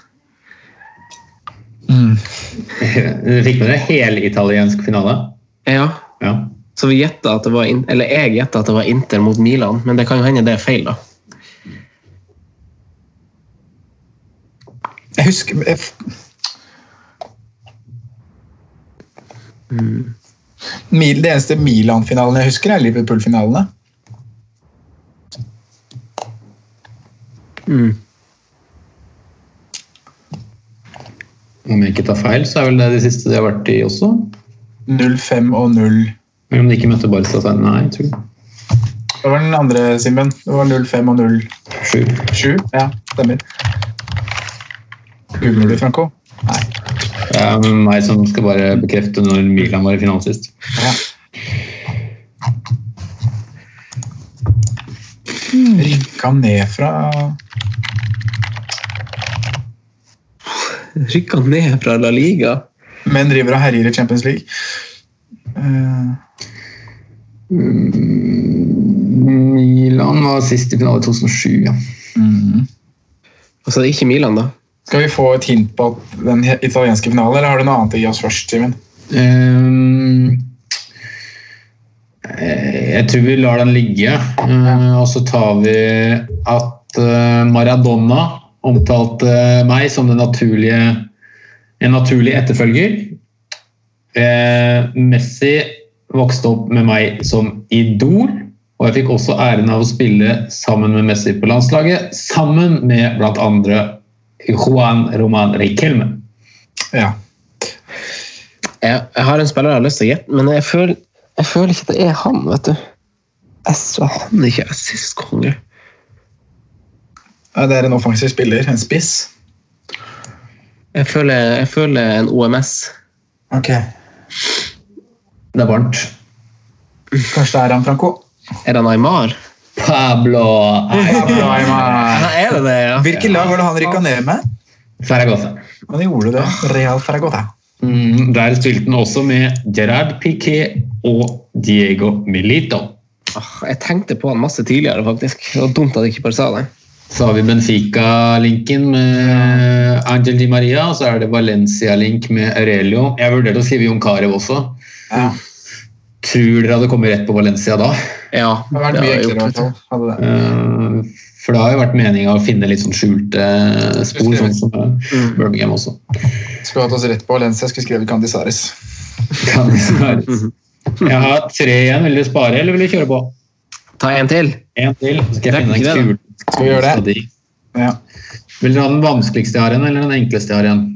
[SPEAKER 5] mm.
[SPEAKER 4] Du fikk med deg helitaliensk finale?
[SPEAKER 2] Ja,
[SPEAKER 4] Ja.
[SPEAKER 2] så vi gjettet at det var in Eller jeg gjetta at det var Inter mot Milan, men det kan jo hende det er feil, da.
[SPEAKER 5] Jeg husker
[SPEAKER 2] Mm.
[SPEAKER 5] jeg f- Mil- Det eneste Milan-finalen jeg husker, er Liverpool-finalene.
[SPEAKER 4] Om jeg ikke tar feil, så er vel det de siste de har vært i også?
[SPEAKER 5] 0-5 og 0.
[SPEAKER 4] Men om de ikke møtte Barca, så er det nei, jeg tror jeg.
[SPEAKER 5] Det var den andre, Simen. Det var 05 og
[SPEAKER 4] 07.
[SPEAKER 5] 07. Ja, stemmer. Googler du, Franco? Nei.
[SPEAKER 4] Det er meg som skal bare bekrefte når Milan var i finalen sist.
[SPEAKER 5] Rykka ned fra
[SPEAKER 2] Rykka ned fra La Liga.
[SPEAKER 5] Men driver og herjer i Champions League. Eh,
[SPEAKER 4] Milan var sist i finale i 2007, ja.
[SPEAKER 2] Altså, det er ikke Milan, da.
[SPEAKER 5] Skal vi få et hint på at den he- italienske finalen, eller har du noe annet å gi oss først, Simen?
[SPEAKER 4] Ehm, eh, jeg tror vi lar den ligge, eh, og så tar vi at eh, Maradona omtalte meg som den naturlige, en naturlig etterfølger. Eh, Messi vokste opp med meg som idol, og jeg fikk også æren av å spille sammen med Messi på landslaget, sammen med blant andre Juan Roman Riquelme.
[SPEAKER 5] Ja.
[SPEAKER 2] Jeg, jeg har en spiller jeg har lyst til å gjette, men jeg føler, jeg føler ikke at det er han, vet du. Jeg så han er ikke assist-konge.
[SPEAKER 5] Ja, Det er en offensiv spiller. En spiss.
[SPEAKER 2] Jeg føler, jeg føler en OMS.
[SPEAKER 5] Ok.
[SPEAKER 4] Det er varmt.
[SPEAKER 5] Kanskje det er han, Franco?
[SPEAKER 2] Er det Neymar?
[SPEAKER 4] Pablo
[SPEAKER 2] Ja, er det det, ja.
[SPEAKER 5] Hvilket lag var det han rykka ned med?
[SPEAKER 4] Zaragoza.
[SPEAKER 5] Han gjorde det. Real Ferragota.
[SPEAKER 4] Mm, der spilte han også med Gerard Piqué og Diego Milito.
[SPEAKER 2] Åh, Ah, Jeg tenkte på han masse tidligere, faktisk. Det var dumt at jeg ikke bare sa det.
[SPEAKER 4] Så har vi Benfica-linken med Angel Di Maria, og så er det Valencia-link med Aurelio. Jeg vurderte å skrive Jon Carew også.
[SPEAKER 5] Ja.
[SPEAKER 4] Tror dere hadde kommet rett på Valencia da?
[SPEAKER 2] Ja,
[SPEAKER 5] Det har vært
[SPEAKER 2] det
[SPEAKER 5] mye
[SPEAKER 2] har jeg
[SPEAKER 5] enklere, i
[SPEAKER 2] gjort,
[SPEAKER 5] hvert fall. Hadde det.
[SPEAKER 4] Eh, For det har jo vært meninga å finne litt sånn skjulte spor, sånn som eh, Birmingham også.
[SPEAKER 5] Skulle hatt oss rett på Valencia, skulle skrevet Candisares.
[SPEAKER 4] Kan det være. Jeg har tre igjen. Vil dere spare, eller vil dere kjøre på?
[SPEAKER 2] vet du. Ta en til.
[SPEAKER 4] En til, så skal jeg
[SPEAKER 2] Rekker
[SPEAKER 4] finne
[SPEAKER 2] det,
[SPEAKER 4] en kul.
[SPEAKER 5] Skal vi gjøre det?
[SPEAKER 4] Stadig.
[SPEAKER 5] Ja.
[SPEAKER 4] Vil dere ha den vanskeligste jeg har igjen, eller den enkleste jeg har igjen?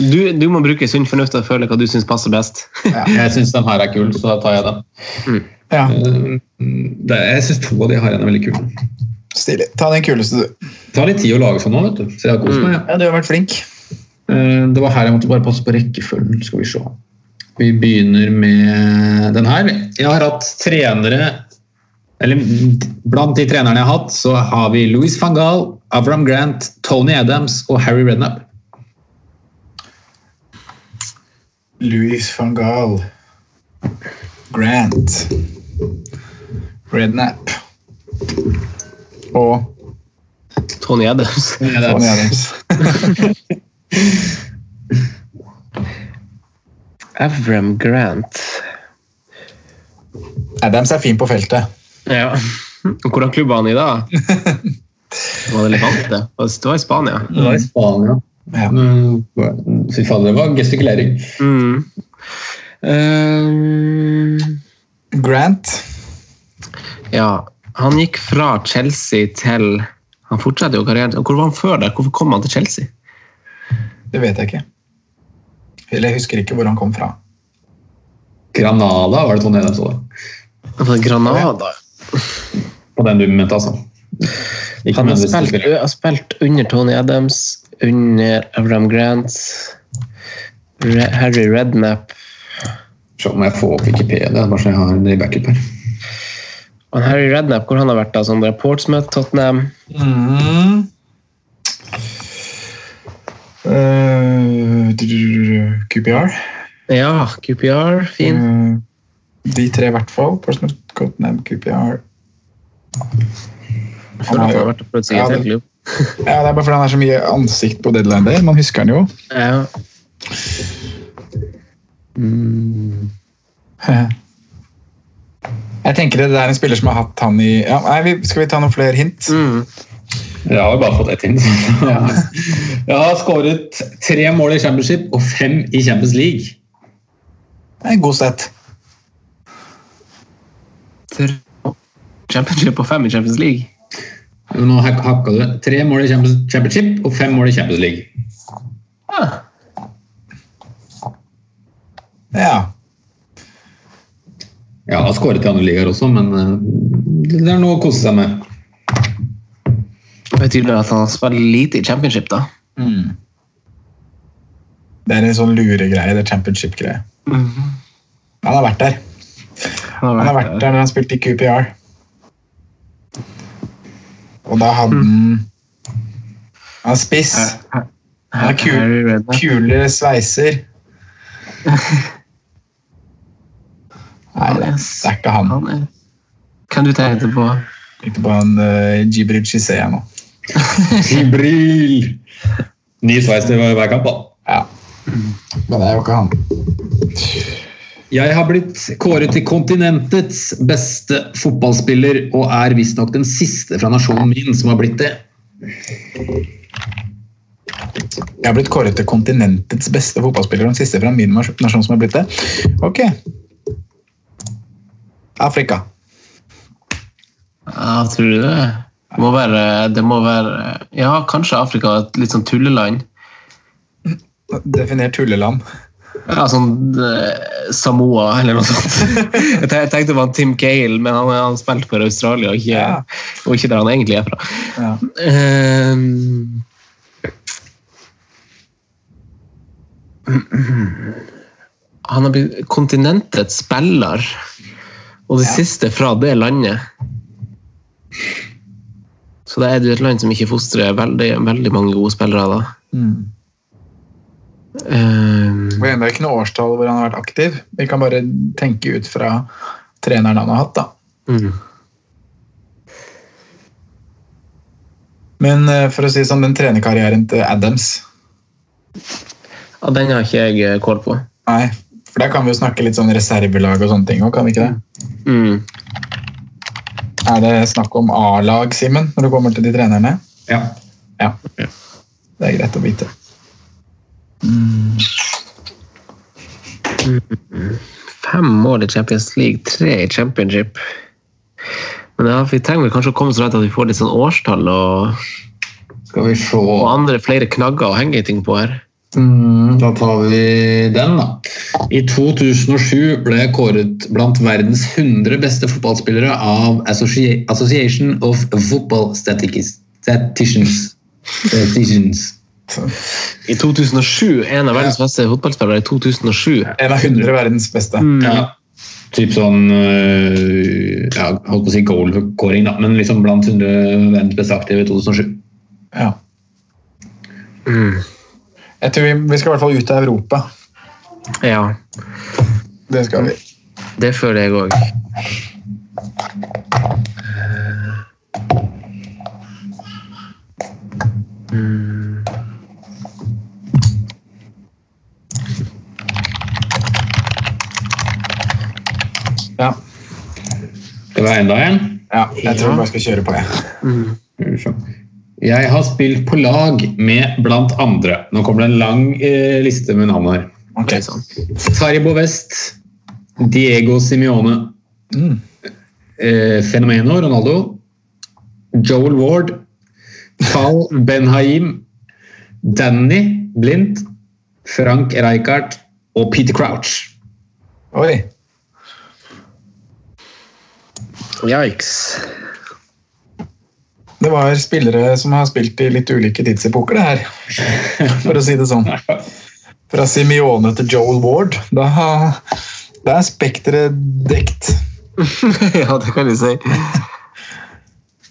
[SPEAKER 2] Du, du må bruke sunn fornuft og føle hva du syns passer best.
[SPEAKER 4] Jeg syns den her er kul, så da tar jeg den.
[SPEAKER 5] ja.
[SPEAKER 4] Eh, det er- Jeg syns to av de jeg har igjen er veldig kule. Det
[SPEAKER 5] Stilig. Ta den kuleste, du.
[SPEAKER 4] tar litt tid å lage for nå, vet du. Så jeg har kost meg.
[SPEAKER 5] Ja, Du har vært flink.
[SPEAKER 4] Ja. Eh, Det var her jeg måtte bare passe på rekkefølgen. Skal vi se. Vi begynner med den her. Jeg har hatt trenere Eller blant de trenerne jeg har hatt, så har vi Louis van Gaal, Avram Grant, Tony Adams og Harry Redknapp.
[SPEAKER 5] Louis van Gaal. Grant. Rednap. Og
[SPEAKER 2] Tony Adams.
[SPEAKER 5] Tony Adams.
[SPEAKER 2] Avram Grant.
[SPEAKER 5] Adams er fin på feltet.
[SPEAKER 2] Ja. Hvordan klubb var han i da? Var det Levante? Det var i Spania.
[SPEAKER 4] Det var i Spania.
[SPEAKER 5] Ja.
[SPEAKER 4] Men, Fy fader, det var gestikulering.
[SPEAKER 2] Mm. Ehm,
[SPEAKER 5] Grant.
[SPEAKER 2] ja, han gikk fra Chelsea til Han fortsatte jo karrieren. Hvor var han før det? Hvorfor kom han til Chelsea?
[SPEAKER 5] Det vet jeg ikke. Eller jeg husker ikke hvor han kom fra.
[SPEAKER 4] Granada var det Tony Adams også.
[SPEAKER 2] Han var i Granada.
[SPEAKER 4] På den du mente, altså. Ikke
[SPEAKER 2] Han har
[SPEAKER 4] nødvendigvis
[SPEAKER 2] spilt,
[SPEAKER 4] spiller.
[SPEAKER 2] har spilt under Tony Adams, under Avram Grant, Re Harry Redknapp
[SPEAKER 4] Se om jeg får opp Wikipedia, bare så jeg har en backup her.
[SPEAKER 2] Men Harry Redknapp, hvor han har vært da? Sånn der Portsmouth, Tottenham
[SPEAKER 5] Mm. Eh, du- du- du- du- QPR.
[SPEAKER 2] Ja, QPR, fin.
[SPEAKER 5] Eh, De tre i hvert fall. Portsmouth, Tottenham, QPR.
[SPEAKER 2] Jeg føler han har vært og prøvd seg i
[SPEAKER 5] Ja,
[SPEAKER 2] et
[SPEAKER 5] det-
[SPEAKER 2] helt klubb.
[SPEAKER 5] Ja, Det er bare fordi han har så mye ansikt på deadline der. Man husker han jo.
[SPEAKER 2] Ja.
[SPEAKER 5] Jeg tenker det, det er en spiller som har hatt han i ja, nei, vi, Skal vi ta noen flere hint?
[SPEAKER 2] Mm.
[SPEAKER 4] Jeg har jo bare fått ett inn. jeg har skåret tre mål i Championship og fem i Champions League.
[SPEAKER 5] Det er god sett.
[SPEAKER 2] Championship og fem i Champions League.
[SPEAKER 4] Nå hak- hakka du tre mål i Champions- Championship og fem mål i Champions League.
[SPEAKER 2] Ah.
[SPEAKER 5] Ja.
[SPEAKER 4] Ja, har skåret i andre ligaer også, men eh, det er noe å kose seg med.
[SPEAKER 2] Det betyr det at han spiller lite i championship, da.
[SPEAKER 5] Det er en sånn luregreie, det championship-greie. Han har vært der. Han har vært der når han spilte i QPR. Og da hadde han Han er spiss. Han har kule, kule sveiser. Nei, det er ikke han.
[SPEAKER 2] Kan du tenke på
[SPEAKER 5] Tenkte på han uh, Jibril Chisea nå.
[SPEAKER 4] Jibril! Ny sveis til hver kamp, da.
[SPEAKER 5] Ja. Men det er jo ikke han.
[SPEAKER 4] Jeg har blitt kåret til kontinentets beste fotballspiller, og er visstnok den siste fra nasjonen min som har blitt det.
[SPEAKER 5] Jeg har blitt kåret til kontinentets beste fotballspiller. Den siste fra min mas- nasjon som har blitt det. Ok. Afrika.
[SPEAKER 2] Ja, tror du det? Det må være, det må være Ja, kanskje Afrika er et litt sånn tulleland.
[SPEAKER 5] Definert tulleland.
[SPEAKER 2] Ja, sånn eh, Samoa eller noe sånt. Jeg te- jeg tenkte på han Tim Gale, men han, han spilte for Australia, og ikke, og ikke der han egentlig er fra.
[SPEAKER 5] Ja.
[SPEAKER 2] Ehm. han har blitt kontinentets spiller, og det siste fra det landet. Så da er det jo et land som ikke fostrer veldig, veldig mange gode spillere, da.
[SPEAKER 5] Mm.
[SPEAKER 2] Ehm.
[SPEAKER 5] Vi vet ikke noe årstall hvor han har vært aktiv. Vi kan bare tenke ut fra treneren han har hatt, da.
[SPEAKER 2] Mm.
[SPEAKER 5] Men eh, for å si det sånn, den trenerkarrieren til Adams
[SPEAKER 2] Ja, den har ikke jeg eh, kål på.
[SPEAKER 5] Nei, for der kan vi jo snakke litt sånn reservelag og sånne ting òg, kan vi ikke det?
[SPEAKER 2] Mm.
[SPEAKER 5] Er det snakk om A-lag, Simen, når det kommer til de trenerne?
[SPEAKER 4] Ja.
[SPEAKER 5] Ja. Det er greit å vite.
[SPEAKER 2] Fem mål i Champions League, tre i Championship. Men ja, vi trenger vel kanskje å komme så langt at vi får litt sånn årstall og,
[SPEAKER 4] Skal vi se
[SPEAKER 2] og andre flere knagger å henge ting på her.
[SPEAKER 4] Mm, Da tar vi den, da. I 2007 ble jeg kåret blant verdens 100 beste fotballspillere av Associ- Association of Football Staticus- Statisticians. Statisticians.
[SPEAKER 2] I 2007, en av verdens beste fotballspillere i 2007.
[SPEAKER 5] En av 100 verdens beste.
[SPEAKER 4] Ja. Typ sånn øh, ja, Holdt på å si goal-kåring, da, men liksom blant 100 verdens beste aktive i 2007.
[SPEAKER 5] Ja.
[SPEAKER 2] Mm.
[SPEAKER 5] Jeg tror vi, vi skal i hvert fall ut av Europa.
[SPEAKER 2] Ja,
[SPEAKER 5] Det skal vi.
[SPEAKER 2] det føler jeg òg.
[SPEAKER 5] Ja,
[SPEAKER 4] Skal vi ha enda en?
[SPEAKER 5] ja jeg tror vi bare skal kjøre på, jeg.
[SPEAKER 4] Skal vi se. Jeg har spilt på lag med blant andre. Nå kommer det en lang eh, liste med navn her.
[SPEAKER 5] Ok.
[SPEAKER 4] Taribo West, Diego Simione,
[SPEAKER 5] Mm.
[SPEAKER 4] eh, Fenomeno Ronaldo, Joel Ward, Carl Benhaim, Danny Blindt, Frank Rijkaard og Peter Crouch.
[SPEAKER 5] Oi.
[SPEAKER 2] Yikes.
[SPEAKER 5] Det var spillere som har spilt i litt ulike tidsepoker, det her. For å si det sånn. Fra Simione til Joel Ward. Da, da er spekteret dekt.
[SPEAKER 2] ja, det kan vi si.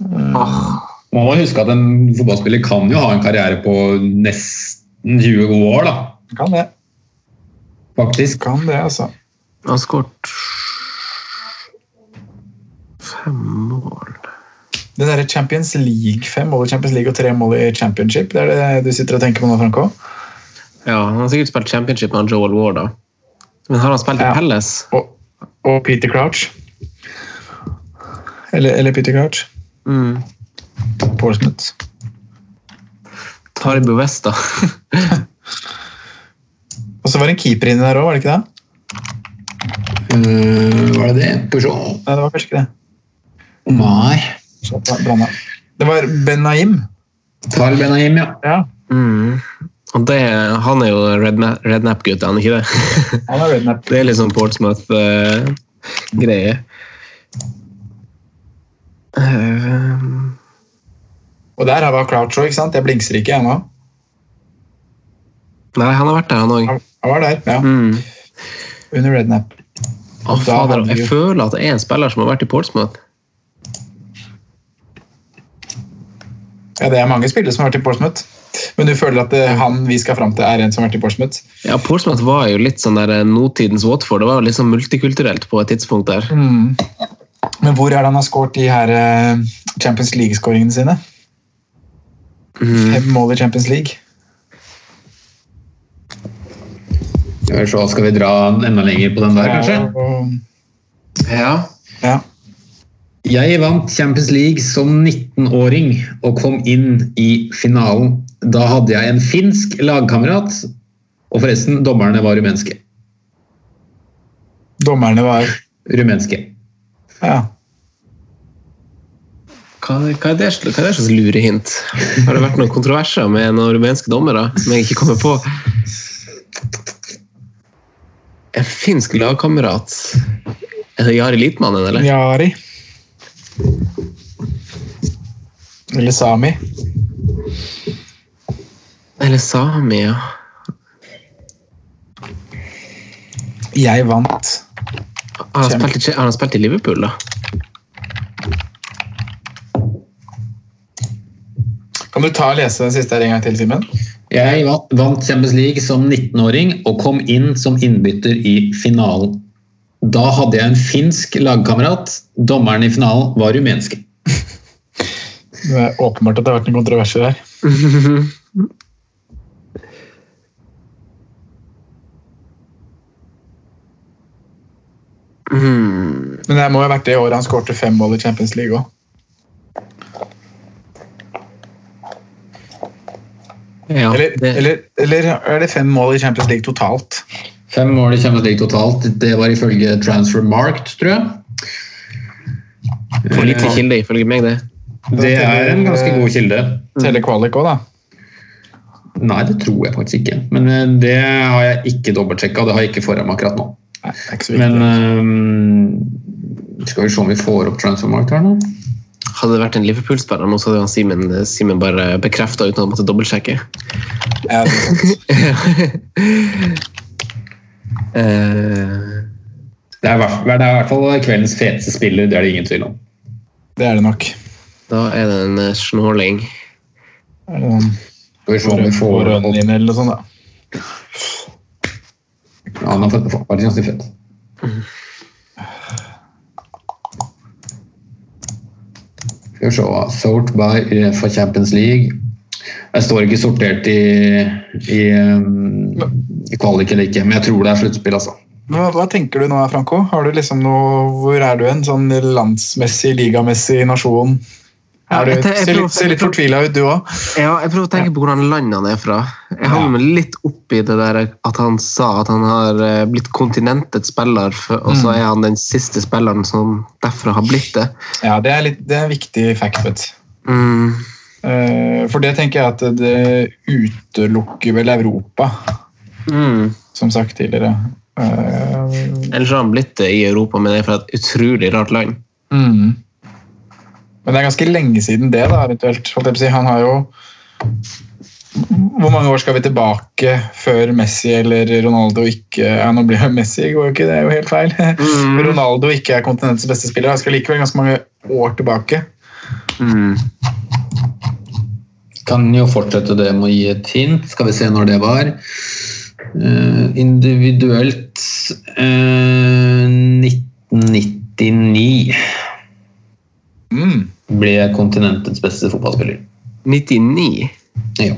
[SPEAKER 4] Man må huske at en fotballspiller kan jo ha en karriere på nesten 20 gode år, da.
[SPEAKER 5] Kan det.
[SPEAKER 4] Faktisk.
[SPEAKER 5] Kan det, altså.
[SPEAKER 2] Han har skåret fem mål
[SPEAKER 5] Det der Champions League, fem mål i Champions League og tre mål i Championship, det er det du sitter og tenker på nå, Franco?
[SPEAKER 2] Ja, han har sikkert spilt championship med han Joel Ward, da. Men har han spilt i
[SPEAKER 5] Ja.
[SPEAKER 2] Pelles?
[SPEAKER 5] Og, og Peter Crouch. Eller, eller Peter Crouch.
[SPEAKER 2] Mm.
[SPEAKER 5] Portsmouth.
[SPEAKER 2] Taribo West, da.
[SPEAKER 5] Og så var det en keeper inni der òg, var det ikke det?
[SPEAKER 4] Eh, var det det? Skal vi se.
[SPEAKER 5] Nei, det var kanskje ikke det.
[SPEAKER 4] Nei.
[SPEAKER 5] Så det var Brann- Det var Benahim.
[SPEAKER 4] Carl Benahim, ja.
[SPEAKER 5] Ja,
[SPEAKER 2] Mm. Og det, han er jo redna- rednap-gutt, er han ikke det?
[SPEAKER 5] han er rednap.
[SPEAKER 2] Det er litt sånn Portsmouth-greie. Eh,
[SPEAKER 5] Og der har vi Croucho, ikke sant? Jeg blingser ikke ennå.
[SPEAKER 2] nei, han har vært der, han òg.
[SPEAKER 5] Han var der, ja.
[SPEAKER 2] Mm.
[SPEAKER 5] Under Rednap.
[SPEAKER 2] Å,
[SPEAKER 5] Da
[SPEAKER 2] fader,
[SPEAKER 5] hadde vi
[SPEAKER 2] jeg
[SPEAKER 5] jo-
[SPEAKER 2] føler at det er en spiller som har vært i Portsmouth.
[SPEAKER 5] Ja, det er mange spillere som har vært i Portsmouth. Men du føler at eh, han vi skal fram til, er en som har vært i Portsmouth?
[SPEAKER 2] Ja, Portsmouth var jo litt sånn der eh, nåtidens Watford. Det var jo litt sånn multikulturelt på et tidspunkt der.
[SPEAKER 5] Mm. Men hvor er det han har skåret de her eh, Champions League-skåringene sine?
[SPEAKER 2] Mm.
[SPEAKER 5] Fem mål i Champions League.
[SPEAKER 4] Skal vi se, skal vi dra enda lenger på den der, kanskje?
[SPEAKER 5] Og,
[SPEAKER 2] Ja.
[SPEAKER 5] ja.
[SPEAKER 4] Jeg vant Champions League som 19-åring og kom inn i finalen. Da hadde jeg en finsk lagkamerat, og forresten, dommerne var rumenske.
[SPEAKER 5] Dommerne var
[SPEAKER 4] rumenske.
[SPEAKER 5] Ja.
[SPEAKER 2] Hva, hva, er det, sl- hva er det slags lurehint? Har det vært noen kontroverser med noen rumenske dommere som jeg ikke kommer på? En finsk lagkamerat Er det Jari Litmanen, eller?
[SPEAKER 5] Jari. Eller Sami.
[SPEAKER 2] Eller Sami, ja.
[SPEAKER 5] Jeg vant.
[SPEAKER 2] Har han spilt i, Che- har han spilt i Liverpool, da?
[SPEAKER 5] Kan du ta og lese den siste her en gang til, Simen?
[SPEAKER 4] Jeg vant vant Champions League som 19-åring og kom inn som innbytter i finalen. Da hadde jeg en finsk lagkamerat. Dommeren i finalen var rumenske.
[SPEAKER 5] Det er åpenbart at det har vært noen kontroverser der.
[SPEAKER 2] Mm.
[SPEAKER 5] Men det må ha vært det året han skårte fem mål i Champions League òg.
[SPEAKER 2] Ja,
[SPEAKER 5] Eller,
[SPEAKER 2] det-
[SPEAKER 5] eller, eller er det fem mål i Champions League totalt?
[SPEAKER 4] Fem mål i Champions League totalt. Det var ifølge Transfer Marked, tror jeg.
[SPEAKER 2] For lite kilde, ifølge meg, det.
[SPEAKER 4] Eh, Det er en ganske god kilde.
[SPEAKER 2] Mm.
[SPEAKER 5] Teller kvalik òg, da.
[SPEAKER 4] Nei, det tror jeg faktisk ikke. Men eh, det har jeg ikke dobbeltsjekka, og det har jeg ikke foran meg akkurat nå.
[SPEAKER 5] Nei, det er ikke så viktig.
[SPEAKER 4] Men eh, skal vi se om vi får opp Transfer Marked her nå?
[SPEAKER 2] Hadde det vært en Liverpool-spiller nå, så hadde han Simen, Simen bare bekrefta uten å måtte dobbeltsjekke.
[SPEAKER 5] Ja, det er sant.
[SPEAKER 2] Eh,
[SPEAKER 4] Det er, i hvert- det er i hvert fall kveldens feteste spiller, det er det ingen tvil om.
[SPEAKER 5] det er det nok.
[SPEAKER 2] da er det en eh, snåling.
[SPEAKER 5] Er det noen
[SPEAKER 4] Skal vi se om vi får
[SPEAKER 5] rønn inn eller noe sånt, da?
[SPEAKER 4] Ja, han har fått fått- faktisk ganske fett. Skal vi se Sort by Uefa Champions League. Jeg står ikke sortert i, i, um, i kvalik eller ikke, men jeg tror det er sluttspill, altså.
[SPEAKER 5] Hva, hva tenker du nå, Franco? Har du liksom noe, Hvor er du hen? Sånn landsmessig, ligamessig, nasjon?
[SPEAKER 2] Ja,
[SPEAKER 5] Er du,
[SPEAKER 2] jeg te- jeg
[SPEAKER 5] ser,
[SPEAKER 2] prøver-
[SPEAKER 5] litt, ser litt fortvila ut, du òg.
[SPEAKER 2] Ja, jeg prøver å tenke på hvordan landet han er fra. Jeg hang meg litt opp i det der at han sa at han har eh, blitt kontinentets spiller, f- og så er han den siste spilleren som derfra har blitt det.
[SPEAKER 5] Ja, det er, litt, det er en viktig fact, vet du.
[SPEAKER 2] Mm.
[SPEAKER 5] Eh, For det tenker jeg at det utelukker vel Europa,
[SPEAKER 2] Mm.
[SPEAKER 5] som sagt tidligere. Eh,
[SPEAKER 2] Ellers har han blitt det i Europa, men det er fra et utrolig rart land.
[SPEAKER 5] Mm. Men det er ganske lenge siden det, da, eventuelt. Holdt jeg på å si. Han har jo Hvor mange år skal vi tilbake før Messi eller Ronaldo ikke Ja, nå blir det Messi, går jo ikke, det er jo helt feil.
[SPEAKER 2] Mm.
[SPEAKER 5] Ronaldo ikke er kontinentets beste spiller. Han skal likevel ganske mange år tilbake.
[SPEAKER 2] Mm.
[SPEAKER 4] Kan jo fortsette det med å gi et hint. Skal vi se når det var. Eh, individuelt eh, 1999
[SPEAKER 5] Mm.
[SPEAKER 4] ble jeg kontinentets beste fotballspiller.
[SPEAKER 2] 99?
[SPEAKER 4] Ja.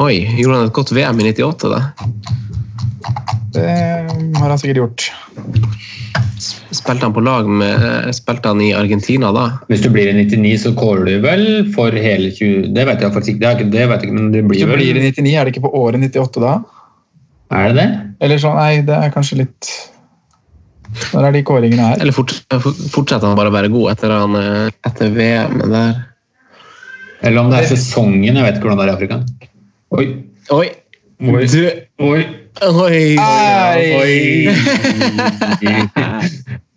[SPEAKER 2] Oi, gjorde han et godt VM i 98, da?
[SPEAKER 5] Det eh, har han sikkert gjort.
[SPEAKER 2] Spilte han på lag med eh, Spilte han i Argentina da?
[SPEAKER 4] Hvis du blir i 99, så kårer du vel for hele 20 Det vet jeg faktisk ikke, det, er ikke- det vet jeg ikke men du
[SPEAKER 5] Du
[SPEAKER 4] blir vel
[SPEAKER 5] blir i 99, er det ikke på året 98 da?
[SPEAKER 4] Er det det?
[SPEAKER 5] Eller sånn, nei, det er kanskje litt Når er de kåringene her?
[SPEAKER 2] Eller fort, fortsetter han bare å være god etter, han, eh, etter VM der?
[SPEAKER 4] Eller om det er sesongen. Jeg vet ikke hvordan det er i Afrika. Oi.
[SPEAKER 2] Oi!
[SPEAKER 4] Oi.
[SPEAKER 2] Du,
[SPEAKER 4] Oi.
[SPEAKER 2] oi, oi, oi,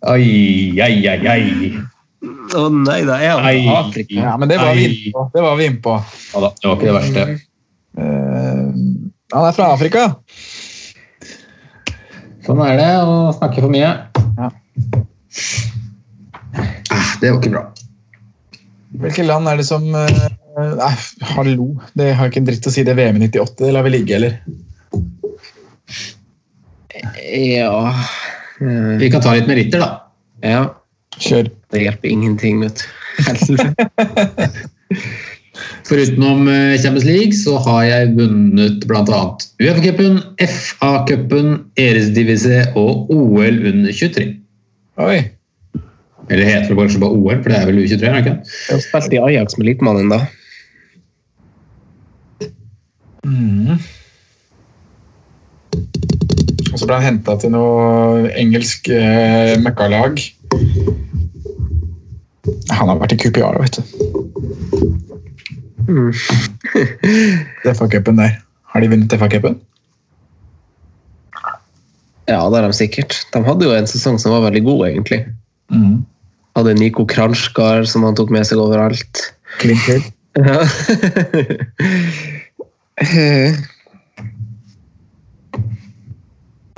[SPEAKER 4] Ai, ai, ai, ai.
[SPEAKER 2] Å nei, da er han i
[SPEAKER 4] Ai.
[SPEAKER 2] Afrika.
[SPEAKER 5] Ja, men det var vi inne på. Det var vi inne på.
[SPEAKER 4] Ja da, det var ikke det verste.
[SPEAKER 5] Eh, han er fra Afrika.
[SPEAKER 4] Sånn er det å snakke for mye.
[SPEAKER 5] Ja.
[SPEAKER 4] Eh, Det var ikke bra.
[SPEAKER 5] Hvilke land er det som eh, Nei, hallo. Det har ikke en dritt å si. Det er VM i 98. Det lar vi ligge, eller?
[SPEAKER 2] Ja. eh,
[SPEAKER 4] Vi kan ta litt meritter, da.
[SPEAKER 2] ja.
[SPEAKER 5] Kjør.
[SPEAKER 2] Det hjelper ingenting, vet du.
[SPEAKER 4] Forutenom eh, Champions League så har jeg vunnet bl.a. UFA-cupen, FA-cupen, Eresdivise og OL under 23.
[SPEAKER 5] Oi.
[SPEAKER 4] Eller heter det kanskje bare OL, for det er vel U23? er det ikke?
[SPEAKER 2] Jeg har spilt i Ajax med Litmannen, da.
[SPEAKER 5] Mm. Og så ble han henta til noe engelsk eh, møkkalag. Han har vært i QPR, vet du.
[SPEAKER 2] Mm.
[SPEAKER 5] FA-cupen der. Har de vunnet FA-cupen?
[SPEAKER 2] Ja, det er de sikkert. De hadde jo en sesong som var veldig god, egentlig.
[SPEAKER 5] Mm.
[SPEAKER 2] Hadde Niko Kranjskar som han tok med seg overalt.
[SPEAKER 5] Clinton.
[SPEAKER 2] Ja. Eh,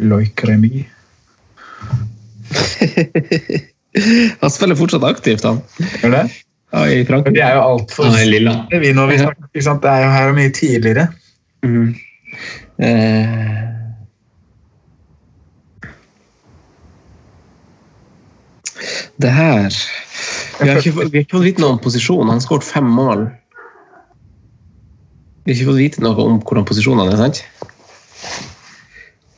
[SPEAKER 5] Loic Remy.
[SPEAKER 2] han spiller fortsatt aktivt, han.
[SPEAKER 5] Gjør det?
[SPEAKER 2] Ja, I
[SPEAKER 5] Men
[SPEAKER 2] Frankrike.
[SPEAKER 5] de er jo altfor
[SPEAKER 4] Han er lilla.
[SPEAKER 5] vi når vi snakker, ikke sant? Det er jo her mye tidligere.
[SPEAKER 2] Mm. Eh, det her Vi har ikke, fått- vi har ikke fått vite noe om posisjonen. Han har skåret fem mål. Vi har ikke fått vite noe om hvordan posisjonen er, sant?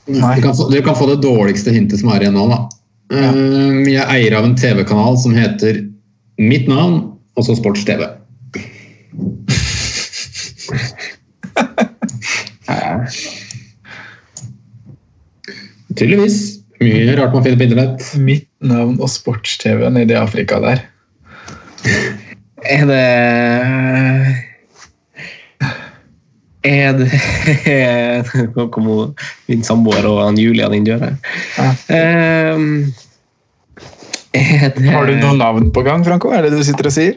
[SPEAKER 4] Du Mm. kan, få, du kan få det dårligste hintet som er igjen nå, da. Um, Jeg er eier av en TV-kanal som heter Mitt navn, og så Sports-TV. Tydeligvis. Mye rart man finner på internett.
[SPEAKER 5] Mitt navn og sports-TV nede i Afrika der.
[SPEAKER 2] Er det Er det Nå kom hun- min samboer og han Julian inn døra.
[SPEAKER 5] Ja.
[SPEAKER 2] Ehm, er det-
[SPEAKER 5] Har du noen navn på gang, Franco? Er det det du sitter og sier?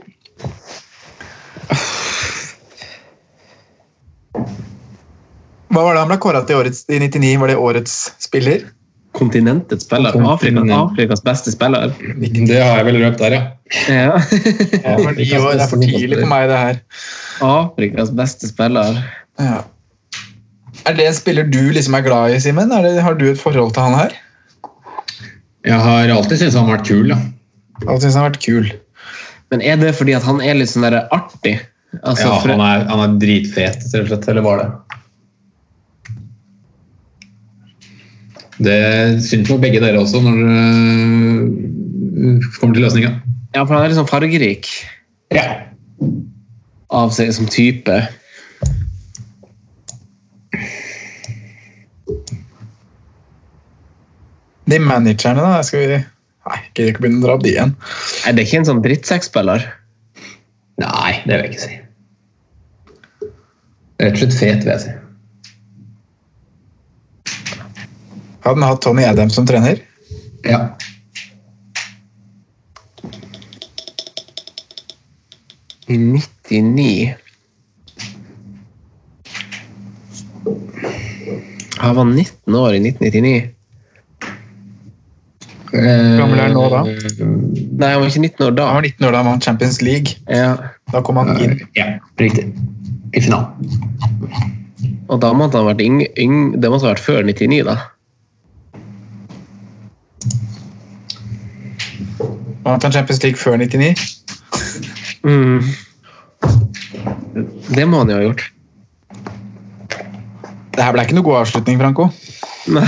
[SPEAKER 5] Hva var det han ble kåra til i årets, i 99? Var det årets spiller?
[SPEAKER 2] Kontinentets spiller. Afrika,
[SPEAKER 4] Kontinent.
[SPEAKER 2] Afrikas beste spiller.
[SPEAKER 4] Det har jeg vel røpt der, ja.
[SPEAKER 2] Ja.
[SPEAKER 5] Ja, for de år, det er for tidlig for meg, det her.
[SPEAKER 2] Afrikas beste spiller.
[SPEAKER 5] Ja. Er det en spiller du liksom er glad i, Simen? Er det- Har du et forhold til han her?
[SPEAKER 4] Jeg har alltid syntes han har vært kul, da.
[SPEAKER 5] Jeg syns han har vært kul.
[SPEAKER 2] Men er det fordi at han er litt sånn der artig? Altså,
[SPEAKER 4] Ja,
[SPEAKER 2] for-
[SPEAKER 4] han er, han er dritfet, rett og slett. Eller var det? Det syns nok begge dere også, når dere øh, kommer til løsninga.
[SPEAKER 2] ja, for han er litt sånn fargerik
[SPEAKER 4] Ja.
[SPEAKER 2] av seg som type.
[SPEAKER 5] De managerne, da? Skal vi Nei, jeg gidder ikke begynne å dra opp de igjen.
[SPEAKER 2] Er det ikke en sånn drittsekkspiller?
[SPEAKER 4] Nei, det vil jeg ikke si. Rett og slett fet, vil jeg si.
[SPEAKER 5] Hadde han hatt Tony Adams som trener?
[SPEAKER 4] Ja.
[SPEAKER 2] I 99 Han var 19 år i
[SPEAKER 4] Eh,
[SPEAKER 2] 1999.
[SPEAKER 5] gammel er han nå, da?
[SPEAKER 2] Nei, han var ikke 19 år da.
[SPEAKER 5] Han var 19 år da han vant Champions League.
[SPEAKER 2] Ja.
[SPEAKER 5] Da kom han inn.
[SPEAKER 4] Ja, riktig. I finalen.
[SPEAKER 2] Og da måtte han ha vært yng, yng, Det måtte ha vært før 99, da.
[SPEAKER 5] Vant han Champions League før 99?
[SPEAKER 2] Mm. Det må han jo ha gjort.
[SPEAKER 5] Det her ble ikke noe god avslutning, Franco.
[SPEAKER 2] Nei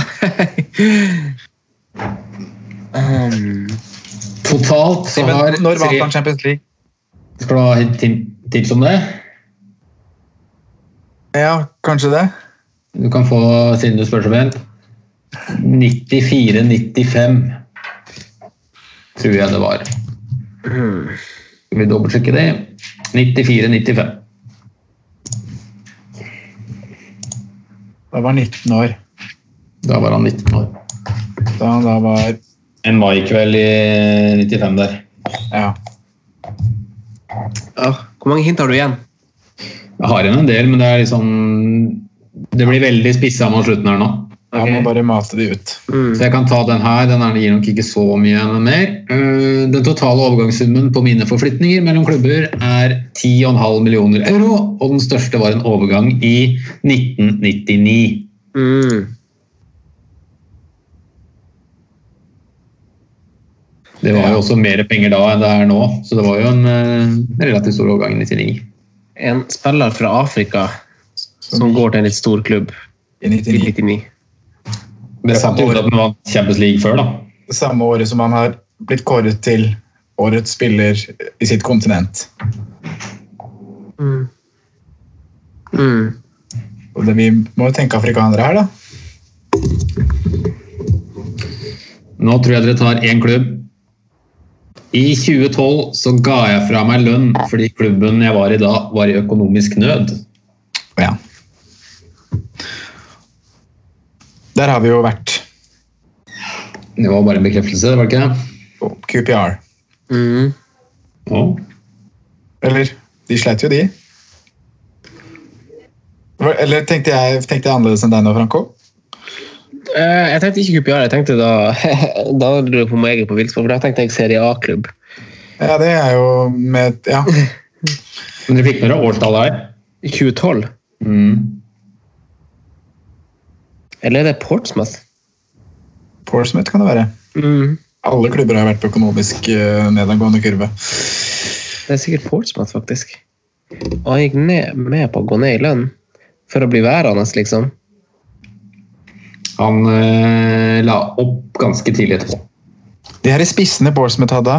[SPEAKER 2] um,
[SPEAKER 4] Totalt så
[SPEAKER 5] Men
[SPEAKER 4] har
[SPEAKER 5] når vant
[SPEAKER 4] tre-
[SPEAKER 5] han Champions League?
[SPEAKER 4] Skal du ha et tim- tips om det?
[SPEAKER 5] Ja, kanskje det.
[SPEAKER 4] Du kan få, siden du spør så pent 94-95. tror jeg det var. Skal vi dobbeltsjekke det? 94-95.
[SPEAKER 5] Da var han 19 år.
[SPEAKER 4] Da var han 19 år.
[SPEAKER 5] Da han da var
[SPEAKER 4] En maikveld i 95 der.
[SPEAKER 5] Ja.
[SPEAKER 2] Hvor mange hint har du igjen?
[SPEAKER 4] Jeg har igjen en del, men det er liksom Det blir veldig spissa mot slutten her nå.
[SPEAKER 5] Han må bare mate de ut.
[SPEAKER 4] Så jeg kan ta den her. Den her gir nok ikke så mye mer. Eh, Den totale overgangssummen på mine forflytninger mellom klubber er 10,5 millioner euro, og den største var en overgang i 1999.
[SPEAKER 2] Mm.
[SPEAKER 4] Det var jo også mer penger da enn det er nå, så det var jo en eh, relativt stor overgang i 99.
[SPEAKER 2] En spiller fra Afrika som går til en litt stor klubb
[SPEAKER 5] I
[SPEAKER 2] i
[SPEAKER 5] 99.
[SPEAKER 2] 99.
[SPEAKER 4] Dere fant jo ut at den vant Champions League før, da.
[SPEAKER 5] Det samme året som han har blitt kåret til årets spiller i sitt kontinent.
[SPEAKER 2] Mm. Mm.
[SPEAKER 5] Og det, vi må jo tenke afrikanere her, da.
[SPEAKER 4] Nå tror jeg dere tar én klubb. I 2012 så ga jeg fra meg lønn fordi klubben jeg var i da, var i økonomisk nød.
[SPEAKER 5] Ja. Der har vi jo vært.
[SPEAKER 4] Det var bare en bekreftelse, var det ikke det?
[SPEAKER 5] QPR.
[SPEAKER 2] Mm.
[SPEAKER 4] Ja.
[SPEAKER 5] Eller De sleit jo, de. Eller tenkte jeg, tenkte jeg annerledes enn deg nå, Franco?
[SPEAKER 2] Eh, jeg tenkte ikke QPR, jeg tenkte da Da lurer jeg på om jeg er på villspor, for da tenkte jeg Serie A-klubb.
[SPEAKER 5] Ja, det er jo med Ja.
[SPEAKER 4] Men dere fikk med dere årstallet her?
[SPEAKER 2] I 2012.
[SPEAKER 4] Mm.
[SPEAKER 2] Eller er det Portsmouth?
[SPEAKER 5] Portsmouth kan det være.
[SPEAKER 2] Mm.
[SPEAKER 5] Alle klubber har vært på økonomisk eh, nedadgående kurve.
[SPEAKER 2] Det er sikkert Portsmouth, faktisk. Og han gikk ned, med på å gå ned i lønn for å bli værende, liksom.
[SPEAKER 4] Han eh, la opp ganske tidlig etterpå.
[SPEAKER 5] De her spissene Portsmouth hadde,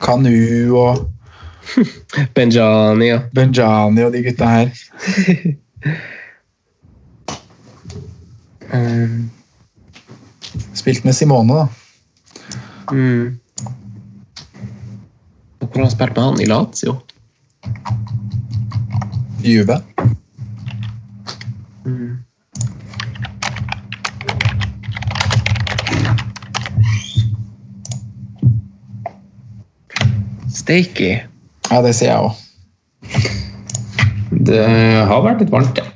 [SPEAKER 5] Kanu og
[SPEAKER 2] Benjani, ja.
[SPEAKER 5] Benjani og de gutta her
[SPEAKER 2] Mm.
[SPEAKER 5] Spilt med Simone, da.
[SPEAKER 2] Mm. Hvor har han spilt med han? I Lazio?
[SPEAKER 5] Juve.
[SPEAKER 2] Steaky.
[SPEAKER 5] Ja, det sier jeg òg.
[SPEAKER 4] Det har vært litt varmt, ja.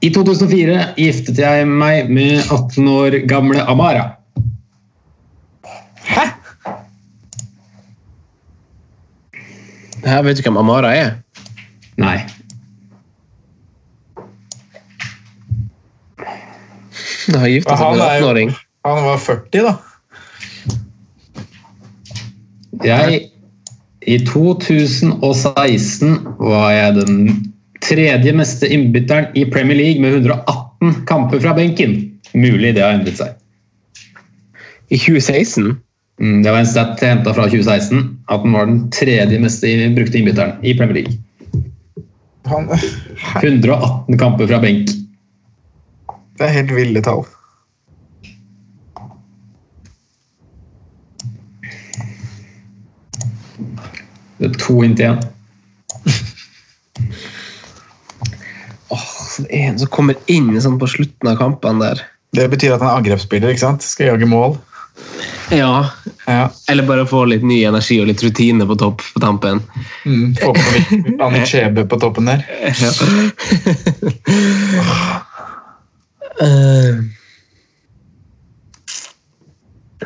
[SPEAKER 4] I 2004 giftet jeg meg med 18 år gamle Amara.
[SPEAKER 2] Her vet du hvem Amara er?
[SPEAKER 4] Nei.
[SPEAKER 2] Han har gifta seg med en
[SPEAKER 5] Han er jo-
[SPEAKER 2] 18-åring.
[SPEAKER 5] Han var 40, da.
[SPEAKER 4] Jeg I 2016 var jeg den tredje meste innbytteren i Premier League med 118 kamper fra benken. Mulig det har endret seg.
[SPEAKER 2] I 2016?
[SPEAKER 4] Mm, Det var en stat jeg henta fra 2016, at den var den tredje meste i- brukte innbytteren i Premier League.
[SPEAKER 5] Han,
[SPEAKER 4] 118 kamper fra benk.
[SPEAKER 5] det er helt ville tall.
[SPEAKER 4] Det er to inntil én.
[SPEAKER 2] Åh, så det er en som kommer inn sånn på slutten av kampene der.
[SPEAKER 5] Det betyr at han er angrepsspiller, ikke sant? Skal jage mål.
[SPEAKER 2] Ja.
[SPEAKER 5] Ja.
[SPEAKER 2] Eller bare få litt ny energi og litt rutine på topp på tampen.
[SPEAKER 5] Mm. Håper på litt Anne Chebe på toppen der.
[SPEAKER 2] Ja. Eh,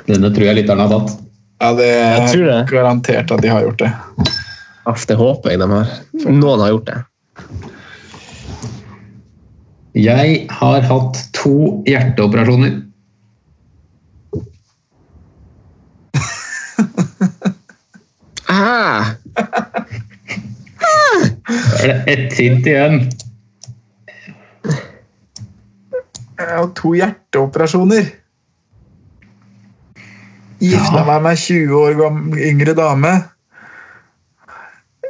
[SPEAKER 4] Denne tror jeg lytterne har tatt.
[SPEAKER 5] Ja, det
[SPEAKER 2] Jeg tror det.
[SPEAKER 5] er garantert at de har gjort det.
[SPEAKER 2] aff, det håper jeg de har. Noen har gjort det.
[SPEAKER 4] Jeg har hatt to hjerteoperasjoner.
[SPEAKER 2] Ah,
[SPEAKER 4] Da Er det ett hint igjen?
[SPEAKER 5] Og to hjerteoperasjoner. Gifta meg med ei 20 år gam- yngre dame.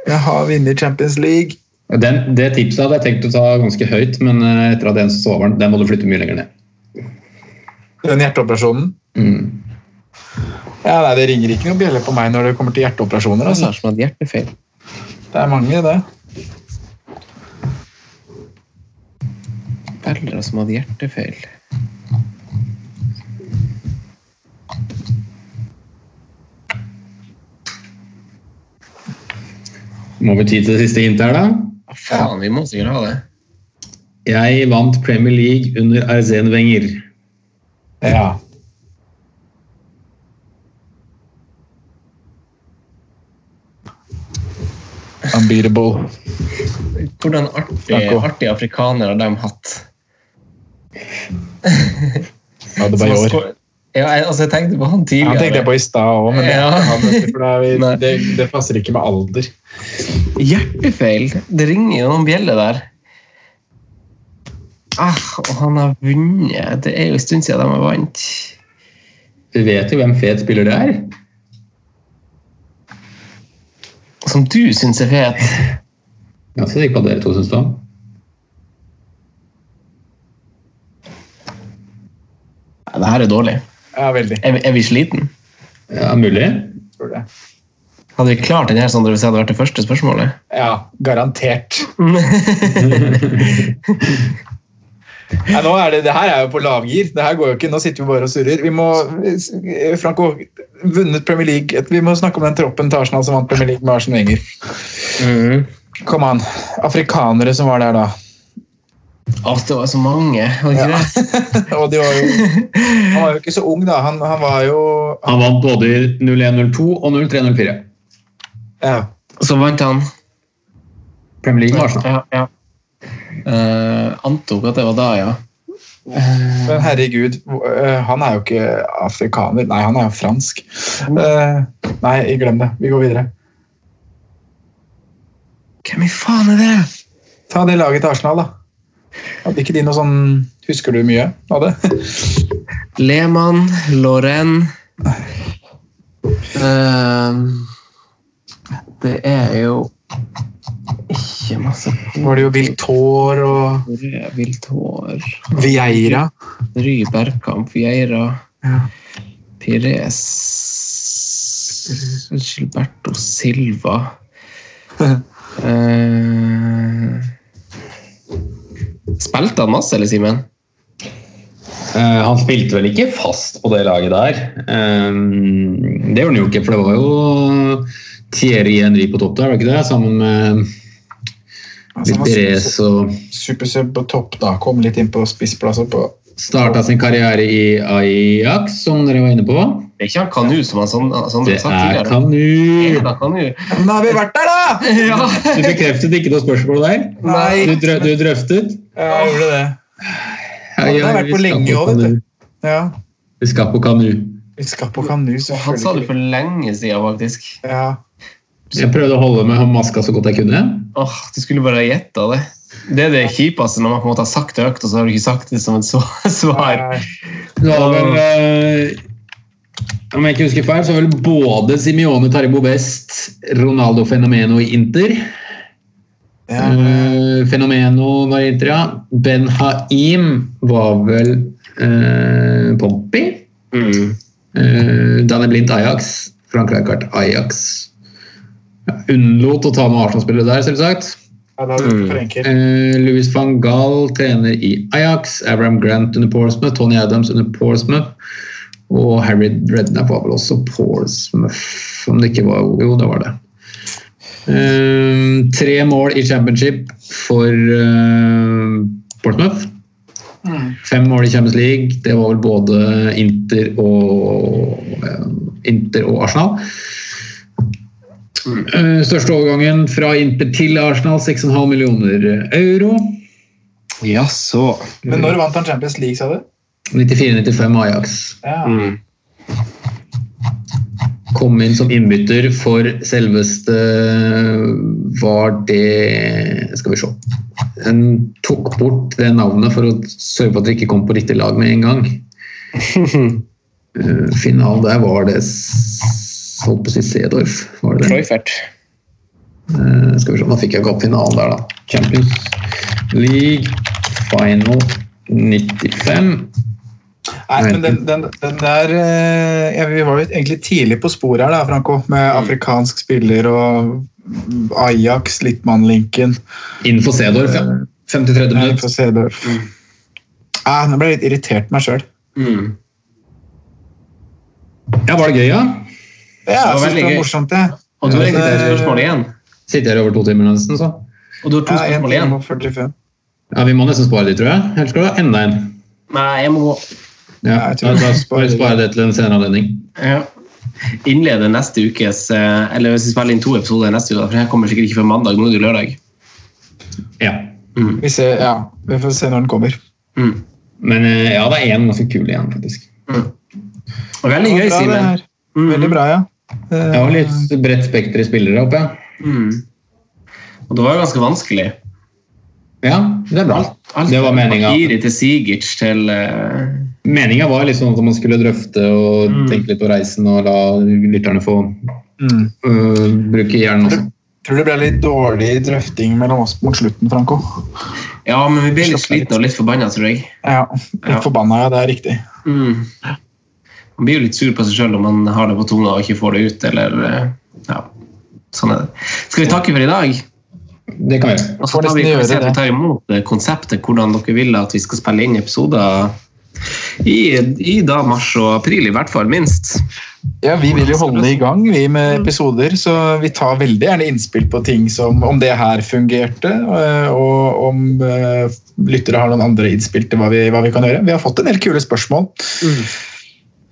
[SPEAKER 5] Jeg har vunnet Champions League.
[SPEAKER 4] Den, det tipset hadde jeg tenkt å ta ganske høyt, men eh, etter at den så over den, den må du flytte mye lenger ned.
[SPEAKER 5] Den hjerteoperasjonen.
[SPEAKER 4] Mm.
[SPEAKER 5] Ja, nei, Det ringer ikke noen bjelle på meg når det kommer til hjerteoperasjoner. Altså.
[SPEAKER 2] som hadde hjertefeil.
[SPEAKER 5] Det er mange, det.
[SPEAKER 2] Foreldre som hadde hjertefeil.
[SPEAKER 4] Må vi tid til det siste hintet her, da?
[SPEAKER 2] Å, faen, vi må sikkert ha det.
[SPEAKER 4] Jeg vant Premier League under Arsene Wenger.
[SPEAKER 5] Ja. Unbeatable.
[SPEAKER 2] Hvordan artige,
[SPEAKER 5] Snakk om.
[SPEAKER 2] artige afrikanere har de hatt?
[SPEAKER 5] Ja, det var i år.
[SPEAKER 2] Ja, jeg, altså, jeg tenkte på han
[SPEAKER 5] Han
[SPEAKER 2] tidligere.
[SPEAKER 5] tenkte jeg på i stad òg, men det,
[SPEAKER 2] Ja.
[SPEAKER 5] han, for da er vi,
[SPEAKER 2] Nei.
[SPEAKER 5] det, det passer ikke med alder.
[SPEAKER 2] Hjertefeil. Det ringer jo noen bjeller der. Ah, og han har vunnet. Det er jo en stund siden de har vant.
[SPEAKER 4] Du vet jo hvem fet spiller det er?
[SPEAKER 2] Som du syns er fet.
[SPEAKER 4] Ganske sikker på at dere to syns det òg.
[SPEAKER 2] Nei, Det her er dårlig.
[SPEAKER 5] Ja, veldig.
[SPEAKER 2] Er vi, er vi sliten?
[SPEAKER 4] Ja, mulig.
[SPEAKER 5] Tror det.
[SPEAKER 2] Hadde vi klart den her Sondre, hvis det hadde vært det første spørsmålet?
[SPEAKER 5] Ja, garantert.
[SPEAKER 2] Mm-hmm.
[SPEAKER 5] Nei, nå er det, det her er jo på lavgir. Det her går jo ikke. Nå sitter vi bare og surrer. Vi må Franco, vunnet Premier League. Vi må snakke om den troppen til Arsenal som vant Premier League med Arsen Wenger.
[SPEAKER 2] Mhm.
[SPEAKER 5] Kom an. Afrikanere som var der da.
[SPEAKER 2] Å, det var så mange. Var det ikke
[SPEAKER 5] Ja.
[SPEAKER 2] det?
[SPEAKER 5] Og de var jo, han var jo ikke så ung, da. Han, han var jo
[SPEAKER 4] Han vant både i 0102 og 0304.
[SPEAKER 5] ja.
[SPEAKER 2] Så vant han.
[SPEAKER 4] Premier League med Arsenal.
[SPEAKER 2] Ja, ja. Eh, antok at det var da, ja.
[SPEAKER 5] Men herregud, øh, han er jo ikke afrikaner. Nei, han er jo fransk. Eh, Nei, glem det. Vi går videre.
[SPEAKER 2] Hvem i faen er det?
[SPEAKER 5] Ta det laget til Arsenal, da. Hadde ikke de noe sånn Husker du mye av det?
[SPEAKER 2] Lehmann, Eh, Lorraine Ehm, Det er jo ikke masse
[SPEAKER 5] Var det jo Viltor og
[SPEAKER 2] gode vilt hår.
[SPEAKER 5] Vieira?
[SPEAKER 2] Ry Bergkamp, Vieira,
[SPEAKER 5] Ja.
[SPEAKER 2] Pires Gilberto Silva Eh, Spilte han masse, eller, Simen?
[SPEAKER 4] Eh, han spilte vel ikke fast på det laget der. Eh, det gjorde han jo ikke, for det var jo Thierry Henry på topp der, var det ikke det? Sammen med
[SPEAKER 5] Altså, han
[SPEAKER 4] litt
[SPEAKER 5] var
[SPEAKER 4] Perez
[SPEAKER 5] supersub-
[SPEAKER 4] og
[SPEAKER 5] Supersub på topp, da. Kom litt inn på spissplasser på
[SPEAKER 4] Starta sin karriere i Ajax, som dere var inne på.
[SPEAKER 2] Det er ikke han Kanu som han sånn, sånn
[SPEAKER 4] Det
[SPEAKER 2] sa
[SPEAKER 4] er
[SPEAKER 2] tidligere.
[SPEAKER 4] Kanu!
[SPEAKER 2] Ja, Kanu.
[SPEAKER 5] Men da har vi vært der, da!
[SPEAKER 2] Ja.
[SPEAKER 4] Du bekreftet ikke noe spørsmål der.
[SPEAKER 5] Nei.
[SPEAKER 4] Du, drø du drøftet.
[SPEAKER 5] Ja, jeg gjorde det.
[SPEAKER 4] Ja,
[SPEAKER 5] det har vært på lenge også, vet du. Ja.
[SPEAKER 4] Vi skal på Kanu.
[SPEAKER 5] Vi skal på kanu,
[SPEAKER 2] Han sa det for lenge siden, faktisk.
[SPEAKER 5] Ja.
[SPEAKER 4] Jeg prøvde å holde meg om maska så godt jeg kunne.
[SPEAKER 2] Åh, Du skulle bare ha gjetta det. Det er det kjipeste når man på en måte har sagt det høyt, og så har du ikke sagt det som et sva- svar.
[SPEAKER 5] Nei.
[SPEAKER 4] Det var vel, eh, om jeg ikke husker feil, så var vel både Simione Taribo Best, Ronaldo Fenomeno i Inter
[SPEAKER 5] Ja.
[SPEAKER 4] Eh, Fenomeno var i Inter, ja. Ben Haim var vel eh, Pompey.
[SPEAKER 2] Mm.
[SPEAKER 4] Uh, Danny Blindt Ajax. Frank Rijkaard Ajax. Ja, unnlot å ta med Arsenal-spillere der, selvsagt.
[SPEAKER 5] Ja, da er det for enkelt.
[SPEAKER 4] Eh, Louis van Gaal trener i Ajax. Abraham Grant under Portsmouth. Tony Adams under Portsmouth. Og Harry Redknapp var vel også Portsmouth, om det ikke var Jo, det var det. Eh, tre mål i championship for eh, Portsmouth. Fem mål i Champions League. Det var vel både Inter og, eh, Inter og Arsenal. Eh, Største overgangen fra Inter til Arsenal, 6,5 millioner euro.
[SPEAKER 2] Ja, så.
[SPEAKER 5] Men når vant han Champions League, sa du?
[SPEAKER 4] 94-95 Ajax.
[SPEAKER 5] Ja.
[SPEAKER 2] Mm.
[SPEAKER 4] Kom inn som innbytter for selveste eh, Var det Skal vi se. En tok bort det navnet for å sørge for at vi ikke kom på riktig lag med en gang. Eh, Finalen der var det s- Holdt på å si Sedorf. Var det det?
[SPEAKER 2] Treufert.
[SPEAKER 4] Eh, skal vi se, nå fikk jeg ikke opp finalen der, da. Champions League final 95.
[SPEAKER 5] Nei, men den, den, den der eh, ja, Vi var jo egentlig tidlig på sporet her, da, Franco. Med
[SPEAKER 2] Mm.
[SPEAKER 5] afrikansk spiller og Ajax, Littmann-linken.
[SPEAKER 4] Innenfor Cedorf, ja.
[SPEAKER 2] Mm.
[SPEAKER 4] 50-30
[SPEAKER 5] Ja,
[SPEAKER 4] minutter.
[SPEAKER 5] innenfor Cedorf. Ah, nå ble jeg litt irritert på meg sjøl.
[SPEAKER 2] Mm.
[SPEAKER 4] Ja, var det gøy, ja?
[SPEAKER 2] Det
[SPEAKER 5] Ja,
[SPEAKER 2] var
[SPEAKER 5] jeg synes
[SPEAKER 2] veldig
[SPEAKER 5] det var
[SPEAKER 2] gøy.
[SPEAKER 5] morsomt, det.
[SPEAKER 2] Og du har egentlig
[SPEAKER 5] Eh,
[SPEAKER 2] et spørsmål igjen.
[SPEAKER 4] Sitter her over to timer nesten, så.
[SPEAKER 2] Og du har to
[SPEAKER 5] Ja, en
[SPEAKER 2] spørsmål igjen.
[SPEAKER 5] time og 45.
[SPEAKER 4] Ja, Vi må nesten spare de, tror jeg. Ellers skal du ha enda en.
[SPEAKER 2] Nei, jeg må gå.
[SPEAKER 4] Ja,
[SPEAKER 5] Ja, jeg tror
[SPEAKER 4] da,
[SPEAKER 5] vi
[SPEAKER 4] da
[SPEAKER 5] må
[SPEAKER 4] spare,
[SPEAKER 5] spare de.
[SPEAKER 4] spare det til en senere anledning.
[SPEAKER 2] Ja. Innleder neste ukes eh, Eller hvis vi spiller inn to episoder neste uke, da, for den her kommer sikkert ikke før mandag. Nå er det jo lørdag.
[SPEAKER 4] Ja.
[SPEAKER 5] Vi, ser, ja, vi får se når den kommer.
[SPEAKER 2] Mm.
[SPEAKER 4] Men eh, ja, det er én ganske kul igjen, faktisk.
[SPEAKER 2] Veldig gøy,
[SPEAKER 5] Det var bra, det
[SPEAKER 2] Simen. Mm,
[SPEAKER 5] her. Veldig bra, ja. Eh,
[SPEAKER 4] Jeg har litt bredt spekter i spillere oppe, jeg.
[SPEAKER 2] Mm. Og det var jo ganske vanskelig.
[SPEAKER 4] Ja, det er bra. Det var meninga.
[SPEAKER 2] Iri til Sigic til eh,
[SPEAKER 4] Meninga var litt sånn at man skulle drøfte og tenke litt på reisen og la lytterne få
[SPEAKER 5] Mm.
[SPEAKER 4] øh, bruke hjernen også.
[SPEAKER 5] Tror det ble litt dårlig drøfting mellom oss mot slutten, Franco.
[SPEAKER 2] Ja, men vi ble litt
[SPEAKER 5] Slapp av litt.
[SPEAKER 2] slitne og litt forbanna, tror jeg.
[SPEAKER 5] Ja, litt
[SPEAKER 2] Ja.
[SPEAKER 5] forbanna, ja. Det er riktig.
[SPEAKER 2] Mm. Man blir jo litt sur på seg sjøl når man har det på tunga og ikke får det ut, eller eh, Ja, sånn er det. Skal vi takke for i dag?
[SPEAKER 4] Det kan vi gjøre.
[SPEAKER 2] Og så tar
[SPEAKER 5] Får
[SPEAKER 2] vi, kan
[SPEAKER 5] nesten
[SPEAKER 2] vi
[SPEAKER 5] gjøre
[SPEAKER 2] se at vi
[SPEAKER 5] det.
[SPEAKER 2] tar imot eh, konseptet, hvordan dere vil at vi skal spille inn episoder i, i da mars og april, i hvert fall, minst.
[SPEAKER 5] Ja, Vi vil jo holde i gang vi med episoder, så vi tar veldig gjerne innspill på ting som om det her fungerte, øh, og om øh, lyttere har noen andre innspill til hva vi, hva vi kan gjøre. Vi har fått en del kule spørsmål,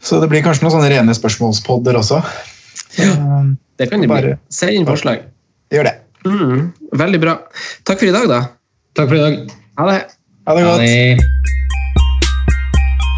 [SPEAKER 5] så det blir kanskje noen sånne rene spørsmålspodder også. Så, øh,
[SPEAKER 2] Det kan det bli.
[SPEAKER 5] Bare-
[SPEAKER 2] Send inn forslag.
[SPEAKER 5] gjør det.
[SPEAKER 2] Mm, veldig bra. Takk for i dag, da.
[SPEAKER 4] Takk for i dag.
[SPEAKER 2] Ha det.
[SPEAKER 5] Ha det godt.
[SPEAKER 4] Hei.